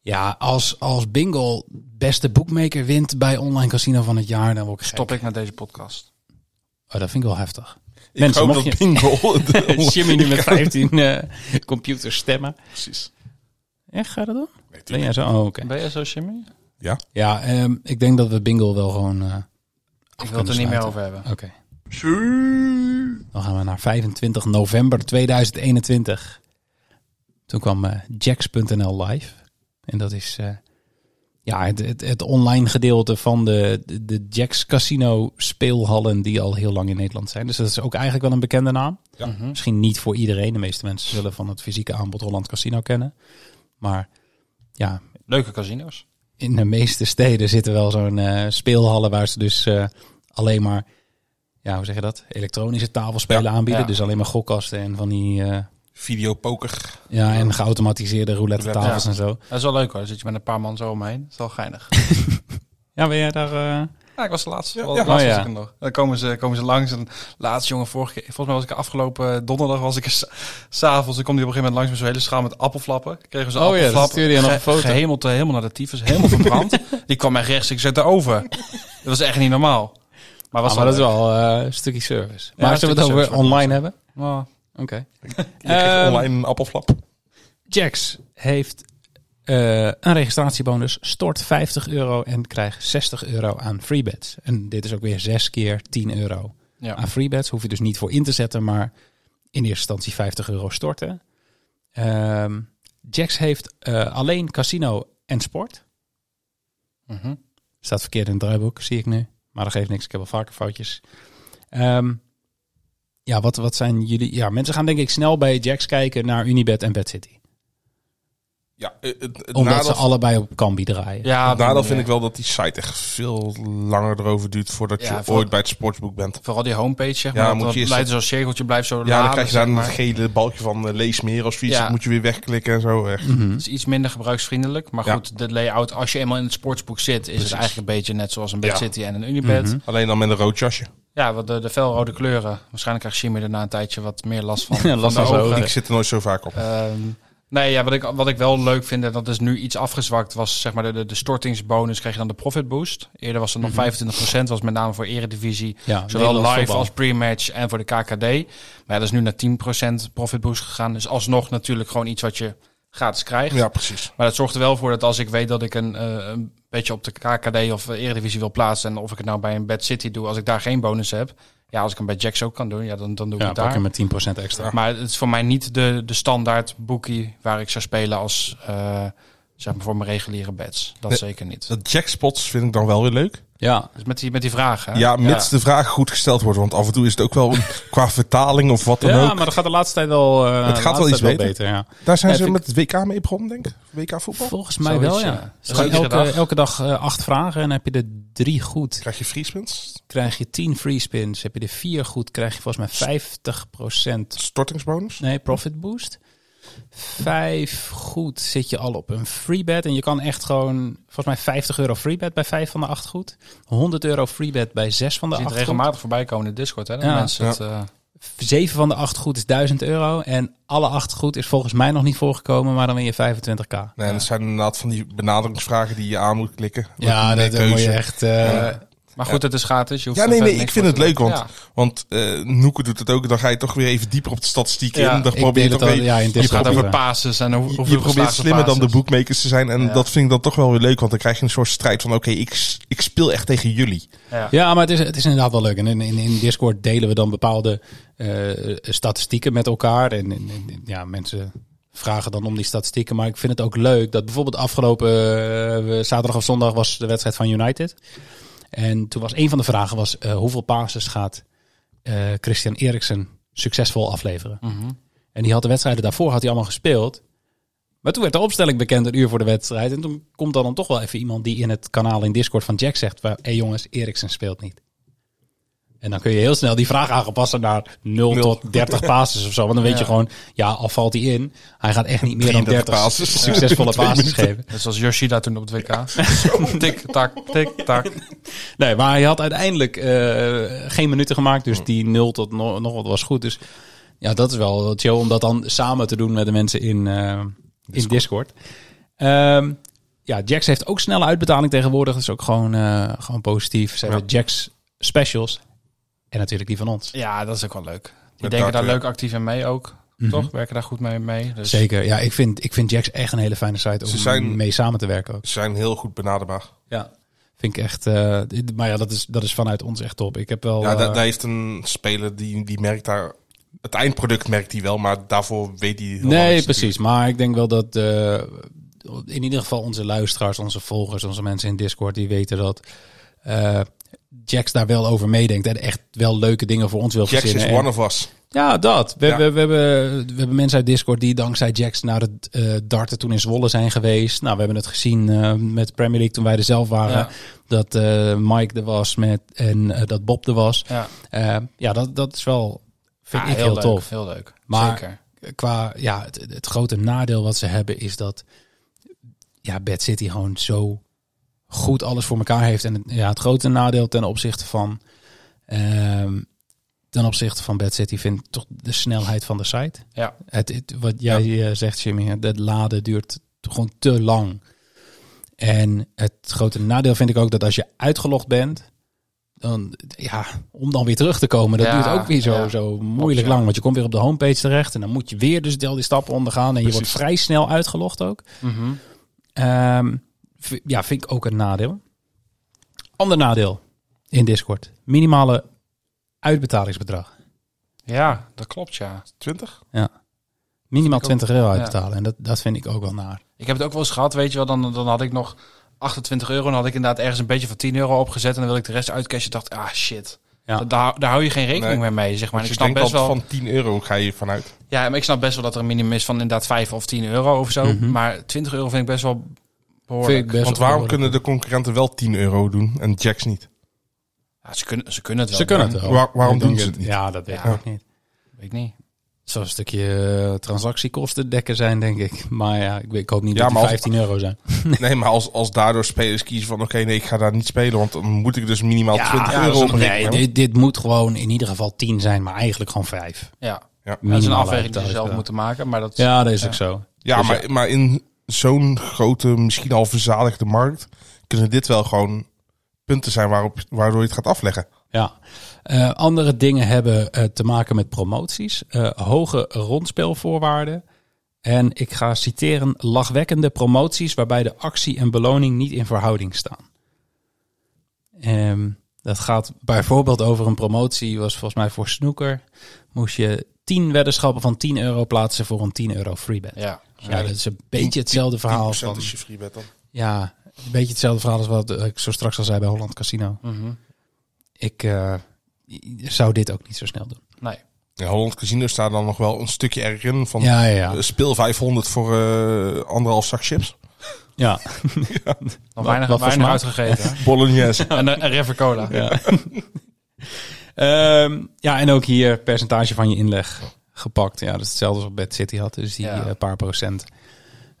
Speaker 6: Ja, als, als Bingo beste bookmaker wint bij online casino van het jaar, dan word ik gek.
Speaker 7: Stop ik met deze podcast.
Speaker 6: Oh, dat vind ik wel heftig.
Speaker 8: Ik
Speaker 6: Mensen,
Speaker 8: hoop
Speaker 6: mocht
Speaker 8: dat
Speaker 6: je-
Speaker 8: Bingo...
Speaker 6: Jimmy nu met 15 eh computers stemmen.
Speaker 8: Precies.
Speaker 6: Echt, ga je dat doen? Ben jij zo? Oh, oké.
Speaker 7: Ben je zo, Jimmy?
Speaker 6: Ja, ehm, ik denk dat we Bingo wel gewoon... eh,
Speaker 7: Ik wil het er niet meer over hebben.
Speaker 6: Oké. Dan gaan we naar 25 november 2021. Toen kwam eh, Jax.nl live. En dat is eh, ja, het, het, het online gedeelte van de, de, de Jax Casino speelhallen die al heel lang in Nederland zijn. Dus dat is ook eigenlijk wel een bekende naam.
Speaker 7: Mhm.
Speaker 6: Misschien niet voor iedereen. De meeste mensen zullen van het fysieke aanbod Holland Casino kennen. Maar ja,
Speaker 7: Leuke casino's.
Speaker 6: in de meeste steden zitten wel zo'n eh, speelhallen waar ze dus eh, alleen maar, ja, hoe zeg je dat? Elektronische tafelspelen
Speaker 8: Ja,
Speaker 6: aanbieden.
Speaker 7: ja.
Speaker 6: Dus alleen maar gokkasten en van die, eh,
Speaker 8: Videopoker.
Speaker 6: ja, en geautomatiseerde roulette tafels
Speaker 7: Ja.
Speaker 6: en zo.
Speaker 7: Dat is wel leuk hoor. Dan zit je met een paar man zo omheen. Dat is wel geinig.
Speaker 6: Ja, ben jij daar? eh,
Speaker 7: Ja, ik was de laatste.
Speaker 8: Ja,
Speaker 7: Wel,
Speaker 8: ja.
Speaker 7: de laatste
Speaker 6: Oh,
Speaker 7: was
Speaker 6: ja.
Speaker 7: ik er nog. Dan komen ze, komen ze langs. En laatst, jongen, vorige keer. Volgens mij was ik er afgelopen eh, donderdag. Was ik er s- s'avonds. Dan kwam die op een gegeven moment langs met zo'n hele schaal met appelflappen. Kregen ze
Speaker 6: Oh ja, dat
Speaker 7: appelflappen.
Speaker 6: stuurde je nog een foto.
Speaker 7: Gehemeld, eh, helemaal naar de tyfus. Helemaal verbrand. die kwam mij rechts. Ik zet erover. Dat was echt niet normaal. Maar was
Speaker 6: ah, maar dat is
Speaker 7: leuk.
Speaker 6: wel eh, een stukje service.
Speaker 7: Ja,
Speaker 6: maar
Speaker 7: een
Speaker 6: zullen we
Speaker 7: stukje
Speaker 6: het over
Speaker 7: service,
Speaker 6: online hebben?
Speaker 7: Oh,
Speaker 6: Oké.
Speaker 8: Je krijgt
Speaker 6: Ehm,
Speaker 8: online een appelflap.
Speaker 6: Jax heeft eh, een registratiebonus. Stort 50 euro en krijg 60 euro aan freebets. En dit is ook weer zes keer 10 euro.
Speaker 7: Ja.
Speaker 6: Aan freebets hoef je dus niet voor in te zetten, maar in eerste instantie 50 euro storten. Ehm Jax heeft eh, alleen casino en sport.
Speaker 7: mhm.
Speaker 6: Staat verkeerd in het draaiboek, zie ik nu. Maar dat geeft niks, ik heb al vaker foutjes. Ehm, ja, wat, wat zijn jullie... Ja, mensen gaan denk ik snel bij Jax kijken naar Unibet en Bad City.
Speaker 8: Ja, eh, het, het
Speaker 6: Omdat
Speaker 8: nadeel,
Speaker 6: ze allebei op Kambi draaien.
Speaker 7: Ja,
Speaker 8: het nadeel vind
Speaker 7: eh,
Speaker 8: ik wel dat die site echt veel langer erover duurt voordat
Speaker 7: Ja,
Speaker 8: je
Speaker 7: vooral-
Speaker 8: ooit bij het sportsboek bent.
Speaker 7: Vooral die homepage, zeg
Speaker 8: Ja,
Speaker 7: maar.
Speaker 8: moet
Speaker 7: dat
Speaker 8: je eerst-
Speaker 7: leidt zo'n cirkeltje, blijft zo
Speaker 8: Ja,
Speaker 7: laden,
Speaker 8: dan krijg je
Speaker 7: zeg
Speaker 8: daar een
Speaker 7: maar.
Speaker 8: gele balkje van eh, lees meer als fiets.
Speaker 7: Ja.
Speaker 8: Dat moet je weer wegklikken en zo. Echt.
Speaker 6: Mhm.
Speaker 7: Het is iets minder gebruiksvriendelijk. Maar
Speaker 8: Ja.
Speaker 7: goed, de layout, als je eenmaal in het sportsboek zit, is het eigenlijk een beetje net zoals een Bed
Speaker 8: Ja.
Speaker 7: City en een Unibed.
Speaker 6: Mhm.
Speaker 8: Alleen dan met een rood jasje.
Speaker 7: Ja, wat de, de felrode kleuren. Waarschijnlijk krijgt Jimmy daarna een tijdje wat meer last van, van
Speaker 6: last
Speaker 7: de
Speaker 6: van zijn
Speaker 7: ogen.
Speaker 8: Ik zit er nooit zo vaak op.
Speaker 7: Ehm, nee, ja, wat, ik, wat ik wel leuk vind, en dat is nu iets afgezwakt, was zeg maar de- de, de stortingsbonus kreeg je dan de profit boost. Eerder was het nog 25%, was met name voor eredivisie.
Speaker 6: Mhm. Ja,
Speaker 7: Zowel
Speaker 6: Nederlands
Speaker 7: live
Speaker 6: voetbal.
Speaker 7: als pre-match en voor de KKD. Maar ja, dat is nu naar 10% profit boost gegaan. Dus alsnog natuurlijk gewoon iets wat je gratis krijgt.
Speaker 8: Ja, precies.
Speaker 7: Maar dat zorgt er wel voor dat als ik weet dat ik een, eh, een beetje op de KKD of eh, Eredivisie wil plaatsen. En of ik het nou bij een Bad City doe, als ik daar geen bonus heb. Ja, als ik hem bij Jacks ook kan doen, ja, dan, dan doe ik
Speaker 6: Ja,
Speaker 7: het
Speaker 6: pak
Speaker 7: daar.
Speaker 6: hem met 10% extra.
Speaker 7: Maar het is voor mij niet de, de standaard bookie waar ik zou spelen als, eh, zeg maar, voor mijn reguliere bets. Dat
Speaker 8: Nee.
Speaker 7: zeker niet.
Speaker 8: Dat jackspots vind ik dan wel weer leuk.
Speaker 6: Ja,
Speaker 7: Dus met die, met die vragen.
Speaker 8: Ja, mits de vraag goed gesteld wordt. Want af en toe is het ook wel qua vertaling of wat dan
Speaker 6: ja
Speaker 8: ook.
Speaker 6: maar dat gaat de laatste tijd wel, eh,
Speaker 8: Het gaat wel
Speaker 6: laatste
Speaker 8: iets
Speaker 6: tijd
Speaker 8: beter.
Speaker 6: ja.
Speaker 8: Daar zijn
Speaker 6: Ja,
Speaker 8: ze
Speaker 6: vind
Speaker 8: met het WK mee begonnen, denk ik. WK voetbal.
Speaker 6: Volgens mij
Speaker 7: Zoiets,
Speaker 6: wel,
Speaker 7: ja.
Speaker 6: ja.
Speaker 7: Dus
Speaker 6: Gewoon
Speaker 7: iedere
Speaker 6: elke,
Speaker 7: dag?
Speaker 6: elke dag eh, acht vragen en dan heb je er drie goed.
Speaker 8: Krijg je free spins?
Speaker 6: Krijg je 10 free spins, heb je er vier goed, krijg je volgens mij 50%
Speaker 8: Stortingsbonus?
Speaker 6: nee, profit boost. Vijf goed zit je al op een free bet. En je kan echt gewoon, volgens mij 50 euro free bet bij vijf van de acht goed. 100 euro free bet bij zes van de
Speaker 7: Je ziet
Speaker 6: acht
Speaker 7: het
Speaker 6: goed.
Speaker 7: regelmatig voorbij komen in de Discord. Hè, dat
Speaker 6: Ja.
Speaker 7: mensen het, eh,
Speaker 6: Zeven van de acht goed is 1000 euro. En alle acht goed is volgens mij nog niet voorgekomen, maar dan win je 25k.
Speaker 8: Nee, dat zijn inderdaad van die benaderingsvragen die je aan moet klikken.
Speaker 6: Ja,
Speaker 8: Met
Speaker 6: dat,
Speaker 8: een
Speaker 6: dat moet je
Speaker 8: keuze.
Speaker 6: echt... eh,
Speaker 7: maar goed, het is gratis. Je hoeft
Speaker 8: Ja,
Speaker 7: er
Speaker 8: nee,
Speaker 7: verder
Speaker 8: nee, ik
Speaker 7: niks
Speaker 8: vind
Speaker 7: voor
Speaker 8: het
Speaker 7: te
Speaker 8: leuk,
Speaker 7: doen.
Speaker 8: want,
Speaker 7: Ja.
Speaker 8: want eh Noeke doet het ook. Dan ga je toch weer even dieper op de statistiek
Speaker 7: Ja,
Speaker 8: in. Dan
Speaker 6: ik
Speaker 8: probeer je
Speaker 6: deed
Speaker 8: toch
Speaker 6: het al-
Speaker 8: weer-
Speaker 6: ja, in
Speaker 8: je
Speaker 7: Het gaat
Speaker 6: Discord
Speaker 7: over
Speaker 6: ook,
Speaker 7: pases en hoe,
Speaker 8: je-
Speaker 7: hoeveel
Speaker 8: je probeert
Speaker 7: geslaagde
Speaker 8: slimmer dan de
Speaker 7: passes.
Speaker 8: boekmakers te zijn. En
Speaker 7: Ja.
Speaker 8: dat vind ik dan toch wel weer leuk. Want dan krijg je een soort strijd van... Oké, ik, s- ik speel echt tegen jullie.
Speaker 6: Ja, maar het is, het is inderdaad wel leuk. En in, in, in Discord delen we dan bepaalde eh, statistieken met elkaar. En, en- en- ja, mensen vragen dan om die statistieken. Maar ik vind het ook leuk dat bijvoorbeeld afgelopen eh, zaterdag of zondag was de wedstrijd van United. En toen was een van de vragen was, eh, hoeveel passes gaat eh, Christian Eriksen succesvol afleveren? En die had de wedstrijden daarvoor had hij allemaal gespeeld. Maar toen werd de opstelling bekend een uur voor de wedstrijd. En toen komt dan, dan toch wel even iemand die in het kanaal in Discord van Jack zegt... "Wa- Hé jongens, Eriksen speelt niet. En dan kun je heel snel die vraag aangepassen naar 0 tot 30 passes of zo. Want dan weet je gewoon, ja, al valt hij in. Hij gaat echt niet meer dan
Speaker 8: 33
Speaker 6: 30
Speaker 8: passes.
Speaker 6: succesvolle passes geven.
Speaker 7: Net zoals Yoshida toen op het WK. tik, tak, tik, tak.
Speaker 6: Nee, maar hij had uiteindelijk eh, geen minuten gemaakt. Dus die 0 tot no- nog wat was goed. Dus ja, dat is wel chill om dat dan samen te doen met de mensen in, eh, in Discord. Ehm, ja, Jax heeft ook snelle uitbetaling tegenwoordig. Dat is ook gewoon, eh, gewoon positief. Ze hebben Jax specials. En natuurlijk die van ons.
Speaker 7: Ja, dat is ook wel leuk. Die
Speaker 8: Met
Speaker 7: denken daar
Speaker 8: darten.
Speaker 7: leuk actief in mee ook. Toch? Werken daar goed mee. mee. Dus
Speaker 6: Mhm. Zeker. Ja, ik vind, ik vind Jax echt een hele fijne site om
Speaker 8: Ze zijn-
Speaker 6: mee samen te werken ook.
Speaker 8: Ze zijn heel goed benaderbaar.
Speaker 6: Ja. Vind ik echt... eh, dit- maar ja, dat is, dat is vanuit ons echt top. Ik heb wel...
Speaker 8: ja, da-
Speaker 6: eh,
Speaker 8: daar heeft een speler die, die merkt daar. Het eindproduct merkt hij wel, maar daarvoor weet hij. helemaal
Speaker 6: Nee,
Speaker 8: niks
Speaker 6: precies. Maar ik denk wel dat eh, in ieder geval onze luisteraars, onze volgers, onze mensen in Discord, die weten dat eh, Jax daar wel over meedenkt en echt wel leuke dingen voor ons wil
Speaker 8: natuurlijk. Jax
Speaker 6: verzinnen.
Speaker 8: is
Speaker 6: En-
Speaker 8: one of us.
Speaker 6: ja, dat. We,
Speaker 8: Ja.
Speaker 6: We, we, hebben, we hebben mensen uit Discord die dankzij Jax naar het eh, darten toen in Zwolle zijn geweest. Nou, we hebben het gezien eh, met Premier League toen wij er zelf waren.
Speaker 7: Ja.
Speaker 6: Dat eh, Mike er was met, en eh, dat Bob er was.
Speaker 7: Ja.
Speaker 6: Eh, ja, dat, dat is wel, vind
Speaker 8: Ah,
Speaker 7: ja,
Speaker 6: ik heel,
Speaker 7: leuk,
Speaker 6: tof
Speaker 7: Heel leuk.
Speaker 6: Maar-
Speaker 7: Zeker.
Speaker 6: qua ja, het, het grote nadeel wat ze hebben is dat ja, Bad City gewoon zo goed alles voor elkaar heeft. En het- ja, het grote nadeel ten opzichte van ehm, ten opzichte van Bad City vind ik toch de snelheid van de site.
Speaker 7: Ja.
Speaker 6: Het, het- wat jij eh, zegt, Jimmy, hè, dat laden duurt t- gewoon te lang. En het grote nadeel vind ik ook dat als je uitgelogd bent, dan ja, om dan weer terug te komen, dat
Speaker 7: Ja,
Speaker 6: duurt ook weer zo,
Speaker 7: ja.
Speaker 6: zo moeilijk
Speaker 7: ja.
Speaker 6: lang. Oh, Want je komt weer op de homepage terecht en dan moet je weer dus al die stappen ondergaan. En je wordt
Speaker 8: Precies.
Speaker 6: vrij snel uitgelogd ook.
Speaker 7: Mhm.
Speaker 6: Ehm, v- ja, vind ik ook een nadeel. Ander nadeel in Discord. Minimale uitbetalingsbedrag.
Speaker 7: Ja, dat klopt ja.
Speaker 8: 20?
Speaker 6: Minimaal
Speaker 7: Vind ik
Speaker 6: 20 euro
Speaker 7: ja.
Speaker 6: uitbetalen. En dat, dat vind ik ook wel naar.
Speaker 7: Ik heb het ook wel eens gehad, weet je wel. Dan, dan had ik nog 28 euro. En dan had ik inderdaad ergens een beetje van 10 euro opgezet. En dan wil ik de rest uitcashen. dacht, ah shit.
Speaker 6: Ja.
Speaker 7: Da- Daar, daar hou je geen rekening
Speaker 8: Nee.
Speaker 7: meer mee, zeg maar. En
Speaker 8: Dus
Speaker 7: ik
Speaker 8: ik
Speaker 7: snap best
Speaker 8: denk dat
Speaker 7: wel...
Speaker 8: van 10 euro ga je vanuit.
Speaker 7: Ja, maar ik snap best wel dat er een minimum is van inderdaad 5 of 10 euro of zo.
Speaker 6: Mhm.
Speaker 7: Maar 20 euro vind ik best wel behoorlijk.
Speaker 6: Vind ik best
Speaker 8: Want waarom
Speaker 6: wel-
Speaker 8: kunnen de concurrenten wel 10 euro doen en Jax niet?
Speaker 7: Ja, ze, kunnen, ze kunnen het wel.
Speaker 6: Ze kunnen het wel.
Speaker 8: Waar- waarom
Speaker 6: Maar
Speaker 8: doen
Speaker 6: dan-
Speaker 8: ze het niet?
Speaker 6: Ja, dat weet
Speaker 7: Ja.
Speaker 6: ik ook niet.
Speaker 7: Weet ik niet.
Speaker 6: Zo'n stukje eh, transactiekosten dekken zijn, denk ik. Maar ja, ik, weet- ik hoop niet
Speaker 8: Ja,
Speaker 6: dat die
Speaker 8: maar als-
Speaker 6: 15 euro zijn.
Speaker 8: Nee, maar als, als daardoor spelers kiezen van oké, nee, ik ga daar niet spelen, want dan moet ik dus minimaal 20
Speaker 6: ja,
Speaker 8: euro
Speaker 6: zo'n-
Speaker 8: op
Speaker 6: nee, dit, dit moet gewoon in ieder geval 10 zijn, maar eigenlijk gewoon 5.
Speaker 7: Ja.
Speaker 8: Ja,
Speaker 7: Dat is een
Speaker 6: Minimale
Speaker 7: afweging die ze zelf
Speaker 6: uitbetaling.
Speaker 7: moeten maken. Maar dat,
Speaker 6: Ja, dat is ook zo.
Speaker 8: ja maar, maar in zo'n grote, misschien al verzadigde markt, kunnen dit wel gewoon punten zijn waarop, waardoor je het gaat afleggen.
Speaker 6: Ja. Eh, andere dingen hebben eh, te maken met promoties, eh, hoge rondspelvoorwaarden. En ik ga citeren lachwekkende promoties waarbij de actie en beloning niet in verhouding staan. Ehm, dat gaat bijvoorbeeld over een promotie, was volgens mij voor snoeker. Moest je 10 weddenschappen van 10 euro plaatsen voor een 10 euro freebet. Ja,
Speaker 7: ja.
Speaker 6: dat is een beetje hetzelfde verhaal.
Speaker 8: 10%
Speaker 6: Van,
Speaker 8: is je free bet dan.
Speaker 6: ja, een beetje hetzelfde verhaal als wat eh, ik zo straks al zei bij Holland Casino.
Speaker 7: Mhm.
Speaker 6: Ik eh, zou dit ook niet zo snel doen.
Speaker 7: Nee.
Speaker 8: Ja, Holland Casino staat dan nog wel een stukje erg in van
Speaker 6: Ja, ja,
Speaker 8: eh,
Speaker 6: ja.
Speaker 8: speel 500 voor eh, anderhalf zak chips.
Speaker 6: ja.
Speaker 7: Dan
Speaker 6: wat
Speaker 7: weinig,
Speaker 6: voor
Speaker 7: weinig
Speaker 6: smaak?
Speaker 7: uitgegeten.
Speaker 8: Bolognese.
Speaker 7: en een, een River Cola.
Speaker 6: Ja. Ehm, ja, en ook hier percentage van je inleg gepakt. Ja, dat is hetzelfde als wat Bad City had, dus die
Speaker 7: Ja.
Speaker 6: eh, paar procent.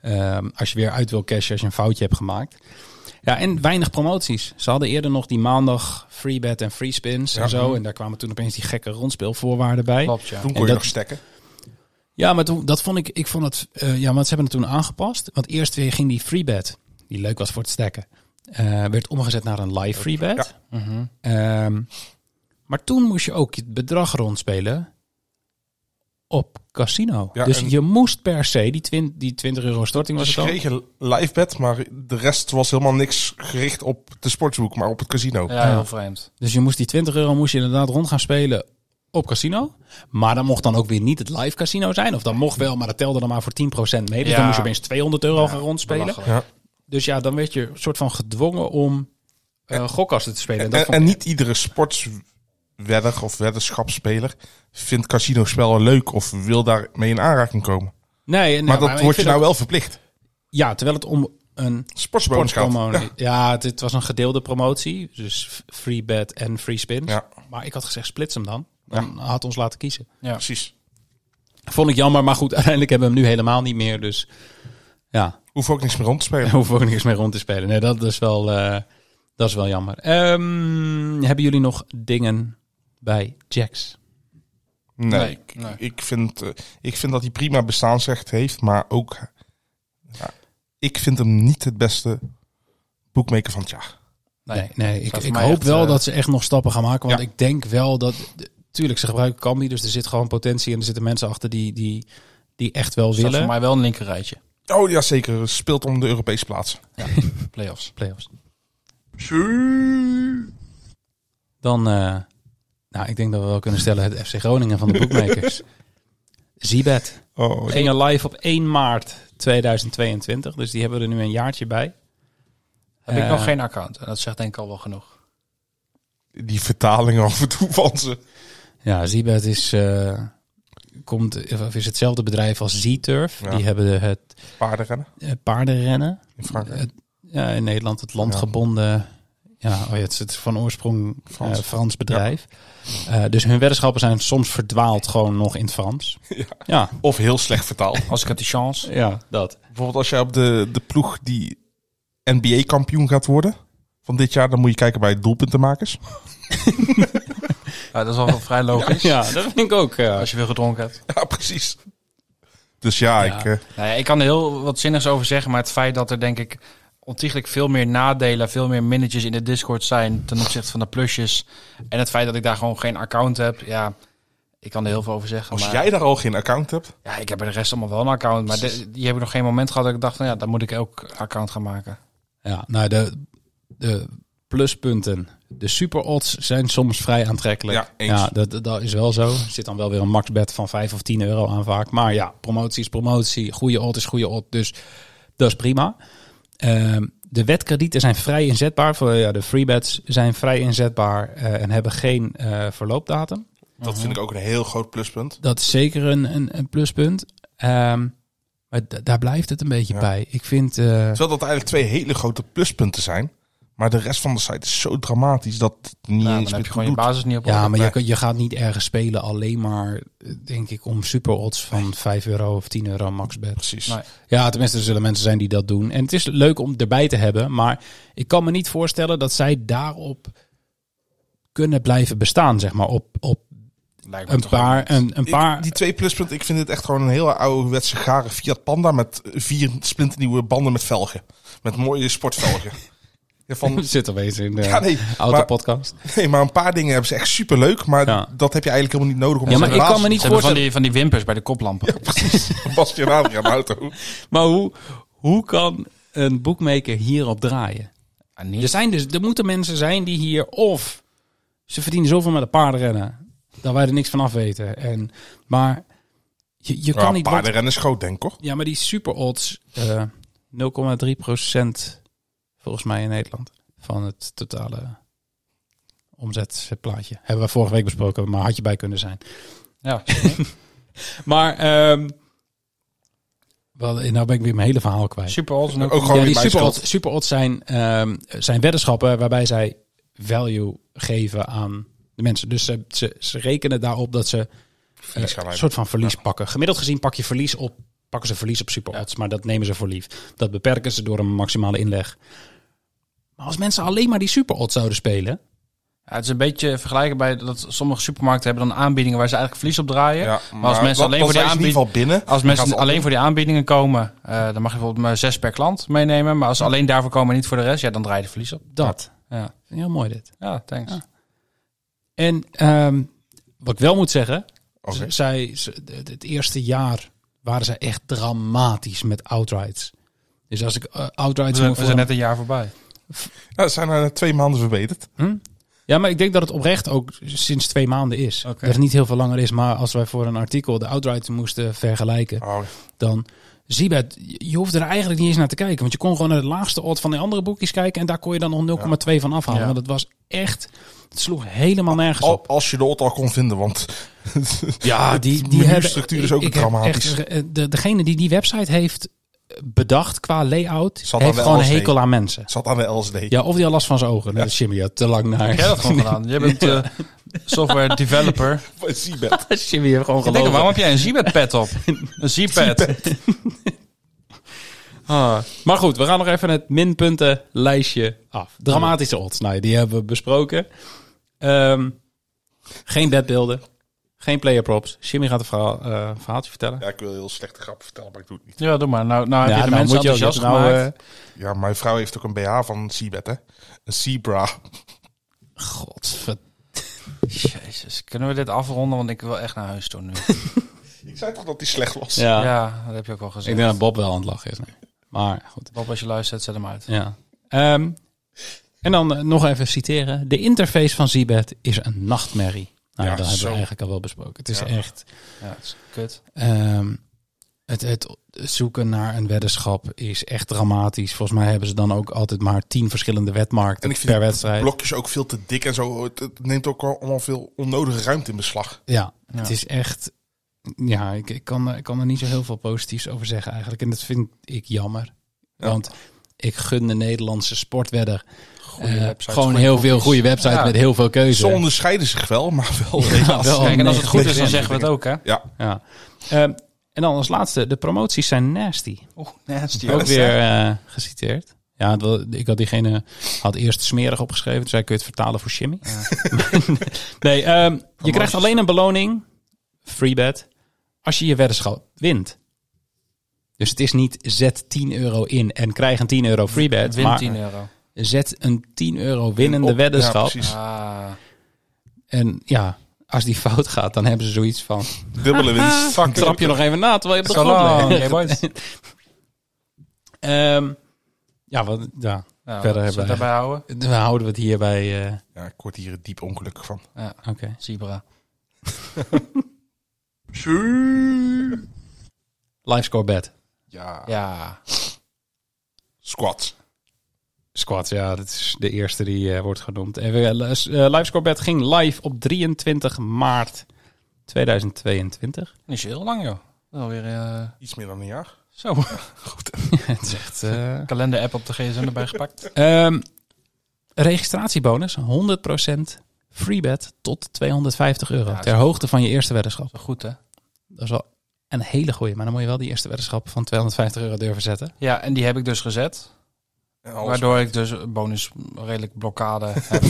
Speaker 6: Ehm, als je weer uit wil cashen, als je een foutje hebt gemaakt. Ja, en weinig promoties. Ze hadden eerder nog die maandag free bet en free spins
Speaker 8: Ja.
Speaker 6: en zo. En daar kwamen toen opeens die gekke rondspeelvoorwaarden bij.
Speaker 7: Klopt, ja.
Speaker 8: Toen
Speaker 6: En
Speaker 8: kon je
Speaker 6: dat-
Speaker 8: nog stekken.
Speaker 6: Ja, maar toen, dat vond ik, ik vond het, eh, ja, want ze hebben het toen aangepast. Want eerst weer ging die freebet, die leuk was voor het stacken, eh, werd omgezet naar een live freebet. Ehm, maar toen moest je ook het bedrag rondspelen op casino.
Speaker 8: Ja,
Speaker 6: dus
Speaker 8: en-
Speaker 6: je moest per se, die, twin, die 20 euro storting was
Speaker 8: Ze
Speaker 6: het al.
Speaker 8: kregen live bet, maar de rest was helemaal niks gericht op de sportsboek, maar op het casino.
Speaker 7: Ja, heel vreemd.
Speaker 6: Dus je moest die 20 euro moest je inderdaad rond gaan spelen op casino. Maar dan mocht dan ook weer niet het live casino zijn. Of dan mocht wel, maar dat telde dan maar voor 10% mee. Dus
Speaker 7: Ja.
Speaker 6: dan moest je opeens 200 euro gaan rondspelen.
Speaker 7: belachelijk.
Speaker 8: Ja.
Speaker 6: Dus ja, dan werd je soort van gedwongen om eh gokkasten te spelen. En dat
Speaker 8: En,
Speaker 6: vond
Speaker 8: en
Speaker 6: ik-
Speaker 8: niet iedere sportswedder of weddenschapsspeler vindt casinospellen leuk of wil daar mee in aanraking komen.
Speaker 6: nee, nee,
Speaker 8: maar dat
Speaker 6: ik
Speaker 8: wordt je
Speaker 6: vind
Speaker 8: nou
Speaker 6: ook-
Speaker 8: wel verplicht.
Speaker 6: Ja, terwijl het om een
Speaker 8: Sportsbonus gaat.
Speaker 6: sportpromotie...
Speaker 8: Ja.
Speaker 6: Ja, het, het was een gedeelde promotie. Dus f- free bet en free spins.
Speaker 8: Ja.
Speaker 6: Maar ik had gezegd, splits hem dan. Dan had ons laten kiezen.
Speaker 8: Precies.
Speaker 6: Vond ik jammer, maar goed, uiteindelijk hebben we hem nu helemaal niet meer. Dus ja,
Speaker 8: Hoef ook niks meer rond te spelen.
Speaker 6: daar hoeven we ook niks mee rond te spelen. Nee, dat is wel, eh, dat is wel jammer. Ehm, hebben jullie nog dingen bij Jax?
Speaker 8: Nee.
Speaker 7: Nee,
Speaker 8: ik-
Speaker 7: nee.
Speaker 8: Ik, vind, eh, ik vind dat hij prima bestaansrecht heeft, maar ook... ja, ik vind hem niet het beste boekmaker van het jaar.
Speaker 7: Nee.
Speaker 6: Nee, nee ik,
Speaker 7: Staat voor
Speaker 6: ik
Speaker 7: mij
Speaker 6: hoop
Speaker 7: echt,
Speaker 6: wel
Speaker 7: eh,
Speaker 6: dat ze echt nog stappen gaan maken. Want
Speaker 8: Ja.
Speaker 6: ik denk wel dat... Tuurlijk, ze gebruiken Kambi, dus er zit gewoon potentie. En er zitten mensen achter die, die, die echt wel
Speaker 7: Dat is
Speaker 6: willen.
Speaker 7: voor mij wel een linkerrijtje.
Speaker 8: Oh ja, zeker. Speelt om de Europese plaats.
Speaker 7: Playoffs.
Speaker 6: playoffs. Dan, eh, nou, ik denk dat we wel kunnen stellen het FC Groningen van de boekmakers. Zibet
Speaker 8: Oh, ja.
Speaker 6: gingen live op 1 maart 2022, dus die hebben we er nu een jaartje bij.
Speaker 7: Heb
Speaker 6: Eh,
Speaker 7: ik nog geen account. En dat zegt denk ik al wel genoeg.
Speaker 8: die vertalingen af en toe van ze.
Speaker 6: Ja, Zibet is, eh, komt, of is hetzelfde bedrijf als Z-Turf.
Speaker 8: Ja.
Speaker 6: Die hebben het
Speaker 8: Paardenrennen
Speaker 6: eh, paardenrennen.
Speaker 8: in Frankrijk.
Speaker 6: Het- ja, in Nederland het landgebonden. Ja, oh ja het is het is van oorsprong eh, Frans,
Speaker 8: Frans.
Speaker 6: bedrijf. Eh, dus hun weddenschappen zijn soms verdwaald gewoon nog in het Frans.
Speaker 8: Ja.
Speaker 6: Ja,
Speaker 8: Of heel slecht vertaald.
Speaker 7: Als ik had die chance.
Speaker 6: ja dat.
Speaker 8: Bijvoorbeeld als jij op de, de ploeg die NBA-kampioen gaat worden van dit jaar, dan moet je kijken bij doelpuntenmakers.
Speaker 7: Ja, dat is wel vrij logisch.
Speaker 6: Ja, dat vind ik ook. ja.
Speaker 7: Als je veel gedronken hebt.
Speaker 8: Ja, precies. Dus ja,
Speaker 6: Ja.
Speaker 8: ik... eh,
Speaker 7: Nou ja, ik kan er heel wat zinnigs over zeggen, maar het feit dat er denk ik ontiegelijk veel meer nadelen, veel meer minnetjes in de Discord zijn ten opzichte van de plusjes. En het feit dat ik daar gewoon geen account heb, ja, ik kan er heel veel over zeggen.
Speaker 8: als
Speaker 7: maar,
Speaker 8: jij daar al geen account hebt,
Speaker 7: Ja, ik heb bij de rest allemaal wel een account, maar de- die hebben nog geen moment gehad dat ik dacht, nou ja, dan moet ik ook een account gaan maken.
Speaker 6: Ja, nou, de, de pluspunten. De super odds zijn soms vrij aantrekkelijk.
Speaker 8: Ja, eens.
Speaker 6: dat, dat- dat is wel zo. Er zit dan wel weer een maxbed van 5 of 10 euro aan vaak. Maar ja, promotie is promotie. Goede odd is goede odd. Dus dat is prima. Ehm, de wetkredieten zijn vrij inzetbaar. Voor, ja, de freebets zijn vrij inzetbaar eh, en hebben geen eh, verloopdatum.
Speaker 8: dat vind ik ook een heel groot pluspunt.
Speaker 6: Dat is zeker een, een, een pluspunt. Ehm, maar d- daar blijft het een beetje
Speaker 8: Ja.
Speaker 6: bij. Ik vind... eh,
Speaker 8: Terwijl dat eigenlijk twee hele grote pluspunten zijn. Maar de rest van de site is zo dramatisch dat het niet
Speaker 7: Nou,
Speaker 8: eens
Speaker 7: dan heb
Speaker 8: meer
Speaker 7: je gewoon
Speaker 8: doet.
Speaker 7: je basis niet op.
Speaker 6: Ja, maar
Speaker 8: Nee.
Speaker 6: je, kan- je gaat niet ergens spelen alleen maar, eh, denk ik, om super odds van 5 euro of 10 euro max bet.
Speaker 8: Precies.
Speaker 7: Nee.
Speaker 6: Ja, tenminste, er zullen mensen zijn die dat doen. En het is leuk om erbij te hebben, maar ik kan me niet voorstellen dat zij daarop kunnen blijven bestaan, zeg maar. Op, op
Speaker 7: Lijkt me
Speaker 6: een
Speaker 7: toch wel.
Speaker 6: paar, een, een
Speaker 8: Ik-
Speaker 6: paar...
Speaker 8: die twee pluspunten, ik vind het echt gewoon een hele ouderwetse gare Fiat Panda met vier splinternieuwe banden met velgen. Met mooie sportvelgen. Ja, van,
Speaker 6: Zit alweer in de
Speaker 8: ja, nee, maar,
Speaker 6: autopodcast.
Speaker 8: nee, maar een paar dingen hebben ze echt super leuk, maar
Speaker 6: Ja.
Speaker 8: dat heb je eigenlijk helemaal niet nodig om
Speaker 6: Ja,
Speaker 8: als
Speaker 6: maar ik
Speaker 8: basis
Speaker 6: kan me niet
Speaker 7: Ze hebben van
Speaker 6: voorstellen...
Speaker 7: die, van die wimpers bij de koplampen.
Speaker 8: van Bastiaan Adriaan de auto.
Speaker 6: Maar hoe, hoe kan een boekmaker hierop draaien?
Speaker 7: Ja, niet.
Speaker 6: Er, zijn dus, er moeten mensen zijn die hier of ze verdienen zoveel met de paardenrennen dat wij er niks van af weten. En, maar je, je kan
Speaker 8: Ja,
Speaker 6: niet. wat-
Speaker 8: paardenrennen is groot, denk ik hoor.
Speaker 6: ja, maar die super odds, eh 0,3% volgens mij in Nederland van het totale omzetplaatje. Hebben we vorige week besproken, maar had je bij kunnen zijn.
Speaker 7: Ja.
Speaker 6: Maar ehm wel, nou ben ik weer mijn hele verhaal kwijt.
Speaker 7: Super odds en ook-
Speaker 8: Ook gewoon
Speaker 6: ja,
Speaker 8: weer
Speaker 6: die
Speaker 8: mijn
Speaker 6: super
Speaker 8: schuld.
Speaker 6: odds, super odds zijn, ehm, zijn weddenschappen waarbij zij value geven aan de mensen. Dus ze, ze, ze rekenen daarop dat ze eh,
Speaker 8: gaan
Speaker 6: een
Speaker 8: leiden.
Speaker 6: soort van verlies pakken. Gemiddeld gezien pak je verlies op, pakken ze verlies op super odds, maar dat nemen ze voor lief. Dat beperken ze door een maximale inleg. Maar als mensen alleen maar die super odds zouden spelen,
Speaker 7: Ja, het is een beetje vergelijken bij dat sommige supermarkten hebben dan aanbiedingen waar ze eigenlijk verlies op draaien.
Speaker 8: Ja,
Speaker 7: maar als mensen
Speaker 8: dan-
Speaker 7: alleen voor
Speaker 8: dan
Speaker 7: die
Speaker 8: zijn ze in
Speaker 7: aanbieding...
Speaker 8: ieder geval binnen.
Speaker 7: Als
Speaker 8: Dan gaan ze
Speaker 7: mensen
Speaker 8: op-
Speaker 7: alleen voor die aanbiedingen komen, eh, dan mag je bijvoorbeeld maar zes per klant meenemen. Maar als ze alleen daarvoor komen en niet voor de rest, ja, dan draai je de verlies op.
Speaker 6: dat.
Speaker 7: Ja,
Speaker 6: Heel mooi dit.
Speaker 7: ja thanks.
Speaker 6: Ja. En ehm, wat ik wel moet zeggen,
Speaker 8: Oké.
Speaker 6: z- zij, ze- d- d- het eerste jaar waren zij echt dramatisch met outrights. Dus als ik eh, outrights
Speaker 7: We zijn,
Speaker 6: moet
Speaker 7: we zijn net een jaar voorbij.
Speaker 8: Nou, ze zijn er twee maanden eh, verbeterd.
Speaker 6: Hm? Ja, maar ik denk dat het oprecht ook sinds twee maanden is.
Speaker 7: Oké.
Speaker 6: Dat het niet heel veel langer is, maar als wij voor een artikel de outright moesten vergelijken,
Speaker 8: Oh,
Speaker 6: dan zie je het. Je hoeft er eigenlijk niet eens naar te kijken, want je kon gewoon naar het laagste odd van de andere boekjes kijken en daar kon je dan nog 0,2 van afhalen.
Speaker 7: Ja.
Speaker 6: Want het was echt, het sloeg helemaal nergens op.
Speaker 8: al- als je de odd al kon vinden, want
Speaker 6: Ja, die, die
Speaker 8: menustructuur
Speaker 6: hebben,
Speaker 8: is ook
Speaker 6: ik heb
Speaker 8: dramatisch.
Speaker 6: echt, eh, de, degene die die website heeft eh, bedacht qua layout,
Speaker 8: Zat aan
Speaker 6: heeft
Speaker 8: de
Speaker 6: gewoon een
Speaker 8: LSD.
Speaker 6: hekel aan mensen.
Speaker 8: het zat aan de LSD.
Speaker 6: Ja, of die al last van zijn ogen. Nou, Jimmy had te lang naar.
Speaker 7: Heb jij dat gewoon gedaan? Je bent eh, software developer.
Speaker 8: Van Seabed.
Speaker 6: Jimmy heeft gewoon
Speaker 7: Ik denk,
Speaker 6: gelogen.
Speaker 7: waarom heb jij een Zibet pad op? Een Zibet.
Speaker 6: Ah, maar goed, we gaan nog even het minpuntenlijstje af. Dramatische odds, nou, die hebben we besproken. Ehm, geen bedbeelden, geen player props. Jimmy gaat een verhaal, eh, verhaaltje vertellen.
Speaker 8: Ja, ik wil heel slechte grappen vertellen, maar ik doe het niet.
Speaker 7: Ja, doe maar. Nou, nou heb je de
Speaker 6: nou,
Speaker 7: mensen
Speaker 6: moet je ook-
Speaker 7: enthousiast
Speaker 6: nou,
Speaker 7: gemaakt.
Speaker 6: eh,
Speaker 8: Ja, mijn vrouw heeft ook een BH van Seabed, hè? Een Zebra.
Speaker 6: Godver- eh,
Speaker 7: Jezus, kunnen we dit afronden? Want ik wil echt naar huis toe nu.
Speaker 8: Ik zei toch dat die slecht was?
Speaker 6: Ja.
Speaker 7: Ja, dat heb je ook al gezegd.
Speaker 6: ik denk dat Bob wel aan het lachen is. nu. Maar goed,
Speaker 7: Bob, als je luistert, zet hem uit.
Speaker 6: ja. Ehm, en dan eh, nog even citeren. De interface van Zibet is een nachtmerrie. Nou,
Speaker 8: Ja,
Speaker 6: dat hebben
Speaker 8: zo.
Speaker 6: we eigenlijk al wel besproken. Het is
Speaker 8: Ja.
Speaker 6: echt...
Speaker 7: Ja, het is kut.
Speaker 6: Ehm, het, het zoeken naar een weddenschap is echt dramatisch. Volgens mij hebben ze dan ook altijd maar tien verschillende wedmarkten
Speaker 8: En ik vind
Speaker 6: per
Speaker 8: die
Speaker 6: wedstrijd.
Speaker 8: Blokjes ook veel te dik en zo. Het, het neemt ook al- allemaal veel onnodige ruimte in beslag.
Speaker 6: Ja, het is echt... Ja, ik, ik, kan, er- ik kan er niet zo heel veel positiefs over zeggen eigenlijk. En dat vind ik jammer.
Speaker 8: Ja.
Speaker 6: Want ik gun de Nederlandse sportwedder
Speaker 7: Goeie
Speaker 6: eh,
Speaker 7: websites,
Speaker 6: gewoon
Speaker 7: goeie
Speaker 6: heel veel
Speaker 7: cookies.
Speaker 6: goede websites
Speaker 7: Ja.
Speaker 6: met heel veel keuze.
Speaker 8: Ze onderscheiden zich wel, maar wel.
Speaker 6: Ja, wel
Speaker 7: Kijk, en als het
Speaker 6: negen
Speaker 7: goed is, dan
Speaker 6: procent.
Speaker 7: zeggen we het ook, hè?
Speaker 6: Ja. Ehm, en dan als laatste, de promoties zijn nasty.
Speaker 7: Oeh, nasty.
Speaker 6: ook weer eh, geciteerd. Ja, het wel- ik had diegene had eerst smerig opgeschreven. Toen zei ik, kun je het vertalen voor Jimmy? nee, ehm, je krijgt alleen een beloning, free bet, als je je weddenschap wint. Dus het is niet zet 10 euro in en krijg een 10 euro free bet.
Speaker 7: Win
Speaker 6: maar
Speaker 7: 10 euro.
Speaker 6: zet een 10 euro winnende
Speaker 8: Op- Ja,
Speaker 6: weddenschap.
Speaker 8: precies.
Speaker 7: Ah,
Speaker 6: en ja, als die fout gaat, dan hebben ze zoiets van...
Speaker 8: Dubbele winst. Fuck.
Speaker 6: Trap je nog even na, terwijl je op de
Speaker 7: So
Speaker 6: grond
Speaker 7: long,
Speaker 6: ligt.
Speaker 7: hey boys.
Speaker 6: Ehm, ja, wat, ja, Verder
Speaker 7: nou,
Speaker 6: hebben
Speaker 7: Verder hebben
Speaker 6: we-
Speaker 7: we daarbij houden.
Speaker 6: dan houden we het hierbij. eh,
Speaker 8: Ja, ik word hier diep ongelukkig van.
Speaker 6: Oké.
Speaker 7: Zebra.
Speaker 6: Livescore bet.
Speaker 8: Ja.
Speaker 7: Ja.
Speaker 8: Squats.
Speaker 6: Squad, ja, dat is de eerste die eh, wordt genoemd. En we- eh, s- eh, Livescore bet ging live op 23 maart 2022.
Speaker 7: Niet zo heel lang, joh. Dat is alweer eh,
Speaker 8: Iets meer dan een jaar.
Speaker 7: zo.
Speaker 6: het is echt. eh,
Speaker 7: Kalender-app op de gsm erbij gepakt.
Speaker 6: ehm, registratiebonus 100% free bet tot 250 euro.
Speaker 7: Ja,
Speaker 6: ter hoogte van je eerste weddenschap.
Speaker 7: Zo goed, hè?
Speaker 6: Dat is wel een hele goeie, maar dan moet je wel die eerste weddenschap van 250 euro durven zetten.
Speaker 7: Ja, en die heb ik dus gezet.
Speaker 8: En alles.
Speaker 7: Waardoor ik dus een bonus redelijk blokkade heb.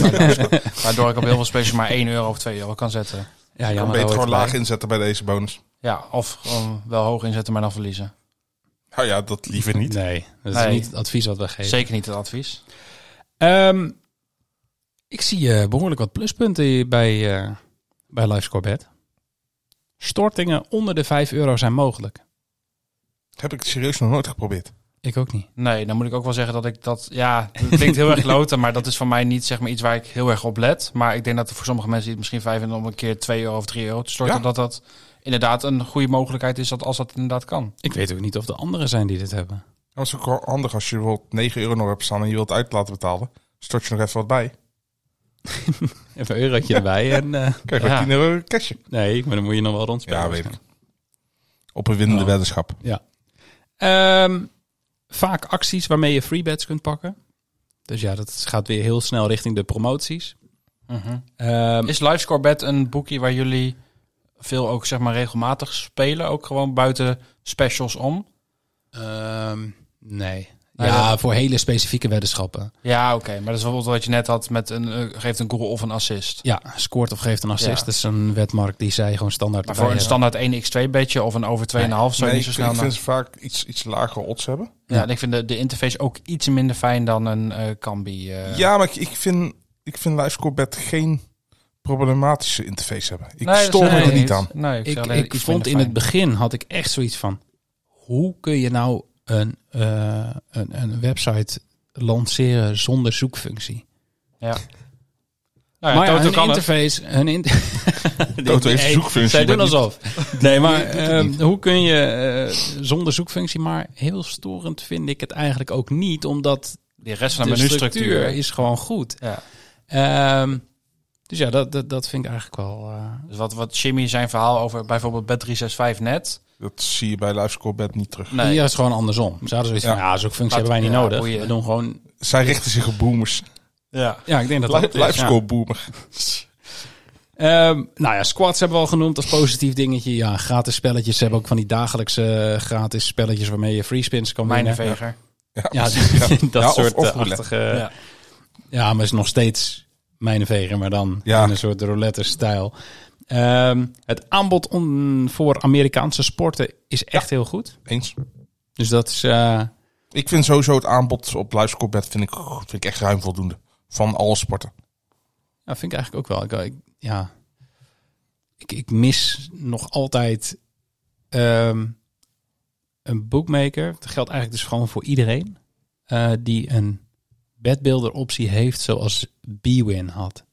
Speaker 7: waardoor ik op heel veel specials maar 1 euro of 2 euro kan zetten.
Speaker 6: Ja,
Speaker 8: Dan
Speaker 6: jammer.
Speaker 8: beter gewoon
Speaker 6: laag
Speaker 8: laag inzetten bij deze bonus.
Speaker 7: Ja, of gewoon wel hoog inzetten, maar dan verliezen.
Speaker 8: Nou ja, dat liever niet.
Speaker 6: Nee, dat is
Speaker 7: Nee.
Speaker 6: niet het advies wat we geven.
Speaker 7: Zeker niet het advies.
Speaker 6: Ehm, ik zie eh, behoorlijk wat pluspunten bij, eh bij LiveScorebet. Stortingen onder de 5 euro zijn mogelijk.
Speaker 8: Heb ik serieus nog nooit geprobeerd.
Speaker 6: Ik ook niet.
Speaker 7: Nee, dan moet ik ook wel zeggen dat ik dat... Ja, het klinkt heel erg loten, maar dat is voor mij niet zeg maar, iets waar ik heel erg op let. Maar ik denk dat er voor sommige mensen die het misschien vijf vinden om een keer 2 euro of 3 euro te storten...
Speaker 8: Ja.
Speaker 7: dat dat inderdaad een goede mogelijkheid is dat als dat inderdaad kan.
Speaker 6: Ik weet ook niet of de anderen zijn die dit hebben.
Speaker 8: Dat is ook wel handig als je bijvoorbeeld 9 euro nog hebt staan en je wilt het uit laten betalen. Stort je nog even wat bij.
Speaker 6: Even een eurotje erbij. En, eh,
Speaker 8: Kijk, maar
Speaker 7: Ja.
Speaker 8: 10 euro cashje.
Speaker 6: nee, maar dan moet je nog wel rondspelen.
Speaker 8: Ja, weet ik. Op een winnende
Speaker 6: Oh.
Speaker 8: weddenschap.
Speaker 6: Ehm, vaak acties waarmee je free bets kunt pakken. Dus ja, dat gaat weer heel snel richting de promoties.
Speaker 8: Mhm.
Speaker 6: Ehm,
Speaker 7: Is LiveScoreBet een boekje waar jullie veel ook zeg maar regelmatig spelen? Ook gewoon buiten specials om?
Speaker 6: ehm, nee.
Speaker 7: Nee,
Speaker 6: Nou ja, voor hele specifieke weddenschappen.
Speaker 7: Ja, oké. Maar dat is bijvoorbeeld wat je net had met een eh, geeft een goal of een assist.
Speaker 6: Ja, scoort of geeft een assist.
Speaker 7: Ja.
Speaker 6: Dat is een wedmarkt die zij gewoon standaard
Speaker 7: Maar
Speaker 6: erbij
Speaker 7: voor een
Speaker 6: hebben.
Speaker 7: standaard 1x2 bedje of een over 2,5 zou je niet
Speaker 8: Nee,
Speaker 7: zo
Speaker 8: ik,
Speaker 7: snel
Speaker 8: ik
Speaker 7: naar-
Speaker 8: vind ze vaak iets, iets lagere odds hebben.
Speaker 7: Ja, en ik vind de, de interface ook iets minder fijn dan een eh Kambi. eh.
Speaker 8: Ja, maar ik, ik vind, ik vind LiveScoreBet geen problematische interface hebben. Ik
Speaker 7: Nee, dat
Speaker 8: stoor
Speaker 7: zeg
Speaker 8: me
Speaker 7: ik
Speaker 8: er niet aan.
Speaker 7: Nee, ik, zeg
Speaker 6: ik,
Speaker 7: alleen
Speaker 6: ik
Speaker 7: iets
Speaker 6: vond
Speaker 7: minder
Speaker 6: in het
Speaker 7: fijn.
Speaker 6: begin had ik echt zoiets van: hoe kun je nou een, eh, een, een website lanceren zonder zoekfunctie?
Speaker 7: Ja. Nou
Speaker 6: maar
Speaker 7: ja,
Speaker 6: ja,
Speaker 7: Toto
Speaker 6: hun
Speaker 7: kan het.
Speaker 6: interface... Hun in...
Speaker 8: Toto heeft een zoekfunctie,
Speaker 6: Zij doen
Speaker 8: dat
Speaker 6: alsof. Nee, maar
Speaker 5: doet het
Speaker 6: ehm,
Speaker 5: niet.
Speaker 6: hoe kun je eh, zonder zoekfunctie... Maar heel storend vind ik het eigenlijk ook niet. Omdat
Speaker 7: Die rest van
Speaker 6: de
Speaker 7: de
Speaker 6: structuur
Speaker 7: menustructuur.
Speaker 6: is gewoon goed.
Speaker 7: Ja.
Speaker 6: Ehm, dus ja, dat, dat, dat vind ik eigenlijk wel... eh,
Speaker 7: Dus wat, wat Jimmy zijn verhaal over bijvoorbeeld bed 365 net.
Speaker 8: Dat zie je bij LiveScore Bed niet terug.
Speaker 7: Nee.
Speaker 6: Ja, het is gewoon andersom. Ze hadden zoiets
Speaker 8: Ja.
Speaker 6: van, ja, zo'n functie
Speaker 7: Laat-
Speaker 6: hebben wij niet
Speaker 7: ja,
Speaker 6: nodig.
Speaker 7: boeien.
Speaker 6: We doen gewoon...
Speaker 8: Zij richten zich op boomers.
Speaker 7: Ja.
Speaker 6: Ja, ik denk dat dat
Speaker 8: Li-
Speaker 6: het is, ja.
Speaker 8: LiveScore boomer.
Speaker 6: Ehm, nou ja, squats hebben we al genoemd als positief dingetje. Ja, gratis spelletjes. Ze hebben ook van die dagelijkse eh, gratis spelletjes waarmee je free spins kan winnen.
Speaker 7: Mijnenveger.
Speaker 6: Ja, dat
Speaker 8: Ja, of-
Speaker 6: soort
Speaker 8: of
Speaker 6: eh,
Speaker 8: roulette.
Speaker 6: achtige...
Speaker 7: Ja.
Speaker 6: Ja. maar is nog steeds mijnenveger, maar dan
Speaker 8: Ja.
Speaker 6: in een soort roulette-stijl. Ehm, het aanbod om, voor Amerikaanse sporten is echt heel goed.
Speaker 8: Eens.
Speaker 6: Dus dat is... eh,
Speaker 8: Ik vind sowieso het aanbod op LiveScore Bed vind ik, vind ik echt ruim voldoende. Van alle sporten.
Speaker 6: Ja, vind ik eigenlijk ook wel. Ik, ik- ja. ik, ik mis nog altijd ehm, een bookmaker. Dat geldt eigenlijk dus gewoon voor iedereen. eh, die een bedbuilder optie heeft zoals Bwin had.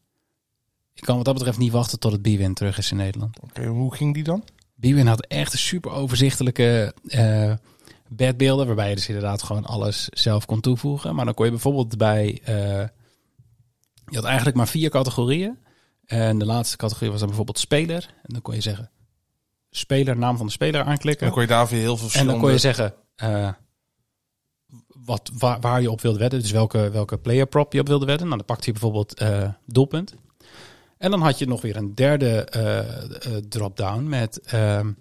Speaker 6: Ik kan wat dat betreft niet wachten tot het Bwin terug is in Nederland.
Speaker 8: Oké, hoe ging die dan?
Speaker 6: Bwin had echt een super overzichtelijke eh bedbeelden, waarbij je dus inderdaad gewoon alles zelf kon toevoegen. Maar dan kon je bijvoorbeeld bij, eh, je had eigenlijk maar vier categorieën. En de laatste categorie was dan bijvoorbeeld speler. En dan kon je zeggen, speler, naam van de speler aanklikken.
Speaker 8: Dan kon je daar weer heel veel
Speaker 6: En
Speaker 8: verschillende...
Speaker 6: dan kon je zeggen eh, wat, waar, waar je op wilde wedden. Dus welke, welke player prop je op wilde wedden. Nou, dan pakte je bijvoorbeeld eh, doelpunt. En dan had je nog weer een derde eh, eh, drop-down met... ehm,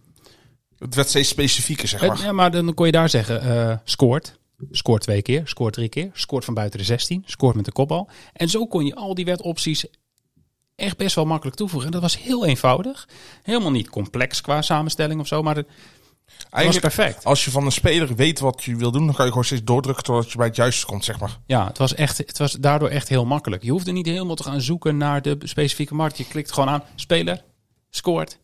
Speaker 8: Het werd steeds specifieker, zeg
Speaker 6: het-
Speaker 8: maar.
Speaker 6: Eh, ja, maar dan kon je daar zeggen, eh, scoort. Scoort twee keer, scoort drie keer, scoort van buiten de 16, scoort met de kopbal. En zo kon je al die wedopties echt best wel makkelijk toevoegen. En dat was heel eenvoudig. Helemaal niet complex qua samenstelling of zo, maar het was
Speaker 8: Eigenlijk,
Speaker 6: perfect.
Speaker 8: als je van een speler weet wat je wil doen, dan kan je gewoon steeds doordrukken totdat je bij het juiste komt, zeg maar.
Speaker 6: Ja, het was, echt, het was daardoor echt heel makkelijk. Je hoefde niet helemaal te gaan zoeken naar de specifieke markt. Je klikt gewoon aan, speler, scoort,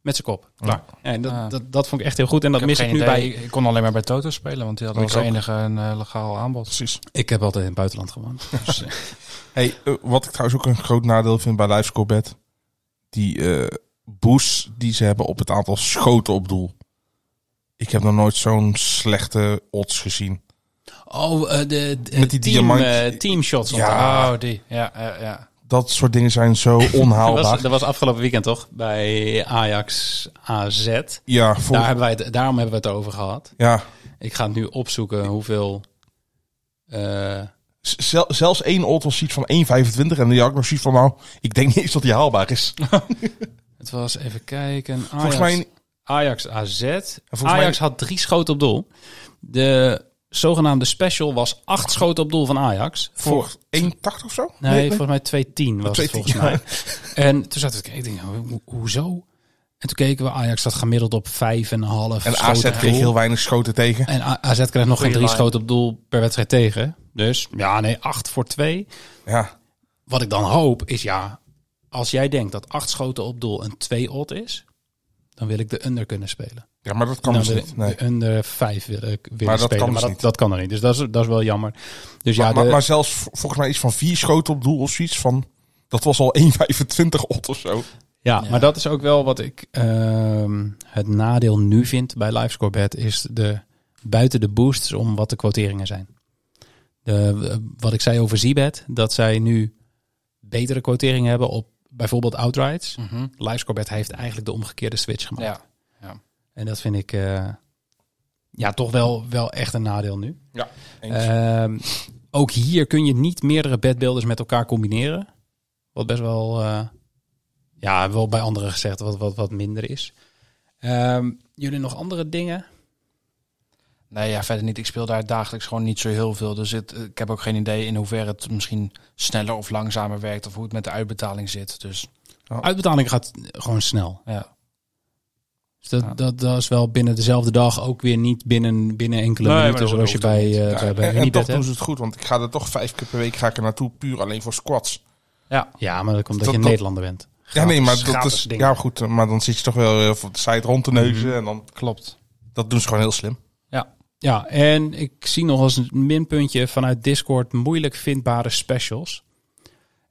Speaker 6: met zijn kop. Klaar. Ja, en dat,
Speaker 7: Ah.
Speaker 6: dat, dat vond ik echt heel goed. En dat
Speaker 7: Ik heb
Speaker 6: mis ik
Speaker 7: geen
Speaker 6: nu
Speaker 7: idee.
Speaker 6: bij...
Speaker 7: Ik kon alleen maar bij Toto spelen, want die had
Speaker 8: Ik
Speaker 7: als
Speaker 8: ook.
Speaker 7: enige een eh, legaal aanbod.
Speaker 8: Precies.
Speaker 6: Ik heb altijd in het buitenland gewoond. Dus, eh,
Speaker 8: Hey, eh, wat ik trouwens ook een groot nadeel vind bij Livescore Bet, die eh boost die ze hebben op het aantal schoten op doel. Ik heb nog nooit zo'n slechte odds gezien.
Speaker 6: oh, eh, de, de
Speaker 8: Met die
Speaker 6: team,
Speaker 8: diamant-
Speaker 6: eh, teamshots.
Speaker 8: Ja.
Speaker 7: Oh, die. Ja, ja, ja.
Speaker 8: Dat soort dingen zijn zo
Speaker 6: Dat was,
Speaker 8: onhaalbaar.
Speaker 6: dat was afgelopen weekend toch? Bij Ajax AZ.
Speaker 8: Ja, vol-
Speaker 6: Daar hebben wij het, daarom hebben we het over gehad.
Speaker 8: ja.
Speaker 6: Ik ga het nu opzoeken hoeveel... eh,
Speaker 8: Z- zel- zelfs één odd was iets van 1,25 en die had ik nog zoiets van, nou, ik denk niet eens dat die haalbaar is.
Speaker 6: Ah, het was even kijken. Ajax,
Speaker 8: Volgens mij
Speaker 6: Ajax AZ.
Speaker 8: volgens
Speaker 6: Ajax had drie schoten op doel. De zogenaamde special was acht schoten op doel van Ajax.
Speaker 8: voor 1,80 of zo?
Speaker 6: Nee, volgens mij 210 was het
Speaker 8: 2-10,
Speaker 6: volgens mij. En toen zat ik, ik denk, oh, ho- ho- hoezo? En toen keken we, Ajax zat gemiddeld op 5,5 en
Speaker 8: En AZ kreeg heel weinig schoten tegen.
Speaker 6: En A- AZ kreeg nog geen
Speaker 7: Goeie
Speaker 6: drie
Speaker 7: line.
Speaker 6: schoten op doel per wedstrijd tegen. Dus ja, nee, 8 voor 2.
Speaker 8: Ja,
Speaker 6: Wat ik dan hoop is ja, als jij denkt dat acht schoten op doel een 2 odd is, dan wil ik de under kunnen spelen.
Speaker 8: ja maar dat kan
Speaker 6: Nou,
Speaker 8: dus
Speaker 6: de,
Speaker 8: niet. Nee.
Speaker 6: de under 5 willen, willen
Speaker 8: dat
Speaker 6: spelen,
Speaker 8: kan dus
Speaker 6: maar dat,
Speaker 8: niet.
Speaker 6: dat kan er niet. Dus dat is, dat is wel jammer. Dus ja,
Speaker 8: maar, maar,
Speaker 6: de-
Speaker 8: maar zelfs v- volgens mij iets van vier schoten op doel of zoiets van... Dat was al 1,25 ot of zo.
Speaker 6: ja, maar dat is ook wel wat ik ehm, het nadeel nu vind bij LiveScoreBet is de buiten de boosts om wat de quoteringen zijn. De, wat ik zei over Zibet, dat zij nu betere quoteringen hebben op bijvoorbeeld outrights.
Speaker 7: Mhm.
Speaker 6: LiveScoreBet heeft eigenlijk de omgekeerde switch gemaakt.
Speaker 7: ja.
Speaker 6: En dat vind ik eh, ja, toch wel, wel echt een nadeel nu.
Speaker 8: Ja,
Speaker 6: Ehm, ook hier kun je niet meerdere bedbeelders met elkaar combineren. Wat best wel, eh, ja, wel bij anderen gezegd, wat, wat, wat minder is. Ehm, jullie nog andere dingen?
Speaker 7: Nee, ja, verder niet. Ik speel daar dagelijks gewoon niet zo heel veel. Dus het, ik heb ook geen idee in hoeverre het misschien sneller of langzamer werkt. Of hoe het met de uitbetaling zit. Dus
Speaker 8: Oh.
Speaker 6: Uitbetaling gaat gewoon snel.
Speaker 7: ja.
Speaker 6: Dus dat,
Speaker 7: Ja.
Speaker 6: dat, dat is wel binnen dezelfde dag ook weer niet binnen, binnen enkele
Speaker 7: Nee, maar
Speaker 6: minuten
Speaker 7: dat
Speaker 6: zoals je
Speaker 7: hoeft ook
Speaker 6: bij,
Speaker 7: niet.
Speaker 6: eh, bij, bij
Speaker 8: en, en
Speaker 6: Unibet
Speaker 8: toch
Speaker 6: hebt.
Speaker 8: doen ze het goed, want ik ga er toch vijf keer per week ga ik er naartoe puur alleen voor squats.
Speaker 6: Ja, maar dat komt dat,
Speaker 8: Dat-
Speaker 6: je een
Speaker 8: dat-
Speaker 6: Nederlander bent.
Speaker 8: ja, nee, maar dat
Speaker 6: gratis
Speaker 8: is...
Speaker 6: dingen.
Speaker 8: Ja, goed, maar dan zit je toch wel eh, op de site rond te neuzen
Speaker 6: Mhm.
Speaker 8: en dan...
Speaker 7: Klopt.
Speaker 8: Dat doen ze gewoon heel slim.
Speaker 6: Ja, en ik zie nog als een minpuntje vanuit Discord moeilijk vindbare specials.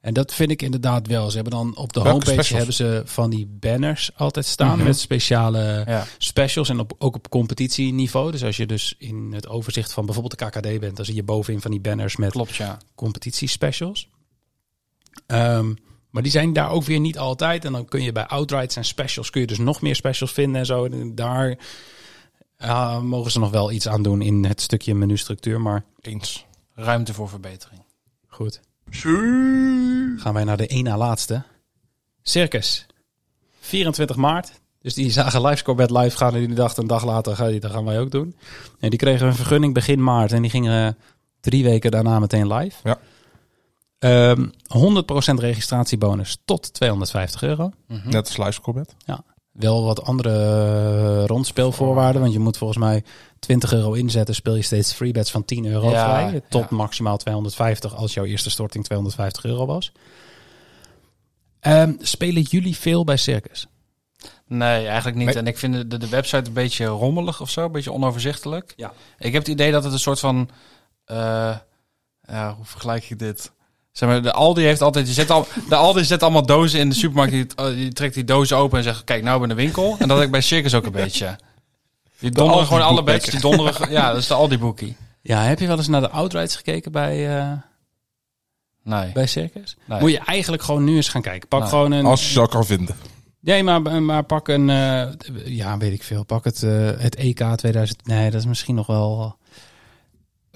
Speaker 6: En En dat vind ik inderdaad wel. Ze hebben dan op de
Speaker 8: Welke
Speaker 6: homepage
Speaker 8: specials?
Speaker 6: hebben ze van die banners altijd staan
Speaker 7: Mhm.
Speaker 6: met speciale
Speaker 7: Ja.
Speaker 6: specials en op, ook op competitieniveau. Dus als je dus in het overzicht van bijvoorbeeld de KKD bent, dan zie je bovenin van die banners met
Speaker 7: Klopt, ja.
Speaker 6: competitiespecials. Ehm, maar die zijn daar ook weer niet altijd. En dan kun je bij outrights en specials kun je dus nog meer specials vinden en zo. En daar ah, mogen ze nog wel iets aan doen in het stukje menustructuur. Maar
Speaker 8: Eens.
Speaker 7: Ruimte voor verbetering.
Speaker 6: goed. Gaan wij naar de één na laatste. Circus. 24 maart. Dus die zagen LiveScorebet live gaan en die dachten een dag later, ga die- dat gaan wij ook doen. En die kregen een vergunning begin maart en die gingen eh, drie weken daarna meteen live.
Speaker 8: Ja.
Speaker 6: Ehm, 100% registratiebonus tot 250 euro.
Speaker 8: Net als Live Combat.
Speaker 6: Wel wat andere eh, rondspeelvoorwaarden, want je moet volgens mij 20 euro inzetten, speel je steeds free bets van 10 euro
Speaker 7: Ja,
Speaker 6: vrij. Tot
Speaker 7: ja.
Speaker 6: maximaal 250 als jouw eerste storting 250 euro was. Ehm, spelen jullie veel bij Circus?
Speaker 7: Nee, eigenlijk niet.
Speaker 6: Nee.
Speaker 7: En ik vind de, de website een beetje rommelig of zo, een beetje onoverzichtelijk.
Speaker 6: Ja.
Speaker 7: Ik heb het idee dat het een soort van. eh, ja, hoe vergelijk ik dit? Zeg maar, de Aldi heeft altijd. Je zet al, de Aldi zet allemaal dozen in de supermarkt. Die, eh, die trekt die dozen open en zegt: Kijk, nou ben de winkel. En dat had ik bij Circus ook een beetje. Die donderen
Speaker 8: Aldi
Speaker 7: gewoon alle
Speaker 8: boekmaker.
Speaker 7: bedjes. Die donderen. ge- Ja, dat is de Aldi-boekie.
Speaker 6: Ja, heb je wel eens naar de outrights gekeken bij, eh,
Speaker 7: Nee.
Speaker 6: bij Circus?
Speaker 7: Nee.
Speaker 6: Moet je eigenlijk gewoon nu eens gaan kijken. Pak
Speaker 7: Nou,
Speaker 6: gewoon een...
Speaker 8: Als je ze al kan vinden.
Speaker 6: Nee, maar, maar pak een... eh, ja, weet ik veel. Pak het, eh, het EK 2000... Nee, dat is misschien nog wel... eh,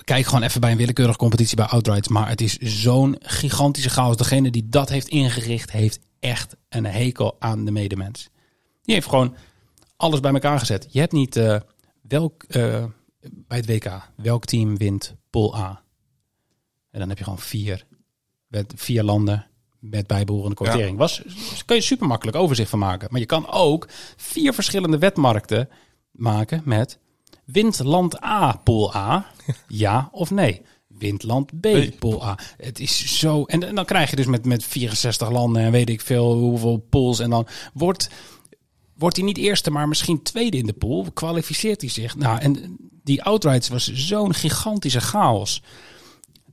Speaker 6: Kijk gewoon even bij een willekeurige competitie bij Outrights. Maar het is zo'n gigantische chaos. Degene die dat heeft ingericht, heeft echt een hekel aan de medemens. Die heeft gewoon alles bij elkaar gezet. Je hebt niet eh, welk, eh, bij het WK, welk team wint pool A. En dan heb je gewoon vier, met vier landen met bijbehorende quotering. Was, kun je super makkelijk overzicht van maken. Maar je kan ook vier verschillende wetmarkten maken met wint land A pool A, ja of nee. Wint land B pool A. Het is zo. En, en dan krijg je dus met, met 64 landen en weet ik veel hoeveel pools. En dan wordt wordt hij niet eerste, maar misschien tweede in de pool. Kwalificeert hij zich? Nou, en die outrights was zo'n gigantische chaos.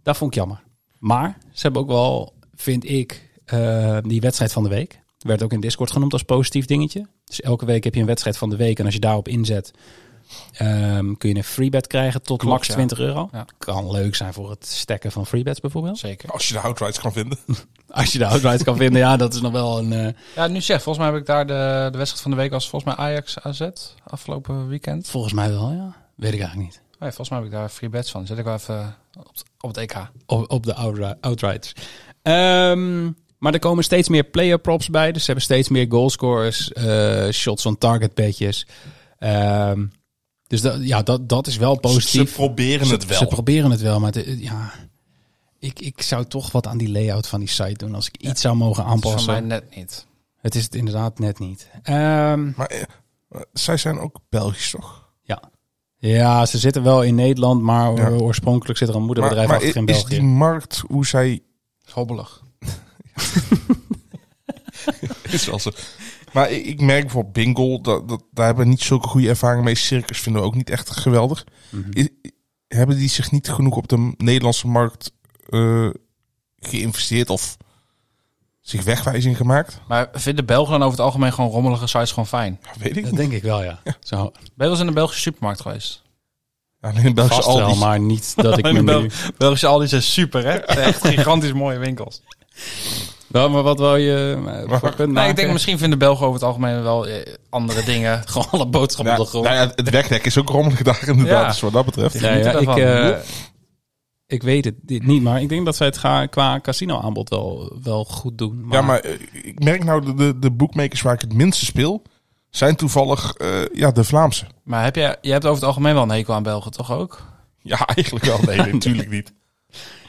Speaker 6: Dat vond ik jammer. Maar ze hebben ook wel, vind ik, eh, die wedstrijd van de week. Werd ook in Discord genoemd als positief dingetje. Dus elke week heb je een wedstrijd van de week. En als je daarop inzet, ehm, kun je een freebet krijgen tot
Speaker 7: Klopt,
Speaker 6: max
Speaker 7: ja.
Speaker 6: 20 euro.
Speaker 7: Ja.
Speaker 6: Kan leuk zijn voor het stekken van freebets bijvoorbeeld.
Speaker 7: Zeker.
Speaker 8: Als je de outrights kan vinden.
Speaker 6: Als je de outrights kan vinden, ja, dat is nog wel een... eh,
Speaker 7: Ja, nu zeg, volgens mij heb ik daar de, de wedstrijd van de week als volgens mij Ajax AZ afgelopen weekend.
Speaker 6: volgens mij wel, ja. Weet ik eigenlijk niet.
Speaker 7: Oh ja, volgens mij heb ik daar free bets van. Zet ik wel even op, op het EK.
Speaker 6: op, op de outri- outrights. Ehm, maar er komen steeds meer player props bij. Dus ze hebben steeds meer goalscorers, eh, shots on target bedjes. Ehm, dus dat, ja, dat, dat is wel positief.
Speaker 8: Ze proberen het
Speaker 6: Ze
Speaker 8: wel.
Speaker 6: proberen het wel, maar het- eh, ja, ik, ik zou toch wat aan die layout van die site doen als ik iets zou mogen
Speaker 7: Dat is
Speaker 6: aanpassen.
Speaker 7: van mij net niet.
Speaker 6: Het is het inderdaad net niet. Ehm,
Speaker 8: Maar eh, eh, zij zijn ook Belgisch, toch?
Speaker 6: ja, ze zitten wel in Nederland, maar
Speaker 8: Ja.
Speaker 6: oorspronkelijk zit er een moederbedrijf
Speaker 8: maar
Speaker 6: achter in
Speaker 8: is
Speaker 6: België.
Speaker 8: die markt hoe zij...
Speaker 7: Hobbelig.
Speaker 8: Is wel zo. Maar ik, ik merk bijvoorbeeld Bingo, dat, dat, daar hebben we niet zulke goede ervaringen mee. Circus vinden we ook niet echt geweldig.
Speaker 6: Mhm.
Speaker 8: I- i- hebben die zich niet genoeg op de Nederlandse markt eh, geïnvesteerd of zich wegwijzing gemaakt?
Speaker 7: Maar vinden Belgen dan over het algemeen gewoon rommelige sites gewoon fijn?
Speaker 8: Ja, weet ik
Speaker 6: Dat
Speaker 8: niet.
Speaker 6: denk ik wel, ja. Zo,
Speaker 7: Ben je wel eens in een Belgische supermarkt geweest?
Speaker 8: Alleen in Belgische
Speaker 6: vast wel,
Speaker 8: Aldi.
Speaker 6: maar niet dat ik me
Speaker 7: Alleen Bel-
Speaker 6: nu...
Speaker 7: Belgische Aldi zijn super, hè? Het zijn Echt gigantisch mooie winkels.
Speaker 6: Nou, maar wat wil je eh,
Speaker 8: voor
Speaker 6: voor punt
Speaker 7: Nee, ik denk misschien vinden Belgen over het algemeen wel eh, andere dingen.
Speaker 6: gewoon alle boodschappen
Speaker 8: Ja,
Speaker 6: op de grond.
Speaker 8: nou ja, het wegdek is ook rommelig daar inderdaad,
Speaker 7: Ja.
Speaker 8: dus wat dat betreft.
Speaker 7: Ja, geniet
Speaker 6: ik,
Speaker 7: ervan.
Speaker 6: eh, ik weet het dit niet, maar ik denk dat zij het ga- qua casino aanbod wel, wel goed doen. Maar,
Speaker 8: Ja, maar eh, ik merk nou de, de, de boekmakers waar ik het minste speel, zijn toevallig eh, ja, de Vlaamse.
Speaker 7: Maar heb jij, je hebt over het algemeen wel een hekel aan Belgen, toch ook?
Speaker 8: Ja, eigenlijk wel. Nee, nee, natuurlijk niet.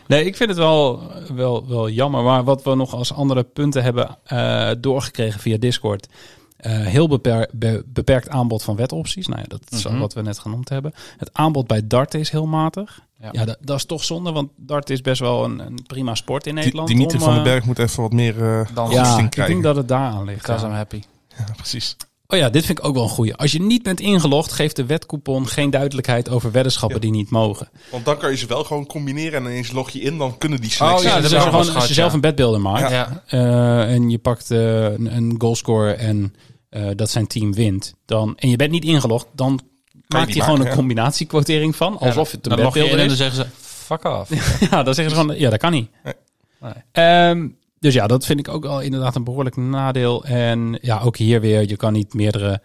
Speaker 6: Nee, ik vind het wel, wel, wel jammer. Maar wat we nog als andere punten hebben eh, doorgekregen via Discord. eh, heel beper- be- beperkt aanbod van wetopties. Nou ja, dat is
Speaker 7: Mhm.
Speaker 6: wat we net genoemd hebben. Het aanbod bij darten is heel matig. Ja,
Speaker 7: Ja.
Speaker 6: dat, dat is toch zonde, want darten is best wel een, een prima sport in
Speaker 8: Die,
Speaker 6: Nederland.
Speaker 8: die Mieter
Speaker 6: om,
Speaker 8: van den
Speaker 6: eh,
Speaker 8: Berg moet even wat meer eh
Speaker 7: Dan
Speaker 8: goesting
Speaker 6: Ja, ik
Speaker 8: krijgen.
Speaker 6: denk dat het daar aan ligt.
Speaker 7: Because
Speaker 6: ja.
Speaker 7: I'm happy.
Speaker 8: Ja, precies.
Speaker 6: Oh ja, dit vind ik ook wel een goeie. Als je niet bent ingelogd, geeft de wetcoupon geen duidelijkheid over weddenschappen die niet mogen.
Speaker 8: Want dan kan je ze wel gewoon combineren en ineens log je in, dan kunnen die
Speaker 6: Oh
Speaker 8: selecties.
Speaker 6: ja,
Speaker 7: dat
Speaker 6: dus
Speaker 7: hebben we
Speaker 6: als je,
Speaker 7: al
Speaker 6: gewoon,
Speaker 7: gehad,
Speaker 6: als je
Speaker 7: ja.
Speaker 6: zelf een bedbeelder maakt
Speaker 7: Ja.
Speaker 6: eh, en je pakt eh, een, een goalscore en eh, dat zijn team wint, dan, en je bent niet ingelogd, dan maakt
Speaker 8: die
Speaker 6: hij gewoon
Speaker 8: maken,
Speaker 6: een
Speaker 8: ja.
Speaker 6: combinatiekwartering van, alsof het een
Speaker 7: dan log je in
Speaker 6: bedbeelder
Speaker 7: en
Speaker 6: is.
Speaker 7: dan zeggen ze, fuck off.
Speaker 6: Ja, Nou, dan zeggen ze gewoon, ja, dat kan niet.
Speaker 8: Nee.
Speaker 7: Nee.
Speaker 6: Ehm, dus ja, dat vind ik ook al inderdaad een behoorlijk nadeel. En ja, ook hier weer, je kan niet meerdere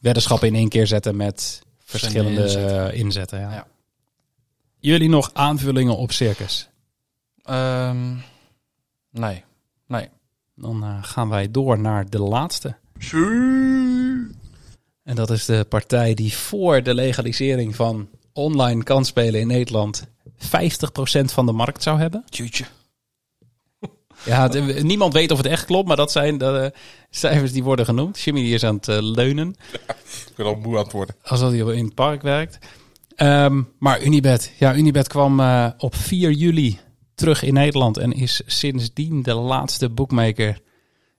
Speaker 6: weddenschappen in één keer zetten met verschillende
Speaker 7: Verschillende
Speaker 6: inzetten. inzetten ja.
Speaker 7: Ja.
Speaker 6: Jullie nog aanvullingen op Circus?
Speaker 7: Ehm, nee. Nee.
Speaker 6: Dan eh, gaan wij door naar de laatste. En dat is de partij die voor de legalisering van online kansspelen in Nederland 50% van de markt zou hebben.
Speaker 7: Tjutje.
Speaker 6: Ja, het- niemand weet of het echt klopt, maar dat zijn de eh, cijfers die worden genoemd. Jimmy die is aan het eh, leunen,
Speaker 8: Ik ben al moe aan het worden.
Speaker 6: alsof hij in het park werkt. Ehm, maar Unibet, ja, Unibet kwam eh, op 4 juli terug in Nederland en is sindsdien de laatste boekmaker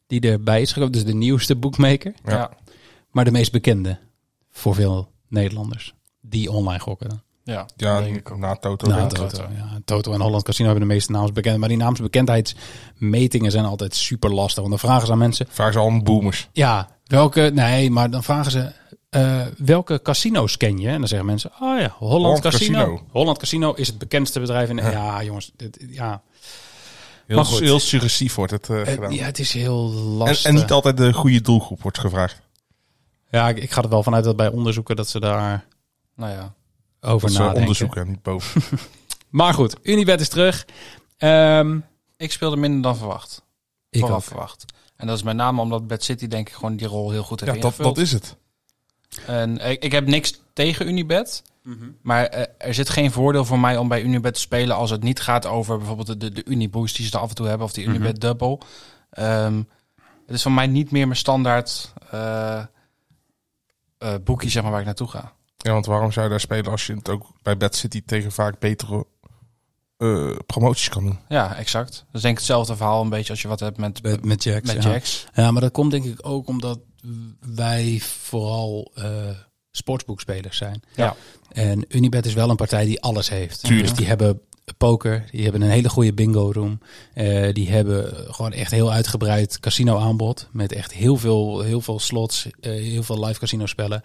Speaker 6: die erbij is gekomen. Dus de nieuwste boekmaker,
Speaker 8: Ja.
Speaker 7: Ja.
Speaker 6: maar de meest bekende voor veel Nederlanders die online gokken.
Speaker 7: Ja.
Speaker 8: Ja,
Speaker 7: denk ik ook.
Speaker 8: na Toto.
Speaker 6: Nou,
Speaker 8: denk ik.
Speaker 6: Toto, ja. Toto en Holland Casino hebben de meeste naamsbekendheid, maar die naamsbekendheidsmetingen zijn altijd super lastig. Want dan vragen ze aan mensen,
Speaker 8: Vraag ze al een boomers.
Speaker 6: Ja, welke, nee, maar dan vragen ze, eh, welke casino's ken je? En dan zeggen mensen, oh ja, Holland,
Speaker 8: Holland
Speaker 6: Casino.
Speaker 8: Casino.
Speaker 6: Holland Casino is het bekendste bedrijf in de, ja. jongens, dit, ja.
Speaker 8: Heel,
Speaker 6: Maar goed.
Speaker 8: heel suggestief wordt het eh,
Speaker 6: Het,
Speaker 8: gedaan.
Speaker 6: ja, eh, het is heel
Speaker 8: en,
Speaker 6: lastig.
Speaker 8: en niet altijd de goede doelgroep wordt gevraagd.
Speaker 6: ja, ik, ik ga er wel vanuit dat bij onderzoeken dat ze daar
Speaker 7: Nou ja.
Speaker 6: over
Speaker 8: Dat ze
Speaker 6: nadenken.
Speaker 8: onderzoeken, en niet boven.
Speaker 6: Maar goed, Unibet is terug. Ehm
Speaker 7: Ik speelde minder dan verwacht.
Speaker 6: ik
Speaker 7: vooraf
Speaker 6: ook.
Speaker 7: verwacht. En dat is met name omdat Bad City denk ik gewoon die rol heel goed heeft
Speaker 8: ja, dat,
Speaker 7: ingevuld.
Speaker 8: dat is het.
Speaker 7: En ik, ik heb niks tegen Unibet.
Speaker 6: Mhm.
Speaker 7: Maar eh, er zit geen voordeel voor mij om bij Unibet te spelen als het niet gaat over bijvoorbeeld de, de, de Uniboost die ze er af en toe hebben of
Speaker 6: Mhm.
Speaker 7: die Unibet Double. Ehm, het is voor mij niet meer mijn standaard eh eh, boekie zeg maar, waar ik naartoe ga.
Speaker 8: Ja, want waarom zou je daar spelen als je het ook bij Bad City tegen vaak betere eh, promoties kan doen?
Speaker 7: Ja, exact. Dat is denk ik hetzelfde verhaal een beetje als je wat hebt met,
Speaker 6: Met, met Jacks.
Speaker 7: met
Speaker 6: ja.
Speaker 7: Jacks.
Speaker 6: Ja, maar dat komt denk ik ook omdat wij vooral eh sportsboekspelers zijn.
Speaker 7: Ja.
Speaker 6: En Unibet is wel een partij die alles heeft.
Speaker 8: Tuurlijk.
Speaker 6: Dus die hebben poker, die hebben een hele goede bingo room. eh, die hebben gewoon echt heel uitgebreid casino aanbod. Met echt heel veel, heel veel slots, eh, heel veel live casino spellen.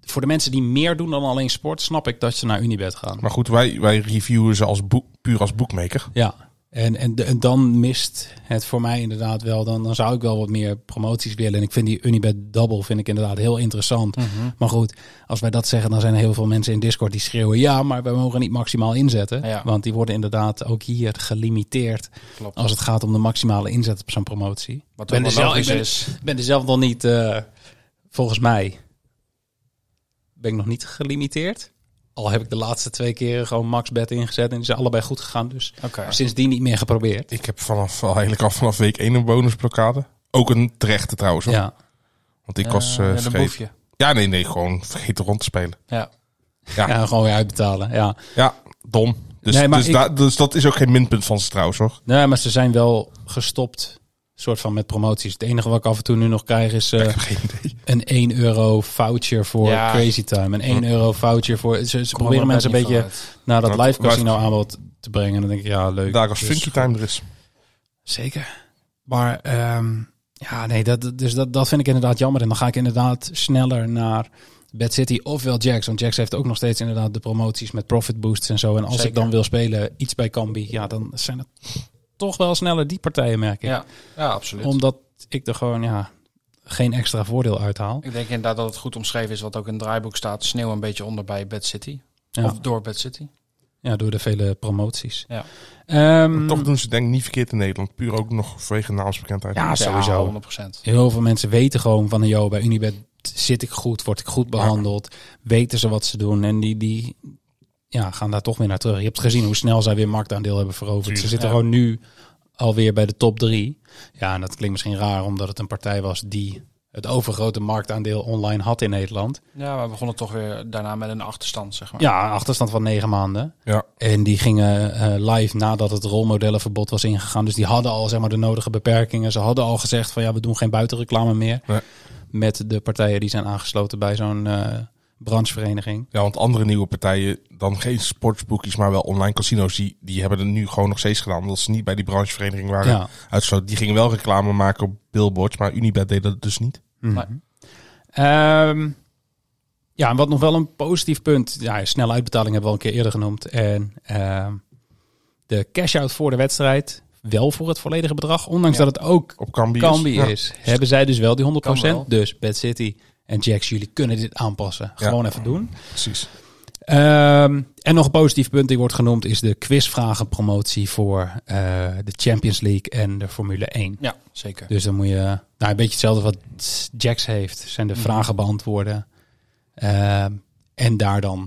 Speaker 6: Voor de mensen die meer doen dan alleen sport, snap ik dat ze naar Unibet gaan.
Speaker 8: Maar goed, wij, wij reviewen ze als boek, puur als boekmaker.
Speaker 6: Ja, en, en, de- en dan mist het voor mij inderdaad wel. Dan, dan zou ik wel wat meer promoties willen. En ik vind die Unibet Double vind ik inderdaad heel interessant.
Speaker 7: Mhm.
Speaker 6: Maar goed, als wij dat zeggen, dan zijn er heel veel mensen in Discord die schreeuwen... ja, maar wij mogen niet maximaal inzetten.
Speaker 7: Ja.
Speaker 6: Want die worden inderdaad ook hier gelimiteerd...
Speaker 7: Klopt.
Speaker 6: als het gaat om de maximale inzet op zo'n promotie.
Speaker 7: Wat
Speaker 6: ben
Speaker 7: ook
Speaker 6: er
Speaker 7: wel
Speaker 6: zelf-
Speaker 7: logisch
Speaker 6: ik ben-
Speaker 7: is.
Speaker 6: Ik ben er zelf nog niet, eh, volgens mij, ben ik nog niet gelimiteerd. Al heb ik de laatste twee keren gewoon max bet ingezet en die zijn allebei goed gegaan. Dus
Speaker 7: Oké.
Speaker 6: sindsdien niet meer geprobeerd.
Speaker 8: Ik heb vanaf, al eigenlijk al vanaf week 1 een bonusblokkade. Ook een terechte trouwens. Hoor.
Speaker 6: Ja.
Speaker 8: Want ik
Speaker 7: Ja,
Speaker 8: was eh,
Speaker 7: ja, dan boef
Speaker 8: vergeten.
Speaker 7: je.
Speaker 8: Ja, nee, nee, gewoon vergeten rond te spelen.
Speaker 7: Ja.
Speaker 8: Ja.
Speaker 6: ja, gewoon weer uitbetalen. Ja.
Speaker 8: Ja, dom. Dus,
Speaker 6: Nee, maar
Speaker 8: dus,
Speaker 6: ik-
Speaker 8: da- dus dat is ook geen minpunt van ze trouwens hoor.
Speaker 6: Nee, maar ze zijn wel gestopt soort van met promoties. Het enige wat ik af en toe nu nog krijg is eh,
Speaker 8: Ik heb geen idee.
Speaker 6: een 1 euro voucher voor
Speaker 7: Ja.
Speaker 6: Crazy Time. Een 1 euro voucher voor... Ze, ze proberen
Speaker 7: Maar
Speaker 6: mensen een
Speaker 7: dat
Speaker 6: beetje
Speaker 7: niet vooruit.
Speaker 6: naar dat
Speaker 8: Maar-
Speaker 6: live
Speaker 8: maar-
Speaker 6: casino aanbod te brengen. En dan denk ik, ja, leuk.
Speaker 8: Daar als
Speaker 6: Dus-
Speaker 8: Funky Time er is.
Speaker 6: Zeker. Maar ehm, ja, nee, dat, dus dat, dat vind ik inderdaad jammer. En dan ga ik inderdaad sneller naar Bad City ofwel Jax. Want Jax heeft ook nog steeds inderdaad de promoties met profit boosts en zo. En als ik
Speaker 7: Zeker.
Speaker 6: dan wil spelen iets bij Cambi, ja, dan zijn het toch wel sneller die partijen, merk ik.
Speaker 7: Ja. ja, absoluut.
Speaker 6: Omdat ik er gewoon, ja, geen extra voordeel uithaal.
Speaker 7: Ik denk inderdaad dat het goed omschreven is wat ook in het draaiboek staat. Sneeuw een beetje onder bij Bad City.
Speaker 6: Ja.
Speaker 7: Of door Bad City.
Speaker 6: Ja, door de vele promoties.
Speaker 7: Ja.
Speaker 6: Ehm,
Speaker 8: Toch doen ze denk ik niet verkeerd in Nederland. Puur ook nog vanwege naamsbekendheid.
Speaker 6: ja, sowieso.
Speaker 7: 100%.
Speaker 6: Heel veel mensen weten gewoon van, joh, bij Unibet zit ik goed, word ik goed behandeld, weten ze wat ze doen en die, die ja, gaan daar toch weer naar terug. Je hebt gezien hoe snel zij weer marktaandeel hebben veroverd. Ze zitten
Speaker 7: ja.
Speaker 6: gewoon nu alweer bij de top drie. Ja, en dat klinkt misschien raar omdat het een partij was die het overgrote marktaandeel online had in Nederland.
Speaker 7: Ja, maar we begonnen toch weer daarna met een achterstand, zeg maar.
Speaker 6: Ja, een achterstand van negen maanden.
Speaker 8: Ja.
Speaker 6: En die gingen eh, live nadat het rolmodellenverbod was ingegaan. Dus die hadden al zeg maar, de nodige beperkingen. Ze hadden al gezegd van ja, we doen geen buitenreclame meer.
Speaker 8: Nee.
Speaker 6: met de partijen die zijn aangesloten bij zo'n eh, branchevereniging.
Speaker 8: Ja, want andere nieuwe partijen, dan geen sportsboekjes, maar wel online casino's, die, die hebben het nu gewoon nog steeds gedaan. Omdat ze niet bij die branchevereniging waren
Speaker 6: Ja.
Speaker 8: uitgesloten. Die gingen wel reclame maken op billboards, maar Unibet deed dat dus niet.
Speaker 6: Mhm. Ehm, ja, en wat nog wel een positief punt. Ja, snelle uitbetaling hebben we al een keer eerder genoemd. En ehm, de cash-out voor de wedstrijd. Wel voor het volledige bedrag. Ondanks dat het ook
Speaker 8: Op Cambi
Speaker 6: Kambi
Speaker 8: Ja.
Speaker 6: is. Hebben zij dus wel die 100%.
Speaker 7: Kan wel.
Speaker 6: Dus Bad City en Jax, jullie kunnen dit aanpassen.
Speaker 8: Ja.
Speaker 6: Gewoon even doen.
Speaker 8: Precies.
Speaker 6: Ehm, en nog een positief punt die wordt genoemd is de quizvragenpromotie voor eh, de Champions League en de Formule 1.
Speaker 7: Ja, zeker.
Speaker 6: Dus dan moet je nou, een beetje hetzelfde wat Jax heeft. Zijn
Speaker 7: Mhm.
Speaker 6: de vragen beantwoorden. Ehm, en daar dan,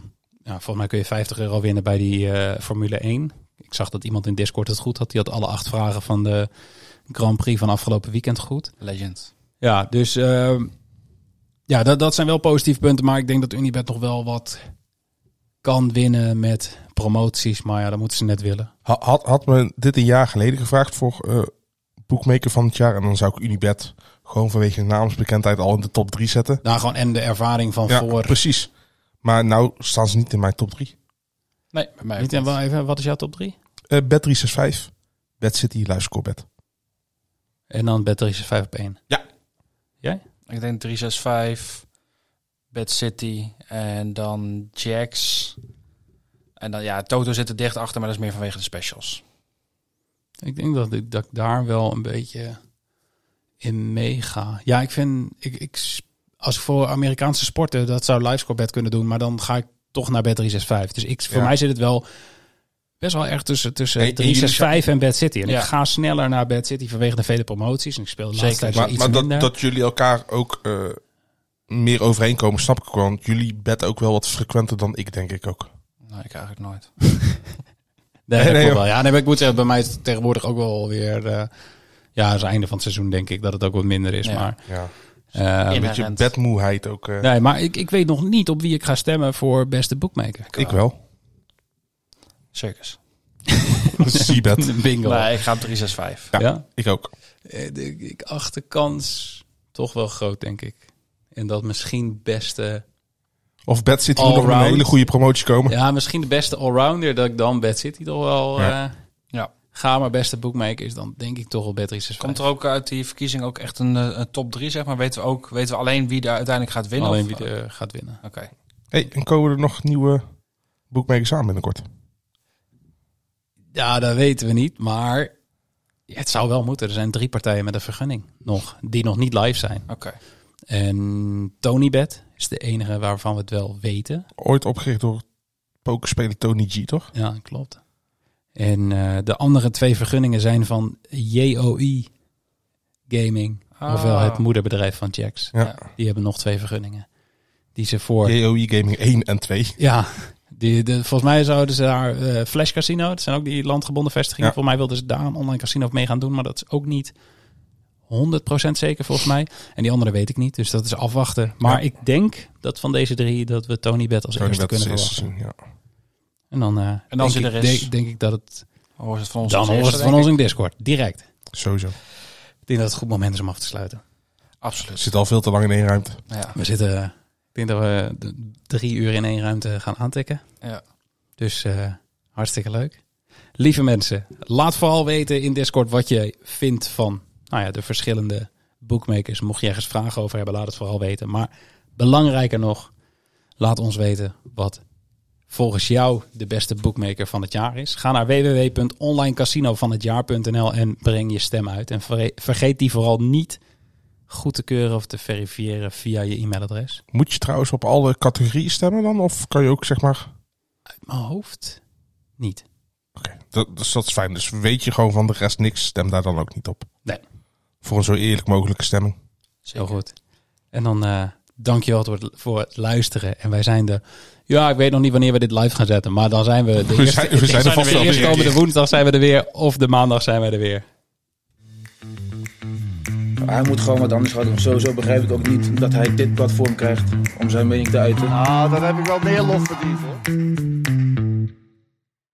Speaker 6: nou, volgens mij kun je 50 euro winnen bij die eh, Formule 1. Ik zag dat iemand in Discord het goed had. Die had alle acht vragen van de Grand Prix van afgelopen weekend goed.
Speaker 7: Legend.
Speaker 6: Ja, dus ehm, ja, dat, dat zijn wel positieve punten. Maar ik denk dat Unibet nog wel wat kan winnen met promoties. Maar ja, dat moeten ze net willen.
Speaker 8: Ha- Had, had me dit een jaar geleden gevraagd voor eh, boekmaker van het jaar. En dan zou ik Unibet gewoon vanwege de naamsbekendheid al in de top 3 zetten.
Speaker 6: Nou, gewoon en de ervaring van
Speaker 8: Ja,
Speaker 6: voor.
Speaker 8: precies. Maar nou staan ze niet in mijn top 3.
Speaker 7: Nee, bij mij ook
Speaker 6: Niet,
Speaker 7: niet.
Speaker 6: en wel even, wat is jouw top 3?
Speaker 8: Eh bet 365, Bet City, Luistercorbet.
Speaker 6: En dan bet 5 op 1.
Speaker 7: Ik denk 365, Bad City en dan Jax. En dan ja, Toto zit er dicht achter, maar dat is meer vanwege de specials.
Speaker 6: Ik denk dat ik, dat ik daar wel een beetje in meega. Ja, ik vind, ik, ik, s- als ik voor Amerikaanse sporten, dat zou LiveScorebet kunnen doen. Maar dan ga ik toch naar bet 365. Dus ik, voor
Speaker 8: Ja.
Speaker 6: mij zit het wel best wel erg tussen, tussen
Speaker 8: En- en
Speaker 6: 365 en Bad City. En
Speaker 7: Ja.
Speaker 6: ik ga sneller naar Bad City vanwege de vele promoties. En ik speel de laatste
Speaker 7: Zeker.
Speaker 6: tijd wel
Speaker 8: Maar,
Speaker 6: iets
Speaker 8: maar dat,
Speaker 6: minder.
Speaker 8: dat jullie elkaar ook eh, meer overeenkomen, snap ik ook wel. Want jullie bet ook wel wat frequenter dan ik, denk ik ook.
Speaker 7: Nou, ik eigenlijk nooit.
Speaker 6: Nee, dat
Speaker 8: Nee, nee,
Speaker 6: klopt
Speaker 8: joh.
Speaker 6: wel. Ja, nee, maar ik moet zeggen, bij mij is het tegenwoordig ook wel weer... eh, ja, aan het einde van het seizoen denk ik dat het ook wat minder is.
Speaker 7: Ja.
Speaker 6: Maar,
Speaker 8: Ja.
Speaker 6: eh,
Speaker 8: Een
Speaker 7: In-
Speaker 8: beetje
Speaker 7: Inherent.
Speaker 8: bedmoeheid ook. eh.
Speaker 6: nee, maar ik, ik weet nog niet op wie ik ga stemmen voor beste boekmaker.
Speaker 8: ik wel.
Speaker 7: Circus.
Speaker 8: Seabed.
Speaker 6: Bingo.
Speaker 7: Nee, ik ga op 365.
Speaker 8: Ja,
Speaker 6: Ja?
Speaker 8: ik ook.
Speaker 6: Eh, de- Ik acht de kans toch wel groot, denk ik. En dat misschien beste...
Speaker 8: Of Bad City moet nog met een
Speaker 6: Allround.
Speaker 8: hele goede promotie komen.
Speaker 6: Ja, misschien de beste allrounder dat ik dan Bad City toch wel...
Speaker 8: Ja.
Speaker 6: eh,
Speaker 7: Ja.
Speaker 6: Ga maar beste boekmaker is dan denk ik toch wel Bad Research
Speaker 7: Komt er ook uit die verkiezing ook echt een, eh, een top 3, zeg maar? Weten we, ook, weten we alleen wie daar uiteindelijk gaat winnen?
Speaker 6: Alleen
Speaker 7: of-
Speaker 6: wie er gaat winnen.
Speaker 7: Oké.
Speaker 8: Hey, en komen er nog nieuwe boekmakers aan binnenkort?
Speaker 6: Ja, dat weten we niet, maar het zou wel moeten. Er zijn drie partijen met een vergunning nog, die nog niet live zijn.
Speaker 7: Oké.
Speaker 6: En TonyBet is de enige waarvan we het wel weten.
Speaker 8: Ooit opgericht door pokerspeler Tony G, toch?
Speaker 6: Ja, klopt. En eh, de andere twee vergunningen zijn van JOI Gaming,
Speaker 7: Ah.
Speaker 6: ofwel het moederbedrijf van Jax.
Speaker 8: Ja.
Speaker 6: Die hebben nog twee vergunningen. Die ze voor...
Speaker 8: JOI Gaming 1 en 2.
Speaker 6: Ja, die, de, volgens mij zouden ze daar eh, Flash Casino, dat zijn ook die landgebonden vestigingen.
Speaker 8: Ja.
Speaker 6: Volgens mij wilden ze daar een online casino mee gaan doen, maar dat is ook niet 100% zeker volgens mij. En die andere weet ik niet, dus dat is afwachten. Maar
Speaker 8: Ja.
Speaker 6: ik denk dat van deze drie dat we Tony Bet als
Speaker 8: Tony
Speaker 6: eerste
Speaker 8: Bed is
Speaker 6: kunnen
Speaker 8: eerst
Speaker 6: verwachten.
Speaker 8: gezien, ja.
Speaker 6: En dan, eh, denk
Speaker 7: als hij
Speaker 6: ik-
Speaker 7: er is-
Speaker 6: Denk, denk ik dat het...
Speaker 7: Hoor ze het van ons
Speaker 6: Dan
Speaker 7: als
Speaker 6: hoort
Speaker 7: eerste,
Speaker 6: het van
Speaker 7: denk
Speaker 6: ons
Speaker 7: ik?
Speaker 6: in Discord, direct.
Speaker 8: Sowieso.
Speaker 6: Ik denk dat het een goed moment is om af te sluiten.
Speaker 7: Absoluut.
Speaker 8: Zit al veel te lang in één ruimte.
Speaker 7: Ja.
Speaker 6: We zitten... eh, Ik denk dat we de- drie uur in één ruimte gaan aantikken.
Speaker 7: ja.
Speaker 6: Dus eh, hartstikke leuk. Lieve mensen, laat vooral weten in Discord wat je vindt van nou ja, de verschillende bookmakers. Mocht je ergens vragen over hebben, laat het vooral weten. Maar belangrijker nog, laat ons weten wat volgens jou de beste bookmaker van het jaar is. Ga naar www.onlinecasinovanhetjaar.nl en breng je stem uit. En verre- vergeet die vooral niet goed te keuren of te verifiëren via je e-mailadres.
Speaker 8: Moet je trouwens op alle categorieën stemmen dan? Of kan je ook zeg maar...
Speaker 6: Uit mijn hoofd niet.
Speaker 8: Oké, dat, dus dat is fijn. Dus weet je gewoon van de rest niks, stem daar dan ook niet op.
Speaker 6: Nee.
Speaker 8: Voor een zo eerlijk mogelijke stemming.
Speaker 6: Heel goed. En dan eh dankjewel voor het, voor het luisteren. En wij zijn de... Ja, ik weet nog niet wanneer we dit live gaan zetten. Maar dan zijn we... De
Speaker 8: We zijn, we zijn er vast
Speaker 6: de
Speaker 8: wel weer.
Speaker 6: eerstkomende woensdag zijn we er weer. Of de maandag zijn we er weer.
Speaker 9: Hij moet gewoon wat anders gaan doen. Sowieso begrijp ik ook niet dat hij dit platform krijgt om zijn mening te uiten.
Speaker 3: Ah, dan heb ik wel meer lof verdiend hoor.